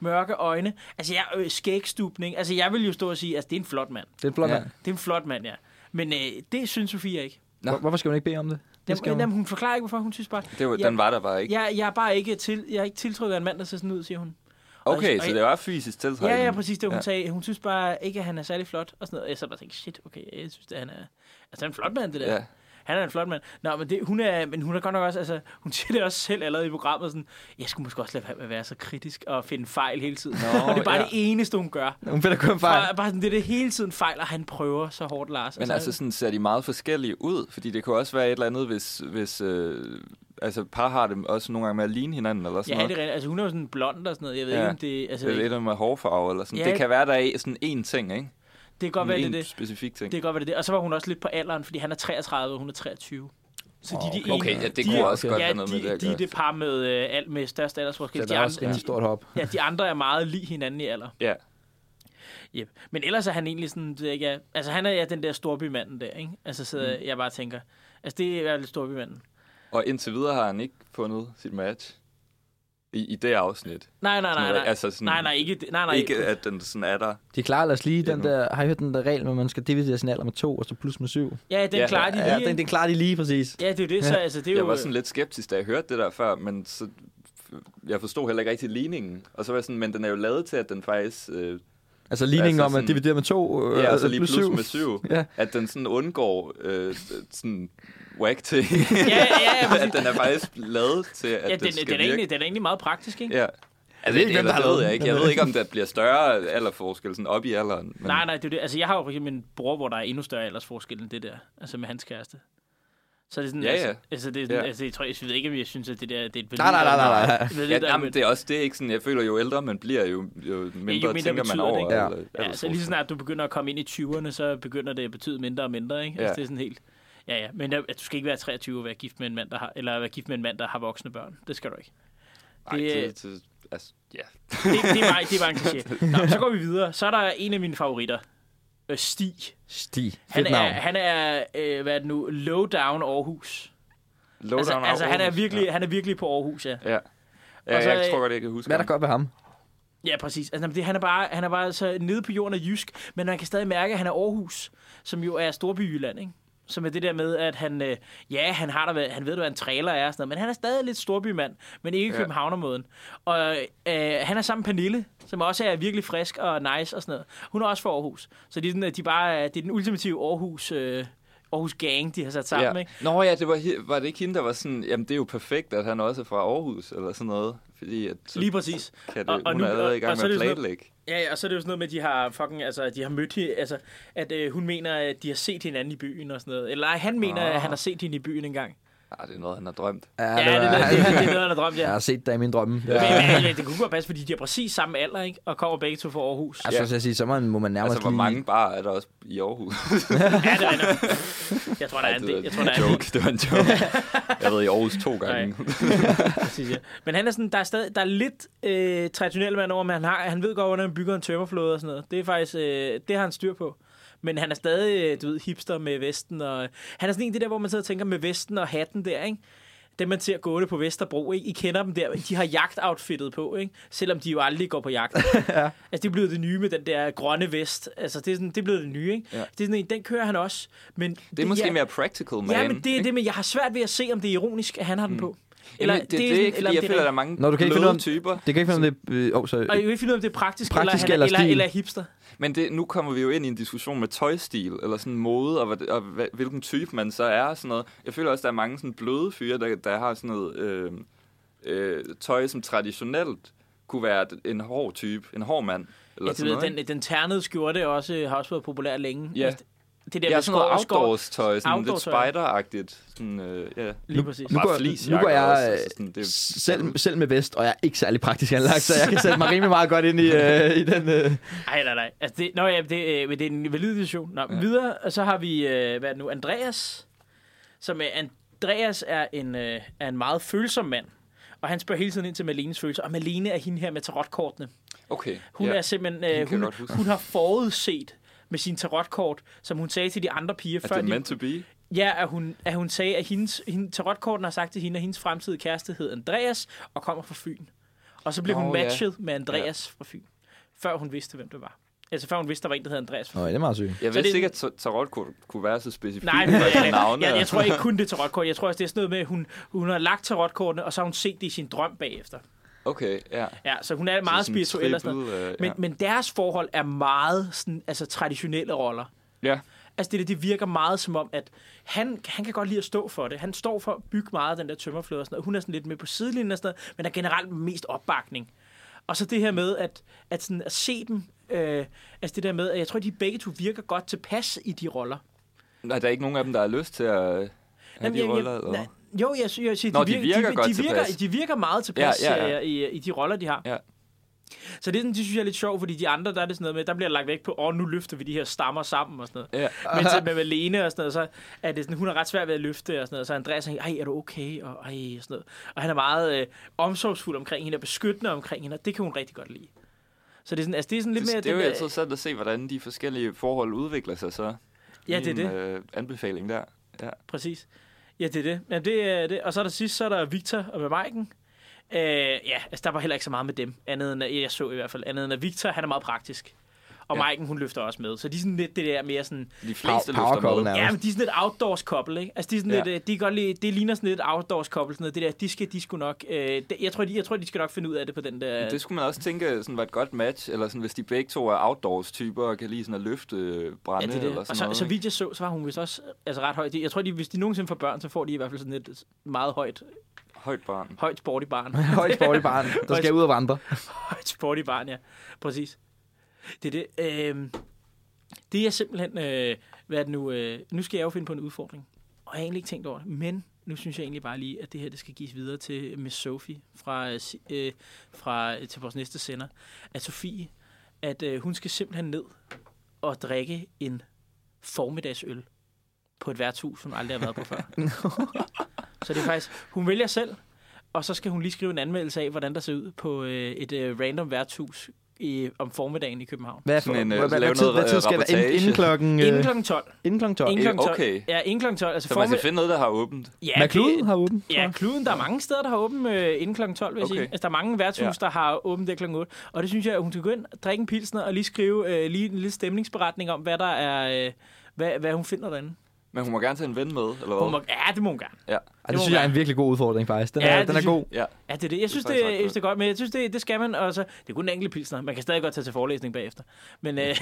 Mørke øjne. Altså, jeg, øh, skægstubning. Altså, jeg vil jo stå og sige, at altså, det er en flot mand.
Det er en flot
Ja.
ja. mand.
Det er en flot mand, ja. Men øh, det synes Sofia ikke.
Nå.
Hvor, hvorfor skal hun ikke bede om det? Det skal
Jamen,
hun.
jamen, hun forklarer ikke, hvorfor hun synes bare...
Det var,
Ja.
Den var der bare ikke.
Jeg, jeg, er bare ikke til, jeg er ikke tiltrykket af en mand, der ser sådan ud, siger hun.
Okay,
og-
så det var fysisk tiltrækning.
Ja, ja, præcis det, hun
Ja.
ja. sagde. Hun synes bare ikke, at han er særlig flot og sådan noget. Og jeg sad bare og tænkte, shit, okay, jeg synes, at han er... Altså, han er en flot mand, det der.
Ja.
Han er en flot mand. Nå, men, det, hun er, men hun er godt nok også, altså, hun siger det også selv allerede i programmet, sådan, jeg skulle måske også lade være med at være så kritisk og finde fejl hele tiden.
Nå,
og [LAUGHS] det er bare
ja.
det eneste, hun gør.
Hun finder kun fejl.
Bare, bare sådan, det er det hele tiden fejl, og han prøver så hårdt, Lars.
Men altså, sådan ser de meget forskellige ud, fordi det kunne også være et eller andet, hvis, hvis øh, altså, par har dem også nogle gange med at ligne hinanden, eller
Ja,
sådan
det er
noget.
rigtigt. Altså, hun er jo sådan blond og sådan noget. Jeg ved
Ja.
ja. ikke, om det... Altså,
Eller et
det,
eller andet med hårfarve, eller sådan.
Ja,
Ja, det
ikke?
kan være, der er sådan én ting, ikke?
det kan godt være, det er
en
det.
specifik ting.
Det kan godt være, det er det. Og så var hun også lidt på alderen, fordi han er 33, og hun er 23. Så de, er de
okay. Okay,
ene-
ja, det
de
kunne
er-
også godt
ja,
være noget
de,
med det at
de, er
gøre.
det par med øh, alt med størst aldersforskel.
Så der
de,
er også
andre,
rimelig stort hop.
ja, de andre er meget lige hinanden i alder.
Ja.
Yep. Men ellers er han egentlig sådan, det ved jeg ikke, ja, altså han er ja, den der storbymanden der, ikke? Altså sidder mm. jeg bare og tænker, altså det er i hvert fald storbymanden.
Og indtil videre har han ikke fundet sit match i, i det afsnit.
Nej, nej, nej,
Sådan,
nej.
altså sådan-
nej, nej, ikke, det- nej, nej.
Ikke, at den sådan er der.
De klarer ellers lige den
Endnu.
der, har I hørt den der regel, med, at man skal dividere sin alder med to, og så plus med syv?
Ja, den
Ja,
ja, klarer de lige.
Ja, den,
ikke?
den klarer de lige præcis.
Ja, det er jo det, så altså, det er
Jeg
jo...
var sådan lidt skeptisk, da jeg hørte det der før, men så, jeg forstod heller ikke rigtig ligningen. Og så var jeg sådan, men den er jo lavet til, at den faktisk... Øh,
Altså ligningen
Altså
om at
sådan-
dividere med to, øh,
ja, og
øh,
så lige plus, med syv.
Ja.
At den sådan undgår øh, sådan whack
[LAUGHS]
ting.
Ja, ja, ja, præcis.
[LAUGHS] at den er faktisk lavet til, at
Ja,
det
den,
skal
den, er
virke.
egentlig, den er egentlig meget praktisk, ikke?
Ja. Altså,
ikke, hvem der har
det
lavet
ved
den,
jeg ikke.
men,
Jeg ved
øh,
ikke, om der bliver større alderforskel sådan op i alderen. Men
Nej, nej, det er jo det. Altså, jeg har jo for eksempel en bror, hvor der er endnu større aldersforskel end det der. Altså med hans kæreste. Så er det er sådan,
Ja,
altså,
ja.
altså, det er sådan,
Ja.
altså, jeg tror, jeg ved ikke, om jeg synes, at det der, det er et
Nej, nej, nej, nej, nej.
Ja, jamen, det er også det er ikke sådan, jeg føler, jo ældre man bliver, jo, jo mindre,
mindre
tænker
betyder
man
det,
over.
ikke? Ja.
eller-
Ja,
eller
så lige så snart du begynder at komme ind i 20'erne, så begynder det at betyde mindre og mindre, ikke? Altså,
Ja.
det er sådan helt... Ja, ja, men der, du skal ikke være 23 og være gift med en mand, der har, eller være gift med en mand, der har voksne børn. Det skal du ikke.
Ej,
Det-
det, det, altså, Ja.
Det, det, er mig, det var en kliché. Nå, så går vi videre. Så er der en af mine favoritter. Øh, Stig.
Stig.
Han
Fedt
er,
navn.
han er øh, hvad er det nu, lowdown Aarhus.
Lowdown
Altså,
og
altså han, er
Aarhus.
virkelig, han er virkelig på Aarhus, ja.
Ja. ja. ja
Og så,
jeg
øh,
tror godt, jeg kan huske
Hvad er der
ham.
godt ved ham?
Ja, præcis. Altså, det, han, er bare, han er bare så nede på jorden af jysk, men man kan stadig mærke, at han er Aarhus, som jo er Storbyjylland, ikke? Som er det der med, at han, øh, ja, han, har der, været- han ved, hvad en trailer er og sådan noget, men han er stadig lidt storbymand, men ikke
Ja.
ja. københavnermåden. Og øh, han er sammen med Pernille, som også er virkelig frisk og nice og sådan noget. Hun er også fra Aarhus. Så det er, sådan, at de bare, er- det er den ultimative Aarhus, øh, Aarhus gang, de har sat sammen,
ja.
ja. ikke?
Nå ja, det var, he- var det ikke hende, der var sådan, jamen det er jo perfekt, at han også er fra Aarhus, eller sådan noget. Fordi at, så
Lige præcis.
kan det,
og-
og,
og
og hun
nu-
er allerede i
og- og
gang
så
med
er det
at
sådan noget-
planlægge.
Ja, ja, og så er det jo sådan noget med, at de har fucking, altså, at de har mødt, hi- altså, at øh, hun mener, at de har set hinanden i byen og sådan noget. Eller nej, han mener,
Ah.
at han har set hende i byen engang.
Ah, det er noget, han har drømt.
Ja, det, er noget- det, er- det er noget, han har drømt,
Jeg
ja.
har set dig i min drømme. Ja.
Men, men, altså, det kunne godt passe, fordi de er præcis samme alder, ikke? Og kommer begge to fra Aarhus.
Altså, så skal jeg sige, så må man- må man nærmest
Altså, hvor
lige-
mange bar er der også i Aarhus?
Ja, det er rigtigt. Jeg tror, der er en del. Jeg tror, der er en del.
joke. Det var en
[LAUGHS]
joke. Jeg ved i Aarhus to gange.
Præcis, ja. Men han er sådan, der er, stadig, der er lidt øh, traditionel mand over, men han, har, han ved godt, hvordan man bygger en tømmerflåde og sådan noget. Det er faktisk, øh, det har han styr på. Men han er stadig, øh, du ved, hipster med vesten. Og, han er sådan en af de der, hvor man sidder og tænker med vesten og hatten der, ikke? Dem, man ser gående på Vesterbro, ikke? I kender dem der. De har jagtoutfittet på, ikke? Selvom de jo aldrig går på
[LAUGHS]
jagt. ja. Altså, det er blevet det nye med den der grønne vest. Altså, det er, sådan, det er blevet det nye, ikke?
Ja.
Ja. Det er sådan en, den kører han også. Men
Det er måske mere practical, man.
Ja, men det er det, men jeg har svært ved at se, om det er ironisk, at han har den på.
Eller, Mm. Jamen, det, det, er
sådan-
ikke, fordi
om
jeg
det er
føler, at der er
rent-
mange
Nå, du kan ikke finde ud af-
typer. Altså-
Det kan ikke finde, om det... Øh, oh, så,
Og jeg vil ikke finde ud af, om det er praktisk,
Praktisk
praktisk eller,
eller
eller, eller,
stil.
eller hipster.
Men det, nu kommer vi jo ind i en diskussion med tøjstil, eller sådan mode, og, hvad- og hvad- hvilken type man så er, og sådan noget. Jeg føler også, der er mange sådan bløde fyre, der, der har sådan noget øh, øh, tøj, som traditionelt kunne være en hård type, en hård mand. Eller
Ja,
sådan
Altså, du
noget,
ved, den, den ternede skjorte også, øh, har også været populær længe.
Ja.
Hvis- Det der
Ja,
med
sådan noget
skår, skår,
outdoors-tøj, sådan lidt
Outdoor-tøj.
spider-agtigt. Sådan, øh, ja.
lige præcis.
Nu
Bare
går-
fleecejakker
nu går jeg,
også, altså sådan, det er-
selv, selv med vest, og jeg er ikke særlig praktisk anlagt, så jeg kan sætte mig rimelig meget godt ind i, øh, i den... Øh.
Nej, nej, nej. Altså, det, nå, ja, det, øh, men det er en valid diskussion. Nå, ja. videre, og så har vi, øh, hvad er det nu, Andreas, som øh, Andreas er en, øh, er en meget følsom mand. Og han spørger hele tiden ind til Malenes følelser. Og Malene er hende her med tarotkortene.
Okay.
Hun
ja.
er simpelthen,
kan
øh,
jeg
hun,
godt huske.
hun har forudset med sin tarotkort, som hun sagde til de andre piger,
Er
før
det
de,
meant to be?
Ja, at hun, at hun sagde, at hendes, hende, tarotkorten har sagt til hende, at hendes fremtidige kæreste hed Andreas og kommer fra Fyn. Og så blev
Nå,
hun
ja.
matchet med Andreas fra Fyn, før hun vidste, hvem det var. Altså før hun vidste, der var en, der hed Andreas fra Fyn.
Nå, ja, det er meget sygt.
Jeg
Så
vidste
det-
ikke, at ta- tarot kunne, kunne være så specifikt.
Nej, men,
med sådan
jeg,
navne.
jeg, jeg tror ikke kun det er tarotkort. Jeg tror også, det er sådan noget med, at hun, hun har lagt tarotkortene, og så har hun set det i sin drøm bagefter.
Okay, ja.
Ja, så hun er meget
sådan
spirituel og sådan
trippel,
noget.
øh,
Men,
ja.
men deres forhold er meget sådan, altså, traditionelle roller.
Ja.
Altså det, der, det virker meget som om, at han, han kan godt lide at stå for det. Han står for at bygge meget af den der tømmerflåde og sådan noget. Hun er sådan lidt med på sidelinjen og sådan noget, men der er generelt mest opbakning. Og så det her med at, at, sådan, at se dem, øh, altså det der med, at jeg tror, at de begge to virker godt tilpas i de roller.
Nej, der er ikke nogen af dem, der har lyst til at øh, have
Jamen,
de
jeg- jeg-
roller? eller?
nej, Jo, jeg, sy- jeg siger,
Nå, de virker
de,
godt
de, virker,
tilpas.
de virker meget tilpas
Ja,
ja,
ja,
ja,
ja.
I, i de roller, de har.
Ja.
Så det, er sådan, det synes jeg er lidt sjovt, fordi de andre, der er det sådan noget med, der bliver lagt væk på, åh, nu løfter vi de her stammer sammen og sådan noget.
Ja.
[LAUGHS] Men så med Malene og sådan noget, så er det sådan, hun har ret svært ved at løfte og sådan noget. Så Andreas er helt, ej, er du okay? Og, ej, og sådan noget. og han er meget øh, omsorgsfuld omkring hende og beskyttende omkring hende, og det kan hun rigtig godt lide. Så det er sådan, altså, det er sådan lidt
Det,
mere...
det er jo
den der-
interessant at se, hvordan de forskellige forhold udvikler sig så.
Ja, det er
Min,
det.
Øh, anbefaling der. Ja.
Præcis. Ja, det er det. Ja, det, er det. Og så er der sidst, så er der Victor og med Maiken. Øh, ja, altså der var heller ikke så meget med dem, andet end, at- jeg så i hvert fald, andet end at Victor, han er meget praktisk. Og
Ja.
ja. Maiken, hun løfter også med. Så de er sådan lidt det der mere sådan,
De fleste
Power-
løfter
powercallen
med.
er-
Ja, men de er sådan et outdoors couple, ikke? Altså, de er sådan
Ja.
ja. lidt, øh, de kan godt lide, det ligner sådan lidt outdoors couple, sådan noget. Det der, de skal de sgu nok, øh, det- jeg, tror, de, jeg tror, de skal nok finde ud af det på den der...
Det skulle man også tænke sådan var et godt match, eller sådan, hvis de begge to er outdoors-typer og kan lide sådan at løfte øh, brænde
ja, det er det.
eller sådan
Og så,
noget.
så
ikke?
vidt jeg så, så var hun vist også altså, ret højt. Jeg tror, de, hvis de nogensinde får børn, så får de i hvert fald sådan et meget højt,
Højt barn.
højt sporty barn.
[LAUGHS] Højt sporty barn, der skal ud og vandre.
[LAUGHS] Et sporty barn, ja. Præcis. Det er det. Øh, det er simpelthen... Øh, hvad er det nu? Øh, nu skal jeg jo finde på en udfordring. Og jeg har egentlig ikke tænkt over det. Men nu synes jeg egentlig bare lige, at det her det skal gives videre til Miss Sophie fra, øh, si- øh, fra, til vores næste sender. At Sofie, at øh, hun skal simpelthen ned og drikke en formiddagsøl på et værtshus, hun aldrig har været på før. Så det er faktisk... Hun vælger selv, og så skal hun lige skrive en anmeldelse af, hvordan der ser ud på øh, et øh, random værtshus i, om formiddagen i København.
Hvad,
Sådan en, øh,
hvad, hvad,
lave
hvad, tid,
noget,
hvad tid
øh,
skal der? Inden, inden
reportage.
klokken...
Inden
Øh,
kl. 12.
inden klokken 12.
Inden kl. 12.
okay.
Ja, inden kl. 12. Altså
Så man skal
formid-
finde noget, der har åbent.
Ja,
McLuhan
det-
har åben. tror
Ja,
jeg.
kluden, der er mange steder, der har åben øh, inden kl. 12, vil jeg
Okay.
sige. Altså, der er mange værtshus,
Ja.
der har åbent der kl. 8. Og det synes jeg, at hun skal gå ind, drikke en pilsner og lige skrive øh, lige en lille stemningsberetning om, hvad der er... Øh, hvad, hvad hun finder derinde.
Men hun må gerne tage en ven med, eller
Hun
hvad?
må, ja, det må hun gerne.
Ja.
Ej,
Det
det
må
synes jeg er
være.
en virkelig god udfordring, faktisk. Den,
Ja,
ja, er,
det
den er
synes-
god.
ja.
Ja, det er det. Jeg synes,
Det er
det,
faktisk ret
jeg synes, det er godt, men jeg synes, det, det skal man. Og så, det er kun en enkelt pilsner. Man kan stadig godt tage til forelæsning bagefter. [LAUGHS] Men øh,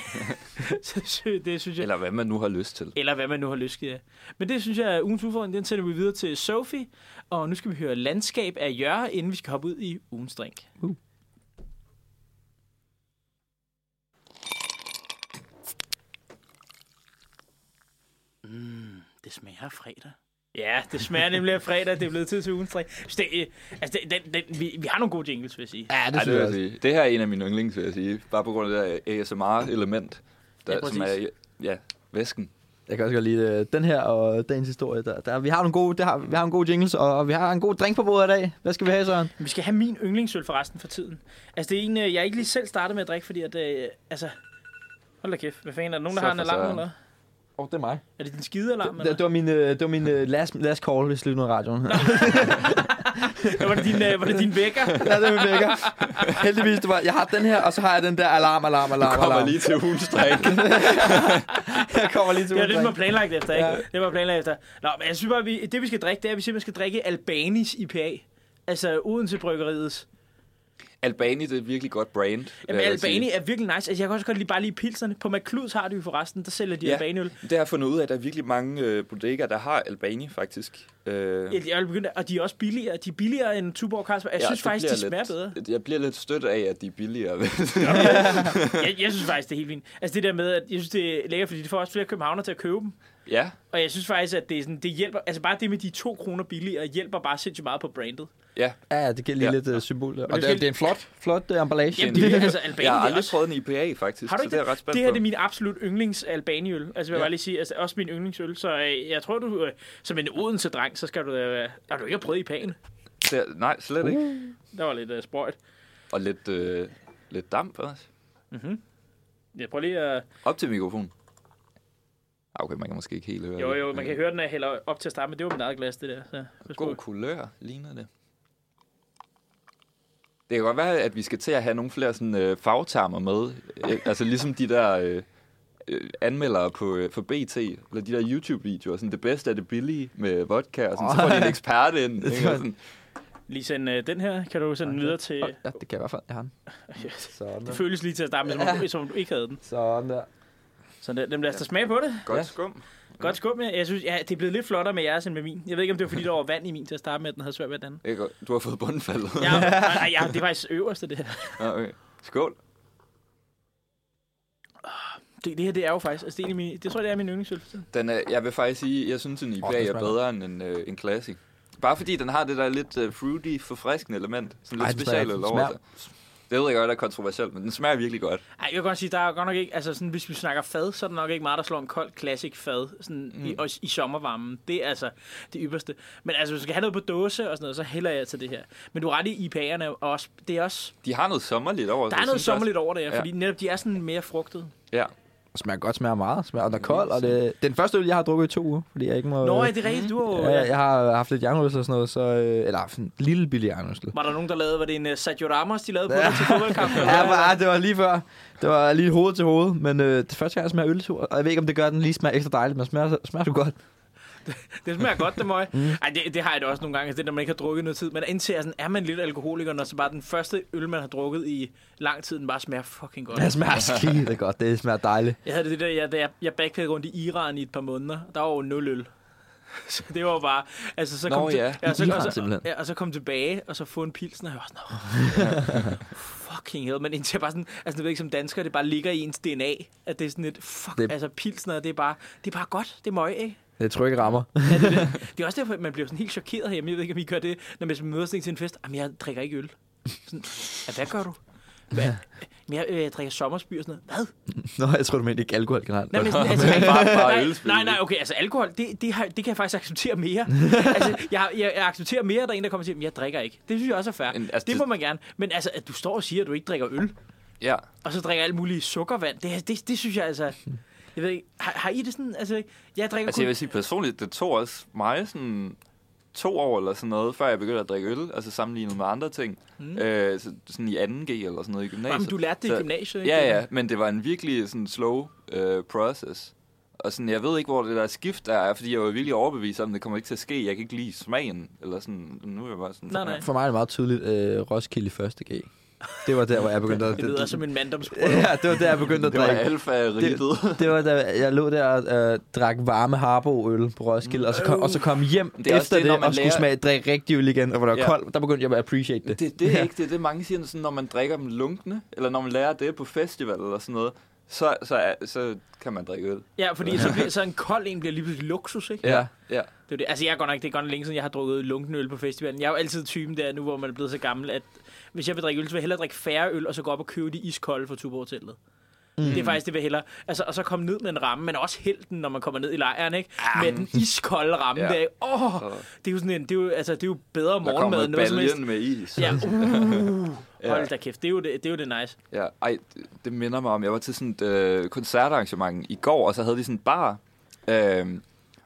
så, sy- det synes jeg...
Eller hvad man nu har lyst til.
Eller hvad man nu har lyst til. Men det synes jeg er ugens udfordring. Den sender vi videre til Sophie. Og nu skal vi høre Landskab af Jørge, inden vi skal hoppe ud i ugens drink. Mm, det smager af fredag. Ja, det smager nemlig af fredag. Det er blevet tid til ugens drink. Så det, øh, altså, det, den, den, vi, vi har nogle gode jingles, vil jeg sige.
Ja, det
Ej,
synes jeg
vil jeg
også.
sige. Det her er en af mine yndlings, vil jeg sige. Bare på grund af det her ASMR-element, der,
Ja,
ja,
præcis.
som er ja, væsken.
Jeg kan også godt lide øh, den her og dagens historie. Der, der, vi har nogle gode, det har, vi har en god jingles, og, og vi har en god drink på bordet i dag. Hvad skal vi have, Søren?
Vi skal have min yndlingsøl for resten for tiden. Altså, det er en, øh, jeg ikke lige selv startede med at drikke, fordi at, øh, altså... Hold da kæft, hvad fanden, er der nogen, der
Så
har en
for
alarm
søren.
eller?
Åh, oh, det er mig.
Er det din skidealarm,
Det, det,
eller?
var min, øh, det var min øh, last, last call, hvis lytter noget radioen.
Ja, var, det din, øh, var det din
[LAUGHS]
vækker?
[LAUGHS] ja, det var vækker. Heldigvis, det var, jeg har den her, og så har jeg den der alarm, alarm, alarm,
Kommer
alarm.
lige til ugens drink.
Jeg kommer lige til
Det var det,
udtryk.
man var planlagt efter, ikke?
Ja.
Det var planlagt efter. Nå, men jeg synes bare, vi, det vi skal drikke, det er, at vi simpelthen skal drikke Albanis IPA. Altså Odense Bryggeriets.
[LAUGHS] Albani, det er et virkelig godt brand. vil
Jamen,
jeg sige.
Albani er virkelig nice. Altså, jeg kan også godt lide bare lige pilserne. På McCluds har de jo forresten, der sælger de
Ja.
Albaniøl.
Det har jeg fundet ud af, at der er virkelig mange øh, bodegaer, der har Albani, faktisk. Øh,
Jeg er begyndt, og de er også billigere. De er billigere end Tuborg Carlsberg. Jeg synes
det
faktisk, de
bliver
smager
lidt,
bedre.
Jeg bliver lidt stødt af, at de er billigere. [LAUGHS]
jeg, jeg synes faktisk, det er helt fint. Altså det der med, at jeg synes, det er lækkert, fordi det får også flere københavner til at købe dem.
ja,
Og jeg synes faktisk, at det, er sådan, det hjælper... Altså bare det med de to kroner billigere, hjælper bare sindssygt meget på brandet.
ja.
Ja, ja, det giver lige
Ja.
lidt øh, symbol. Der. Og
det
det,
er-
er- det er en flot, flot øh, emballage.
Jamen det er altså Albanien,
Jeg har
det er
aldrig
også...
prøvet en IPA, faktisk.
Har du
så
ikke
det? er jeg ret spændt
det her
på.
det er min absolut yndlings albaniøl. Altså vil jeg
Ja.
bare lige sige, altså også min yndlingsøl. Så øh, jeg tror, du øh, som en Odense-dreng, så skal du da... Øh, har du ikke prøvet i pagen?
Det er- nej, slet
Uh.
ikke.
Der var lidt øh, sprøjt.
Og lidt, øh, lidt damp også.
Jeg prøver lige at...
Op til mikrofonen. Ah, Okay, man kan måske ikke helt høre
Jo,
det.
jo, man kan høre den, når jeg hælder op til at starte med. Det var mit eget glas, det der. Så, pas på.
God kulør, ligner det. Det kan godt være, at vi skal til at have nogle flere sådan, øh, fagtermer med. Øh, altså ligesom de der øh, øh, anmeldere på, øh, for BT, eller de der YouTube-videoer. Sådan, det bedste er det billige med vodka, og sådan, så får de en ekspert
[LAUGHS]
ind. Ikke? Og sådan,
Lige send øh, den her, kan du sende den videre til...
Ja, det kan jeg i hvert fald. Jeg har den. Sådan
Det
der.
føles lige til at starte med, som, om, du- som om du ikke havde den.
Sådan der.
Så det, dem lad os da smage på det.
godt
Ja.
skum.
Godt skum. Jeg jeg synes, ja, det er blevet lidt flottere med jeres end med min. Jeg ved ikke, om det var fordi, der var vand i min til at starte med, at den havde svært ved at danne.
Det er godt. Du har fået bundfaldet.
Ja, nej, nej, ja, det er faktisk øverste, det her.
[LAUGHS] Ja, okay. Skål.
Det, det her, det er jo faktisk, altså, det, er en af mine, det tror jeg, det er min yndlingsøl. for tiden.
Den er, jeg vil faktisk sige, jeg synes, en IPA
den
er
smager
bedre end en, øh, en classic. Bare fordi den har det der lidt øh, fruity, forfriskende element. Sådan lidt
Ej, den smager-
specielt
den
over sig. Det ved jeg godt er kontroversielt, men den smager virkelig godt.
Ej, jeg kan godt sige, der er godt nok ikke, altså sådan, hvis vi snakker fad, så er der nok ikke meget, der slår en kold classic fad sådan, mm. i, og, i sommervarmen. Det er altså det ypperste. Men altså, hvis du skal have noget på dåse og sådan noget, så hælder jeg til det her. Men du har ret i IPA'erne, og også, det er også,
De har noget sommerligt over
der
sig,
er noget
synes jeg også.
sommerligt over det her,
Ja.
fordi netop de er sådan mere frugtede.
Ja.
Og smager godt, smager meget. Smager, og den er kold, og det, den første øl, jeg har drukket i to uger, fordi jeg ikke må...
Nå,
øh,
er det rigtigt? Du har jo-
Ja, jeg har haft lidt jernrystel og sådan noget, så, øh, eller haft en lille billig jernrystel.
Var der nogen, der lavede, var det en uh, Sergio Ramos, de lavede på dig til fodboldkampen?
[LAUGHS] Ja, bare, det var lige før. Det var lige hoved til hoved, men øh, det er første gang, jeg smager øl, til- og jeg ved ikke, om det gør, at den lige smager ekstra dejligt, men smager, smager du godt.
Det smager godt, det
[LAUGHS]
møg.
Mm.
Ej, det, det har jeg da også nogle gange, altså det når man ikke har drukket noget tid. Man indser sådan, er man lidt alkoholiker, når så bare den første øl, man har drukket i lang tid, den bare smager fucking godt.
Det smager skide godt, det smager dejligt.
Jeg havde det der, jeg, da jeg, jeg backpackede rundt i Iran i et par måneder, der var jo nul øl. [LAUGHS] Så det var jo bare... Altså, så
Nå,
kom til-
ja.
og så,
I Iran,
og, så,
simpelthen.
ja, og så kom tilbage, og så få en pilsen, og jeg var sådan, oh, fucking hell. Man indser bare sådan, altså det ved ikke som dansker, det bare ligger i ens DNA, at det er sådan et, fuck, det...
Det-
altså pilsner, det er bare, det er bare godt, det er møg, ikke?
Det tror jeg ikke rammer. [LAUGHS]
Ja, det, er det. det er også derfor, at man bliver sådan helt chokeret herhjemme. Jeg ved ikke, om I gør det, når man møder sådan en til en fest. Jamen, jeg drikker ikke øl. Sådan, ja, hvad gør du? Hvad? men jeg øh, drikker sommersby og sådan noget. Hvad?
Nå, jeg tror, du mente ikke alkohol generelt.
Nej, men sådan, altså,
Bare- bare
nej,
ølspil.
nej, nej, okay, altså alkohol, det, det, har, det kan jeg faktisk acceptere mere. [LAUGHS] altså, jeg, jeg, jeg accepterer mere, at der er en, der kommer og siger, "Men jeg drikker ikke. Det synes jeg også er fair.
En-
En,
altså,
altså, det
det-
må man gerne. Men altså, at du står og siger, at du ikke drikker øl,
Ja.
og så drikker alt muligt sukkervand, det, det, det synes jeg altså... Jeg ved ikke, har, har I det sådan, altså, jeg drikker
Altså,
kun...
jeg vil sige personligt, det tog også mig sådan to år eller sådan noget, før jeg begyndte at drikke øl, altså sammenlignet med andre ting. Mm. Øh, så, sådan i 2G eller sådan noget i gymnasiet.
Jamen, du lærte det i
altså, Så-
gymnasiet, ikke?
Ja, ja, men det var en virkelig sådan slow øh, process. Og sådan, jeg ved ikke, hvor det der skift er, fordi jeg var virkelig overbevist om, at det kommer ikke til at ske. Jeg kan ikke lide smagen, eller sådan. Nu er jeg bare sådan...
Nej, nej.
For mig er det meget tydeligt øh, Roskilde i første G. Det var der, hvor jeg begyndte at...
Det lyder som en manddomsprøve.
Ja, det var der, jeg begyndte at
Det var
drikke.
alfa-riget.
Det, det var da jeg lå der og øh, drak varme harboøl på Roskilde, og så kom, og så kom hjem
Det
det
er også
efter
det,
det,
når
det og
man
skulle
lærer-
smage drikke rigtig øl igen, og hvor der var
Ja.
koldt, der begyndte jeg at appreciate det.
Det, det er ikke det. Det er mange siger, sådan, når man drikker dem lunkne, eller når man lærer det på festival eller sådan noget, så, så, er- så kan man drikke øl.
Ja, fordi så, bliver, så en kold en bliver lige pludselig luksus, ikke?
Ja.
Ja.
Det er det. Altså, jeg er godt nok, det er godt nok længe siden, jeg har drukket lunken øl på festivalen. Jeg er jo altid typen der nu, hvor man er blevet så gammel, at hvis jeg vil drikke øl, så vil jeg hellere drikke færre øl, og så gå op og købe de iskolde fra Tuborg-teltet. Mm. Det er faktisk det, vi hellere. Altså, og så komme ned med en ramme, men også helten, når man kommer ned i lejren, ikke? Ah. Med den iskolde ramme
Ja.
ja. der, ikke? Åh,
Så-
det er jo sådan en, det er jo, altså, det er jo bedre
Der
morgenmad
kommer
end noget som helst.
baljen med is. [LAUGHS]
Ja, uh,
Ja.
hold da kæft, det er jo det, det, er jo det nice.
Ja, ej, det- det minder mig om, jeg var til sådan et øh, koncertarrangement i går, og så havde de sådan en bar, øh,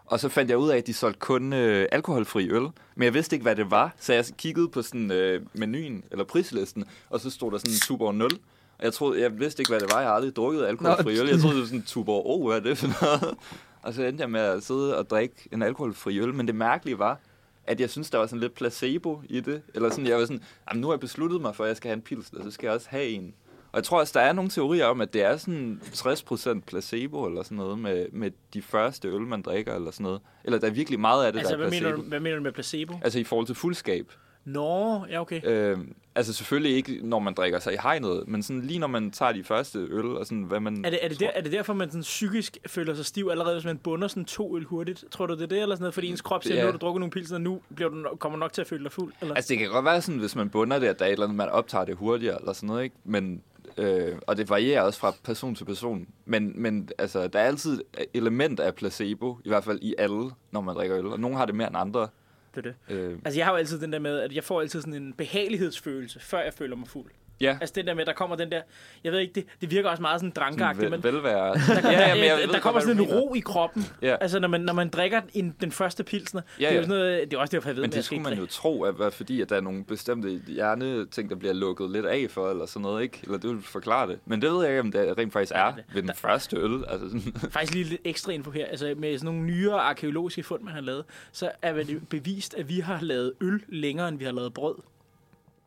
og så fandt jeg ud af, at de solgte kun øh, alkoholfri øl, men jeg vidste ikke, hvad det var, så jeg kiggede på sådan øh, menuen, eller prislisten, og så stod der sådan Tuborg 0, og jeg troede, jeg vidste ikke, hvad det var, jeg har aldrig drukket alkoholfri
Nå.
øl, jeg troede, det var sådan Tuborg O, oh, hvad er det for noget? [LAUGHS] Og så endte jeg med at sidde og drikke en alkoholfri øl, men det mærkelige var, at jeg synes, der var sådan lidt placebo i det. Eller sådan, jeg var sådan, jamen nu har jeg besluttet mig for, at jeg skal have en pilsner, så skal jeg også have en. Og jeg tror også, der er nogle teorier om, at det er sådan 60% placebo eller sådan noget med, med de første øl, man drikker eller sådan noget. Eller der er virkelig meget af det,
Altså,
der
hvad
er
mener,
placebo.
du, hvad mener du med placebo?
Altså i forhold til fuldskab.
Nå, ja, okay.
Øh, altså selvfølgelig ikke, når man drikker sig i hegnet, men sådan lige når man tager de første øl og sådan, hvad man...
Er det, er, det der, er det derfor, man sådan psykisk føler sig stiv allerede, hvis man bunder sådan to øl hurtigt? Tror du, det er det, eller sådan noget? Fordi ens krop siger,
Det er-
nu har du drukket nogle pilsner, nu bliver du, no- kommer du nok til at føle dig fuld? Eller?
[LAUGHS] Altså, det kan godt være sådan, hvis man bunder det, at der er et eller andet, man optager det hurtigere eller sådan noget, ikke? Men, øh, og det varierer også fra person til person. Men, men altså, der er altid element af placebo, i hvert fald i alle, når man drikker øl. Og nogen har det mere end andre.
det er det.
Øh,
Altså, jeg har jo altid den der med, at jeg får altid sådan en behagelighedsfølelse, før jeg føler mig fuld.
ja,
Altså, den der med, at der kommer den der... Jeg ved ikke, det, det virker også meget sådan
sådan
drankagtigt, men...
vel, velvære. [LAUGHS] ja, ja, men jeg ved
der, der
godt,
kommer
hvad
sådan
du
en
mener.
ro i kroppen.
Ja.
Altså, når man, når man drikker en, den første pilsner.
Ja,
det er
ja.
jo sådan noget, det er også derfor, jeg ved,
Men
at jeg
det skulle
ikke
man jo tro, at, hvad- fordi at der er nogle bestemte hjerneting, der bliver lukket lidt af for, eller sådan noget, ikke? Eller det vil forklare det. Men det ved jeg ikke, om det rent faktisk er
det-
ved den første øl. Altså, sådan,
Faktisk lige lidt ekstra info her. Altså med sådan nogle nyere arkeologiske fund, man har lavet, så er det jo bevist, at vi har lavet øl længere, end vi har lavet brød.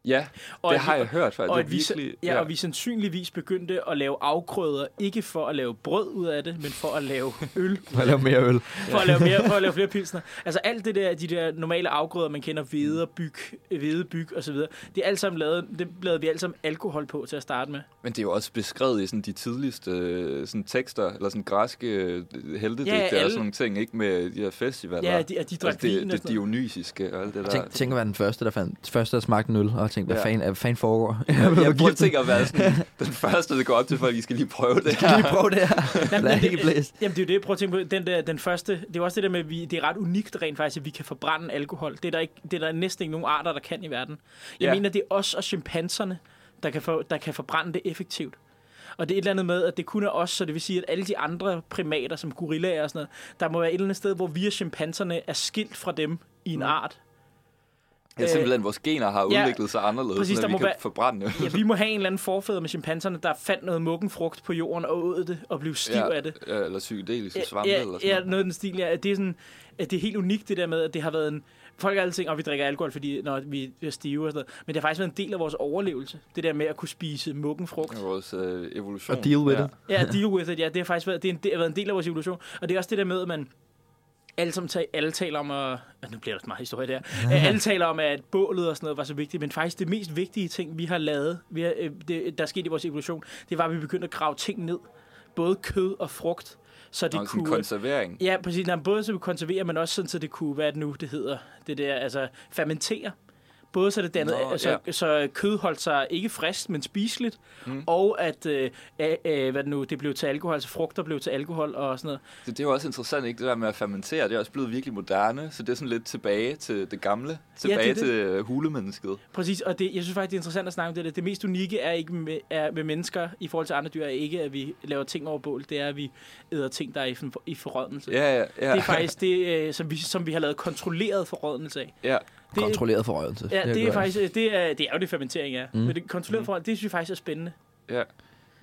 ja,
Og
[LAUGHS] det
at
har
vi-
jeg hørt, for
og,
det er
at vi,
virkelig...
ja, og vi sandsynligvis begyndte at lave afgrøder, ikke for at lave brød ud af det, men for at
[LAUGHS]
lave øl,
Jeg laver mere øl.
for at lave, mere, for at lave flere pilsner. Altså alt det der, de der normale afgrøder, man kender, hvede og byg, hvede, byg og så videre, det er alt sammen lavet, det lavede vi alt sammen alkohol på til at starte med.
Men det er jo også beskrevet i sådan de tidligste øh, sådan tekster, eller sådan græske øh, heltedigte
Ja,
ja, og sådan
alle-
nogle ting, ikke med de her festivaler. Altså,
Ja, de- og de drak
det,
vin og
det
sådan noget.
dionysiske og alt det der.
Tænk, tænk at være den første, der fandt, første, der smagte en øl, og tænkte, hvad
Ja.
fanden, hvad fanden foregår? Jeg,
jeg prøver at tænke at være sådan, [LAUGHS] den første, der går op til folk, I skal lige prøve
[LAUGHS]
det her.
lige prøve det her.
Jamen,
Lad
det,
ikke blæse.
Jamen, det er jo det, prøv at tænke på. Den, der, den første, det er jo også det der med, at vi, det er ret unikt rent faktisk, at vi kan forbrænde alkohol. Det er der, ikke, det er der næsten ikke nogen arter, der kan i verden. Jeg
Ja.
mener, det er os og chimpanserne, der kan, for, der kan forbrænde det effektivt. Og det er et eller andet med, at det kun er os, så det vil sige, at alle de andre primater, som gorillaer og sådan noget, der må være et eller andet sted, hvor vi og chimpanserne er skilt fra dem i en mm. art.
Ja, simpelthen, vores gener har
ja,
udviklet sig anderledes,
præcis,
sådan,
der
at vi
må
kan
være-
forbrænde det.
Ja, vi må have en eller anden forfædre med chimpanserne, der fandt noget muggen frugt på jorden og åd det og blev stiv af det.
[LAUGHS] Ja, eller psykedeliske svampe
ja,
eller sådan
ja,
noget.
noget i den stil. Ja. At Det, er sådan, at det er helt unikt det der med, at det har været en... Folk har altid tænkt, at vi drikker alkohol, fordi når vi er stive og sådan noget. Men det har faktisk været en del af vores overlevelse. Det der med at kunne spise muggenfrugt.
Det er Vores øh, evolution.
Og deal with
ja.
it.
Ja, deal with it, ja. Det har faktisk været, det er en, det har været en del af vores evolution. Og det er også det der med, at man... Alle, som ta- alle taler om, at, at nu bliver der også meget historie der,
[LAUGHS]
Øh, alle taler om, at bålet og sådan noget var så vigtigt, men faktisk det mest vigtige ting, vi har lavet, vi har, øh, det, der er sket i vores evolution, det var, at vi begyndte at grave ting ned, både kød og frugt, så det
Og sådan
kunne...
konservering.
Ja, præcis. Nej, både så vi konserverer, men også sådan, så det kunne, hvad er det nu, det hedder, det der, altså fermentere. Både så det dannede,
Nå,
Nå, så,
ja.
ja. så kød holdt sig ikke frisk, men spiseligt, mm. og at øh, øh, øh, hvad det nu, det blev til alkohol, så frugter blev til alkohol og sådan noget.
Det, det er jo også interessant, ikke? Det der med at fermentere, det er også blevet virkelig moderne, så det er sådan lidt tilbage til det gamle, tilbage ja,
det
det
er
til øh, hulemennesket.
Præcis, og det, jeg synes faktisk, det er interessant at snakke om det. der. Det mest unikke er ikke med, er med mennesker i forhold til andre dyr, er ikke, at vi laver ting over bål. Det er, at vi æder ting, der er i, for- i forrådnelse.
Ja, ja, ja.
Det er faktisk det, øh, som vi, som vi har lavet kontrolleret forrådnelse af.
ja.
Det,
Kontrolleret forrørelse.
Ja, det,
kan
det er
godt
faktisk øh, det er, det er jo det fermentering er. Mm. Men det kontrolleret mm. forrådnelse, det synes jeg faktisk er spændende.
ja.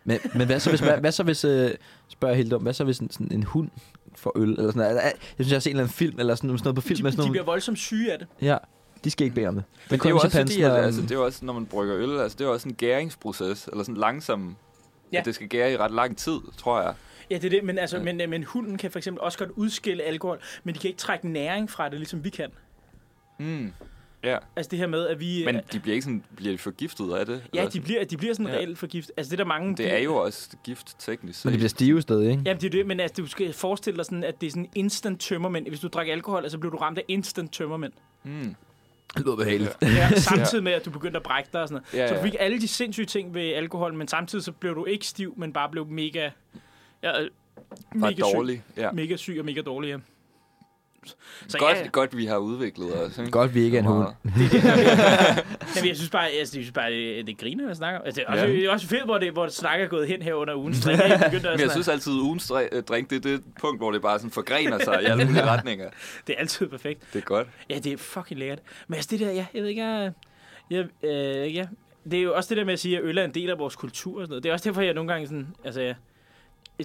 Men, men hvad så hvis, hvad, hvad så hvis øh, spørger jeg helt om, hvad så hvis en, sådan en hund får øl? Eller sådan, noget? jeg synes, jeg har set en eller anden film, eller sådan, sådan noget på film. med
De,
sådan
de
nogle,
bliver voldsomt syge af det.
Ja, de skal ikke bede om det. Men
Det er jo også fordi, at, altså, det er jo også, når man brygger øl, altså, det er jo også en gæringsproces, eller sådan langsom, ja.
Ja.
at det skal gære i ret lang tid, tror jeg.
Ja, det er det, men, altså, men, øh, men hunden kan for eksempel også godt udskille alkohol, men de kan ikke trække næring fra det, ligesom vi kan.
Mm. Ja,
Altså det her med, at vi...
men de bliver ikke sådan, bliver de forgiftet af det?
ja,
Eller
de
sådan?
bliver, de bliver sådan
Ja.
ja. reelt forgift. Altså det er der mange...
Det er jo også gift teknisk.
Men de
set.
bliver stive stadig, ikke?
Jamen det er det, men altså, du skal forestille dig sådan, at det er sådan instant tømmermænd. Hvis du drikker alkohol, så bliver du ramt af instant tømmermænd.
Mm.
Det lyder behageligt.
Ja, samtidig med, at du begyndte at brække dig og sådan noget.
Ja,
Ja, så du
ja.
fik alle de sindssyge ting ved alkohol, men samtidig så blev du ikke stiv, men bare blev mega... Ja, øh,
Var
mega
dårlig. Ja.
Syg, mega syg og mega dårlig, ja. Så
Godt,
ja, ja.
godt, vi har udviklet os. ikke?
Godt, vi ikke er en hund.
Meget.
Jamen, jeg synes bare, altså, jeg synes bare det, det griner, at snakker om. Altså, det er også,
Ja.
ja. det er også fedt, hvor, det, hvor snak er gået hen her under ugen.
[LAUGHS]
Så jeg begyndte at
Men jeg
snakke.
synes altid, at ugens dri- øh, drink, det er det punkt, hvor det bare sådan forgrener sig i alle mulige
[LAUGHS]
retninger.
Det er altid perfekt.
Det er godt.
Ja, det er fucking lækkert. Men altså det der, ja, jeg ved ikke, jeg, jeg, øh, ja. Det er jo også det der med at sige, at øl er en del af vores kultur og sådan noget. Det er også derfor, jeg nogle gange sådan, altså ja,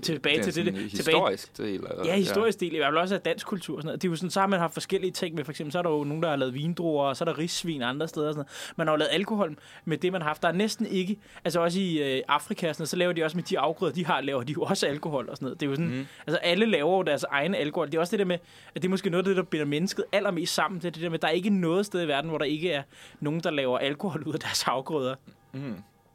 tilbage
Det er
til det,
sådan
det
en
tilbage,
historisk del. Eller,
Ja, historisk del, i hvert fald også af dansk kultur og sådan noget. Det er jo sådan, så har man haft forskellige ting med, for eksempel så er der jo nogen, der har lavet vindruer, og så er der rissvin andre steder og sådan noget. Man har jo lavet alkohol med det, man har haft. Der er næsten ikke, altså også i øh, Afrika og sådan noget, så laver de også med de afgrøder, de har, laver de jo også alkohol og sådan noget. Det er jo sådan, mm. altså alle laver jo deres egen alkohol. Det er også det der med, at det er måske noget af det, der binder mennesket allermest sammen. Det er det der med, at der er ikke noget sted i verden, hvor der ikke er nogen, der laver alkohol ud af deres afgrøder.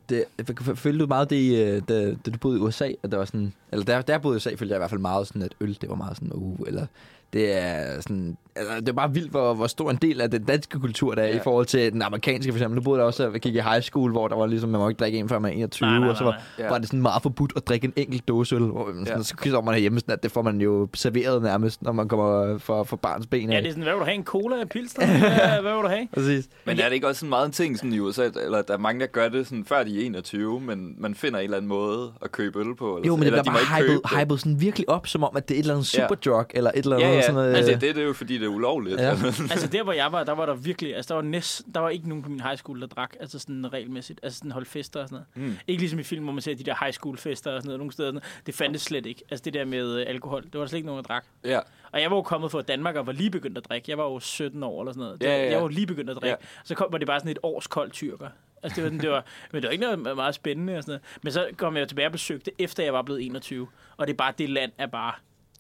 Det, f- f- følte du meget det, i, øh, da, da du boede i USA, at der var sådan, eller der, der jeg boede i USA, følte jeg i hvert fald meget sådan, at øl, det var meget sådan, uh, eller det er sådan, altså, det er bare vildt, hvor, hvor stor en del af den danske kultur, der er
Ja.
i forhold til den amerikanske, for eksempel. Nu boede der også, at jeg gik i high school, hvor der var ligesom, man må ikke drikke en, før man er 21,
Nej, nej,
og så
nej,
var,
nej.
ja. var det sådan meget forbudt at drikke en enkelt dåse øl, hvor man sådan,
Ja.
ja. så kommer man herhjemme, sådan, at det får man jo serveret nærmest, når man kommer fra, fra barns ben af.
Ja, det er sådan, hvad vil du have? En cola, en [LAUGHS] pilsner? Hvad, hvad vil du have?
Præcis.
Men er det ikke også sådan meget en ting sådan i USA, at- eller der er mange, der gør det sådan, før de er 21, men man finder en eller anden måde at købe øl på? Eller,
Jo, men det
eller
bliver
de må ikke
bare
købe
hypet,
det.
hypet sådan virkelig op, som om, at det er et eller andet
Ja.
superdrug, eller et eller andet
Ja, ja.
sådan noget.
Altså, det, det er jo fordi, det er ulovligt.
Ja.
altså der, hvor jeg var, der var der virkelig, altså der var, næst, der var ikke nogen på min high school, der drak, altså sådan regelmæssigt, altså sådan holdt fester og sådan noget.
Mm.
Mm. Ikke ligesom i film, hvor man ser de der high school fester og sådan noget, nogle steder, sådan noget. det fandtes slet ikke. Altså det der med øh, alkohol, det var der slet ikke nogen, der drak.
[LAUGHS] ja.
Og jeg var jo kommet fra Danmark og var lige begyndt at drikke. Jeg var jo 17 år eller sådan noget. Det,
Ja, ja, ja.
Jeg var jo lige begyndt at drikke.
Ja.
Ja. Så kom var det bare sådan et års kold tyrker. Altså det var, sådan,
[LAUGHS]
det var, men det var ikke noget meget spændende og sådan noget. Men så kom jeg jo tilbage og besøgte, efter jeg var blevet 21. Og det er bare, det land er bare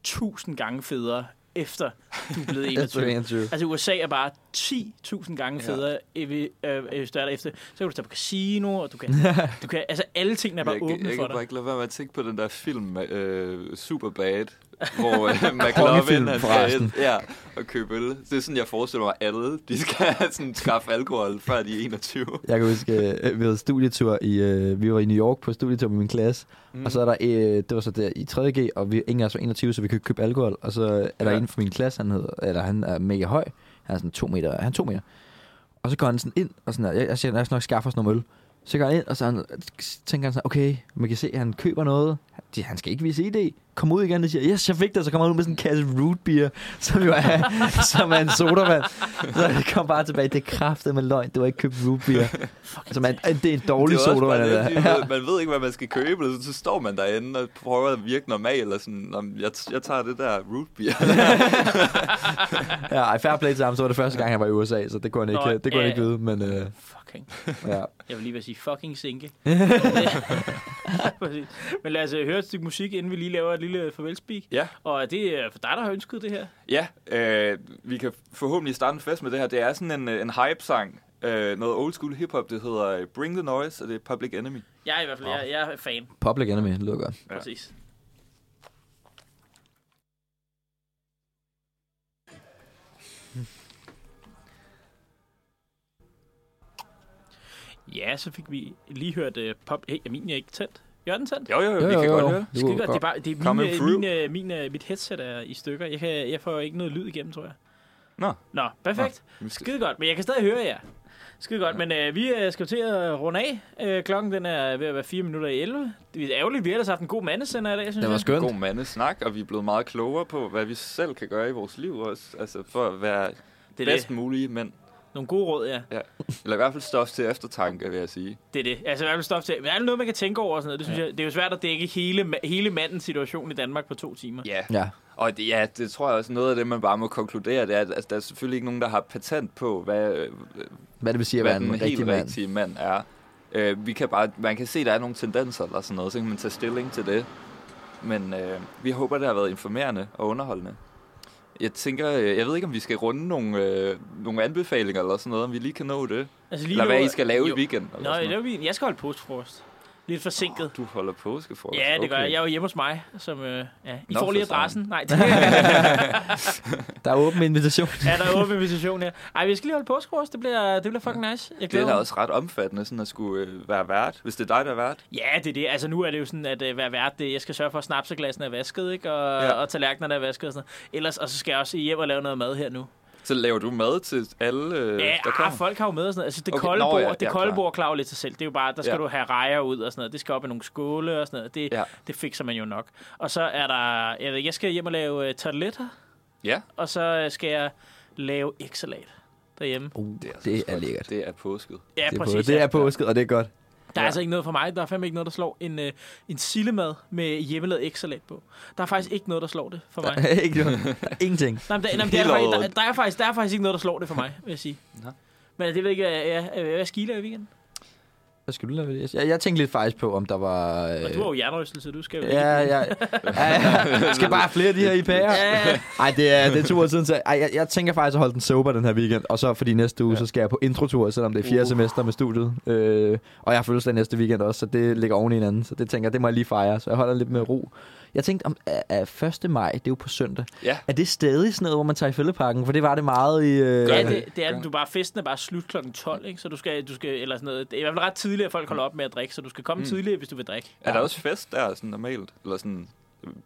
tusind gange federe, efter du er
[LAUGHS]
blevet 21.
21.
Altså USA er bare 10.000 gange
Ja.
federe, ja. øh, øh, hvis du er der efter. Så kan du tage på casino, og du
[LAUGHS]
kan, du kan altså alle tingene er bare
jeg, kan-
åbne
jeg
for
kan bare
dig.
ikke lade være med at tænke på den der film, øh, Superbad,
[LAUGHS]
hvor øh,
Kongefilm,
McLovin han skal
forresten.
ind ja, og købe øl. Det er sådan, jeg forestiller mig, at alle de skal [LAUGHS] sådan, skaffe alkohol, før de er 21.
Jeg kan huske, øh, vi havde studietur i, øh, vi var i New York på studietur med min klasse, mm. og så er der, øh, det var så der i 3.G, og vi, ingen af os var 21, så vi kunne ikke købe alkohol, og så er
Ja.
der ja. en fra min klasse, han hedder, eller han er mega høj, han er sådan to meter, han er to meter, og så går han sådan ind, og sådan der, jeg, jeg siger, jeg skal nok skaffe os noget øl, så går han ind, og så han, tænker han sådan, okay, man kan se, at han køber noget, de, han skal ikke vise ID, kom ud igen, og siger, yes, jeg fik det, og så kommer han ud med sådan en kasse root beer, som jo er, [LAUGHS] som er en sodavand. Så det kom bare tilbage, det kræftede med løgn, det var ikke købt root beer. Så man, det er en dårlig
også
sodavand,
bare
det
det,
der.
fordi man, ved- man ved ikke, hvad man skal købe, eller så står man derinde og prøver at virke normal, eller sådan, "Nå, men jeg, jeg tager det der root beer.
Ja, ej, fair play til ham, så var det første gang, han var i USA, så det kunne han
Nå,
ikke, det kunne han
ja.
ikke vide, men øh,
Fucking.
ja.
Jeg vil lige ved at sige fucking
[LAUGHS]
sinke. Præcis. [LAUGHS] Men lad os øh, høre et stykke musik, inden vi lige laver et lille farvelspeak.
[LAUGHS] ja,
Og det er for dig, der har ønsket det her.
ja øh, vi kan forhåbentlig starte en fest med det her. Det er sådan en, øh, en hype-sang, øh, noget old school hip-hop, det hedder øh, Bring the Noise, og det er Public Enemy.
Jeg er i hvert fald, jeg, jeg er fan.
Public Enemy, det lyder godt.
Ja. Præcis. Hm. Ja, så fik vi lige hørt uh, pop... Hey, er min ikke tændt? Jørgen tændt?
Jo, jo, jo, vi kan godt høre det.
Skide godt. Det er, bare, det er øh,
Coming
mine,
through.
mine, mine, mit headset er i stykker. Jeg, kan, jeg får ikke noget lyd igennem, tror jeg.
Nå.
Nå, perfekt.
Nå.
Skide godt, men jeg kan stadig høre jer. Skide godt, men øh, vi øh, skal jo til at runde af. Øh, klokken den er ved at være 4 minutter i 11. Det er ærgerligt, vi har ellers haft en god mandesender i dag, synes
Det var
jeg.
skønt.
God mandesnak, og vi er blevet meget klogere på, hvad vi selv kan gøre i vores liv også. Altså for at være
Det er
det bedst
det.
mulige mænd.
Nogle gode råd, ja.
Ja. Eller i hvert fald stof til eftertanke, vil jeg sige.
Det er det. Altså, i hvert fald stof til. Men er det noget, man kan tænke over og sådan noget? Det, synes jeg, det er jo svært at dække hele, ma- hele mandens situation i Danmark på to timer.
Ja.
Ja.
Og det, ja, det tror jeg også, noget af det, man bare må konkludere, det er, at altså, der er selvfølgelig ikke nogen, der har patent på, hvad, øh,
Hvad det vil sige at
hvad
være
den
en
helt
rigtig mand.
rigtige mand er. Øh, vi kan bare, man kan se, at der er nogle tendenser eller sådan noget, så kan man tage stilling til det. Men øh, vi håber, det har været informerende og underholdende. Jeg tænker, øh, jeg ved ikke, om vi skal runde nogle, øh, nogle anbefalinger eller sådan noget, om vi lige kan nå det.
Altså,
Eller hvad
nu-
I skal lave
jo.
i weekenden.
Nå,
Eller sådan
det
noget.
var fint. Jeg skal holde postfrost. Lidt forsinket.
Du holder påskefrokost.
Ja, det okay. gør jeg.
Okay.
Jeg er jo hjemme hos mig, som... Øh, ja. I
Nå,
får lige
for satan.
adressen.
[LAUGHS]
Nej, det [LAUGHS] er
Der er åben invitation.
der er åben invitation her. Ej, vi skal lige holde påskurs. Det bliver, det bliver fucking nice. Jeg
Det er
glæder
da
mig.
også ret omfattende, sådan at skulle øh, være vært, hvis det er dig, der er vært.
Ja, det er det. Altså, nu er det jo sådan, at øh, være vært, det, jeg skal sørge for, at snapseglassene er vasket, ikke? Og, ja.
Ja.
og tallerkenerne er vasket og sådan noget. Ellers, og så skal jeg også hjem og lave noget mad her nu.
Så laver du mad til alle, øh,
Ja,
der
ah,
kommer?
folk har jo med og sådan noget. Altså, det okay,
Okay,
kolde
nå,
bord,
ja,
det
ja,
kolde
klar.
bord klarer jo lidt sig selv. Det er jo bare, der skal
Ja.
du have rejer ud og sådan noget. Det skal op i nogle skåle og sådan noget. Det,
Ja.
det fikser man jo nok. Og så er der... Jeg, ved, ikke, jeg skal hjem og lave øh, tarteletter,
Ja,
og så øh, skal jeg lave ægsalat derhjemme.
Uh,
det er,
det
altså
er
godt.
lækkert.
Det er påsket.
Ja,
Det er, på,
præcis.
det
ja.
er påsket, og det er godt.
Der er
Ja.
altså ikke noget for mig. Der er fandme ikke noget, der slår en, øh, en sillemad med hjemmelavet ægsalat på. Der er faktisk ikke noget, der slår det for mig.
[LAUGHS] ikke
[LAUGHS]
noget. Der er ingenting.
Nej, men der, nej, men det er
Hele
der, faktisk, der,
året.
der, er faktisk, der er faktisk ikke noget, der slår det for mig, vil jeg sige.
Nå.
Men det ved jeg ikke, hvad- ja, øh, hvad skal I lave i weekenden?
Hvad skal du lave? Elias? Jeg, jeg tænkte lidt faktisk på, om der var... Øh...
Og du har jo hjernerystelse, du skal jo
Ja,
ikke-
[LAUGHS]
ja, ja, jeg skal bare have flere af de her IPA'er. [LAUGHS]
Ja.
Ej, det er, det er to år siden, så ej, jeg, jeg tænker faktisk at holde den sober den her weekend, og så fordi næste uge, ja. så skal jeg på introtur, selvom det er fjerde
Uh.
uh. semester med studiet. Øh, og jeg har fødselsdag næste weekend også, så det ligger oven i hinanden, så det tænker jeg, det må jeg lige fejre, så jeg holder lidt med ro. Jeg tænkte, om at 1. maj, det er jo på søndag,
Ja,
er det stadig sådan noget, hvor man tager i fældeparken? For det var det meget i... Øh...
Ja, det, det er, den. du er bare, festen er bare slut kl. 12, ikke? så du skal, du skal, eller sådan noget. Det er i hvert fald ret tidligt, at folk holder op med at drikke, så du skal komme mm. tidligere, hvis du vil drikke.
er der også fest der, sådan normalt? Eller sådan,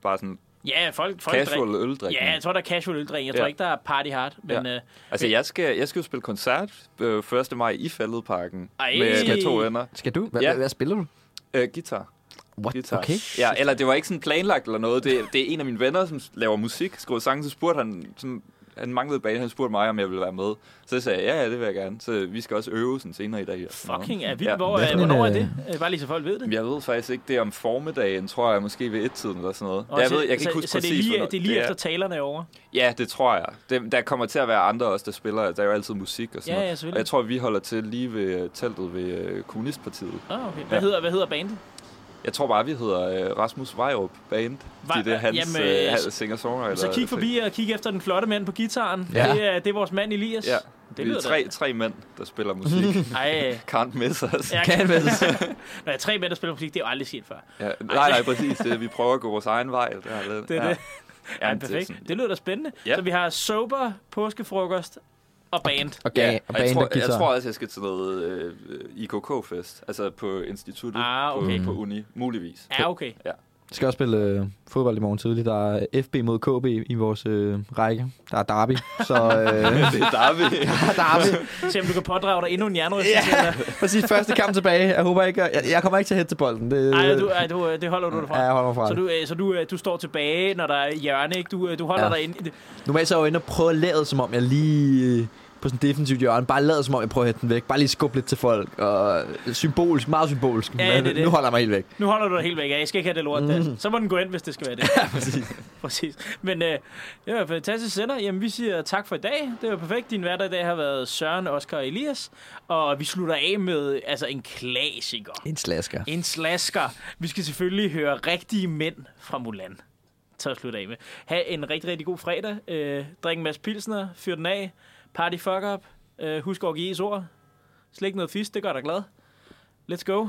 bare sådan
Ja, folk, folk
casual
drikker.
øldrik?
Ja, jeg tror, der er casual øldrik. Jeg tror
Ja.
ikke, der er party hard, men...
Ja.
Øh,
Altså, jeg skal, jeg skal jo spille koncert øh, 1. maj i Fælledparken
Ej.
med, med to venner.
Skal du? Hvad,
Ja.
ja. hvad spiller du?
Øh, guitar.
What?
guitar.
Okay.
Ja, eller det var ikke sådan planlagt eller noget. Det, det er en af mine venner, som laver musik, skriver sange, så spurgte han, som, han manglede bane, han spurgte mig, om jeg ville være med. Så sagde jeg, ja, ja, det vil jeg gerne. Så vi skal også øve sådan senere i dag. og sådan noget.
Fucking er vildt.
Ja.
Hvor,
Hvad for
øh,
en,
hvornår er
øh,
det? Øh, Bare lige så folk ved det.
Jamen, Jeg ved faktisk ikke, det er om formiddagen, tror jeg, måske ved et-tiden eller sådan noget.
Og
jeg
så-
ved, jeg kan
så,
ikke huske
så
præcis,
det er lige,
hvornår-
det er lige
ja,
efter talerne er over.
Ja, det tror jeg. Det, der kommer til at være andre også, der spiller. Der er jo altid musik og
Ja,
sådan noget.
ja, selvfølgelig.
Og jeg tror, vi holder til lige ved øh, teltet ved øh, Kommunistpartiet.
Ah, okay. Hvad,
Ja.
hedder, hvad hedder bandet?
Jeg tror bare, vi hedder øh, Rasmus Vejrup Band.
Vej-
Fordi det er hans
Jamen, øh,
øh, hans singer-songwriter.
Så kig forbi og kig efter den flotte mand på gitaren. Ja.
Ja.
Det, er, det er vores mand Elias.
Ja,
Det
det vi
lyder
er
tre.
tre, tre mænd, der
[LAUGHS]
spiller musik.
da. Ej,
Can't miss us.
jeg kan Når jeg er tre mænd, [LAUGHS] der spiller musik, det er jo aldrig sket før.
Ja, nej, nej, præcis. Det, er, vi prøver at gå vores egen vej. Det, har lidt.
Det er
ja.
det.
Ja,
Ej,
men det er
perfekt.
sådan-
Det lyder da spændende.
Ja.
Så vi har sober, påskefrokost og band.
Og,
Ja,
ja,
og
og
jeg,
band
tror,
og guitar.
jeg tror også, jeg skal til noget øh, IKK-fest, altså på instituttet
Ah, okay. Ah.
på, på uni, muligvis.
Ja, okay.
Jeg skal også spille øh, fodbold i morgen tidlig. Der er FB mod KB i vores øh, række. Der er derby. Så
[LAUGHS]
øh,
Det er der,
[LAUGHS]
vi...
der er derby.
Se om du kan pådrage dig endnu en jernrystelse. Ja.
Præcis, første kamp tilbage. Jeg håber ikke, jeg, jeg kommer ikke til at hætte til bolden. Det,
Ej, du, ej, du, øh, det holder du dig
Ja,
fra.
jeg holder mig fra
Så
det.
du, øh, så du, øh, du står tilbage, når der er hjørne, ikke? Du, øh, du holder ja.
Ja.
dig ind.
Normalt så er jeg jo inde og prøve at lade, som om jeg lige øh, på sådan en defensivt hjørne. Bare lade, som om jeg prøver at hætte den væk. Bare lige skubbe lidt til folk. Og symbolsk, meget symbolsk.
Ja,
Men
det er det.
Nu holder jeg mig helt væk.
Nu holder du dig helt væk. Ja, jeg skal ikke have det lort der. Så må den gå ind, hvis det skal være det.
Mm. [LAUGHS] Ja, præcis.
Præcis. Men øh, det var fantastisk sender. Jamen, vi siger tak for i dag. Det var perfekt. Din hverdag i dag har været Søren, Oscar og Elias. Og vi slutter af med altså en klassiker.
En slasker.
En slasker. Vi skal selvfølgelig høre rigtige mænd fra Mulan. Så at slutte af med. Ha' en rigtig, rigtig god fredag. Øh, drik en masse pilsner. Fyr den af. Party fuck up. Øh, husk at give ord. Slik noget fisk, det gør dig glad. Let's go.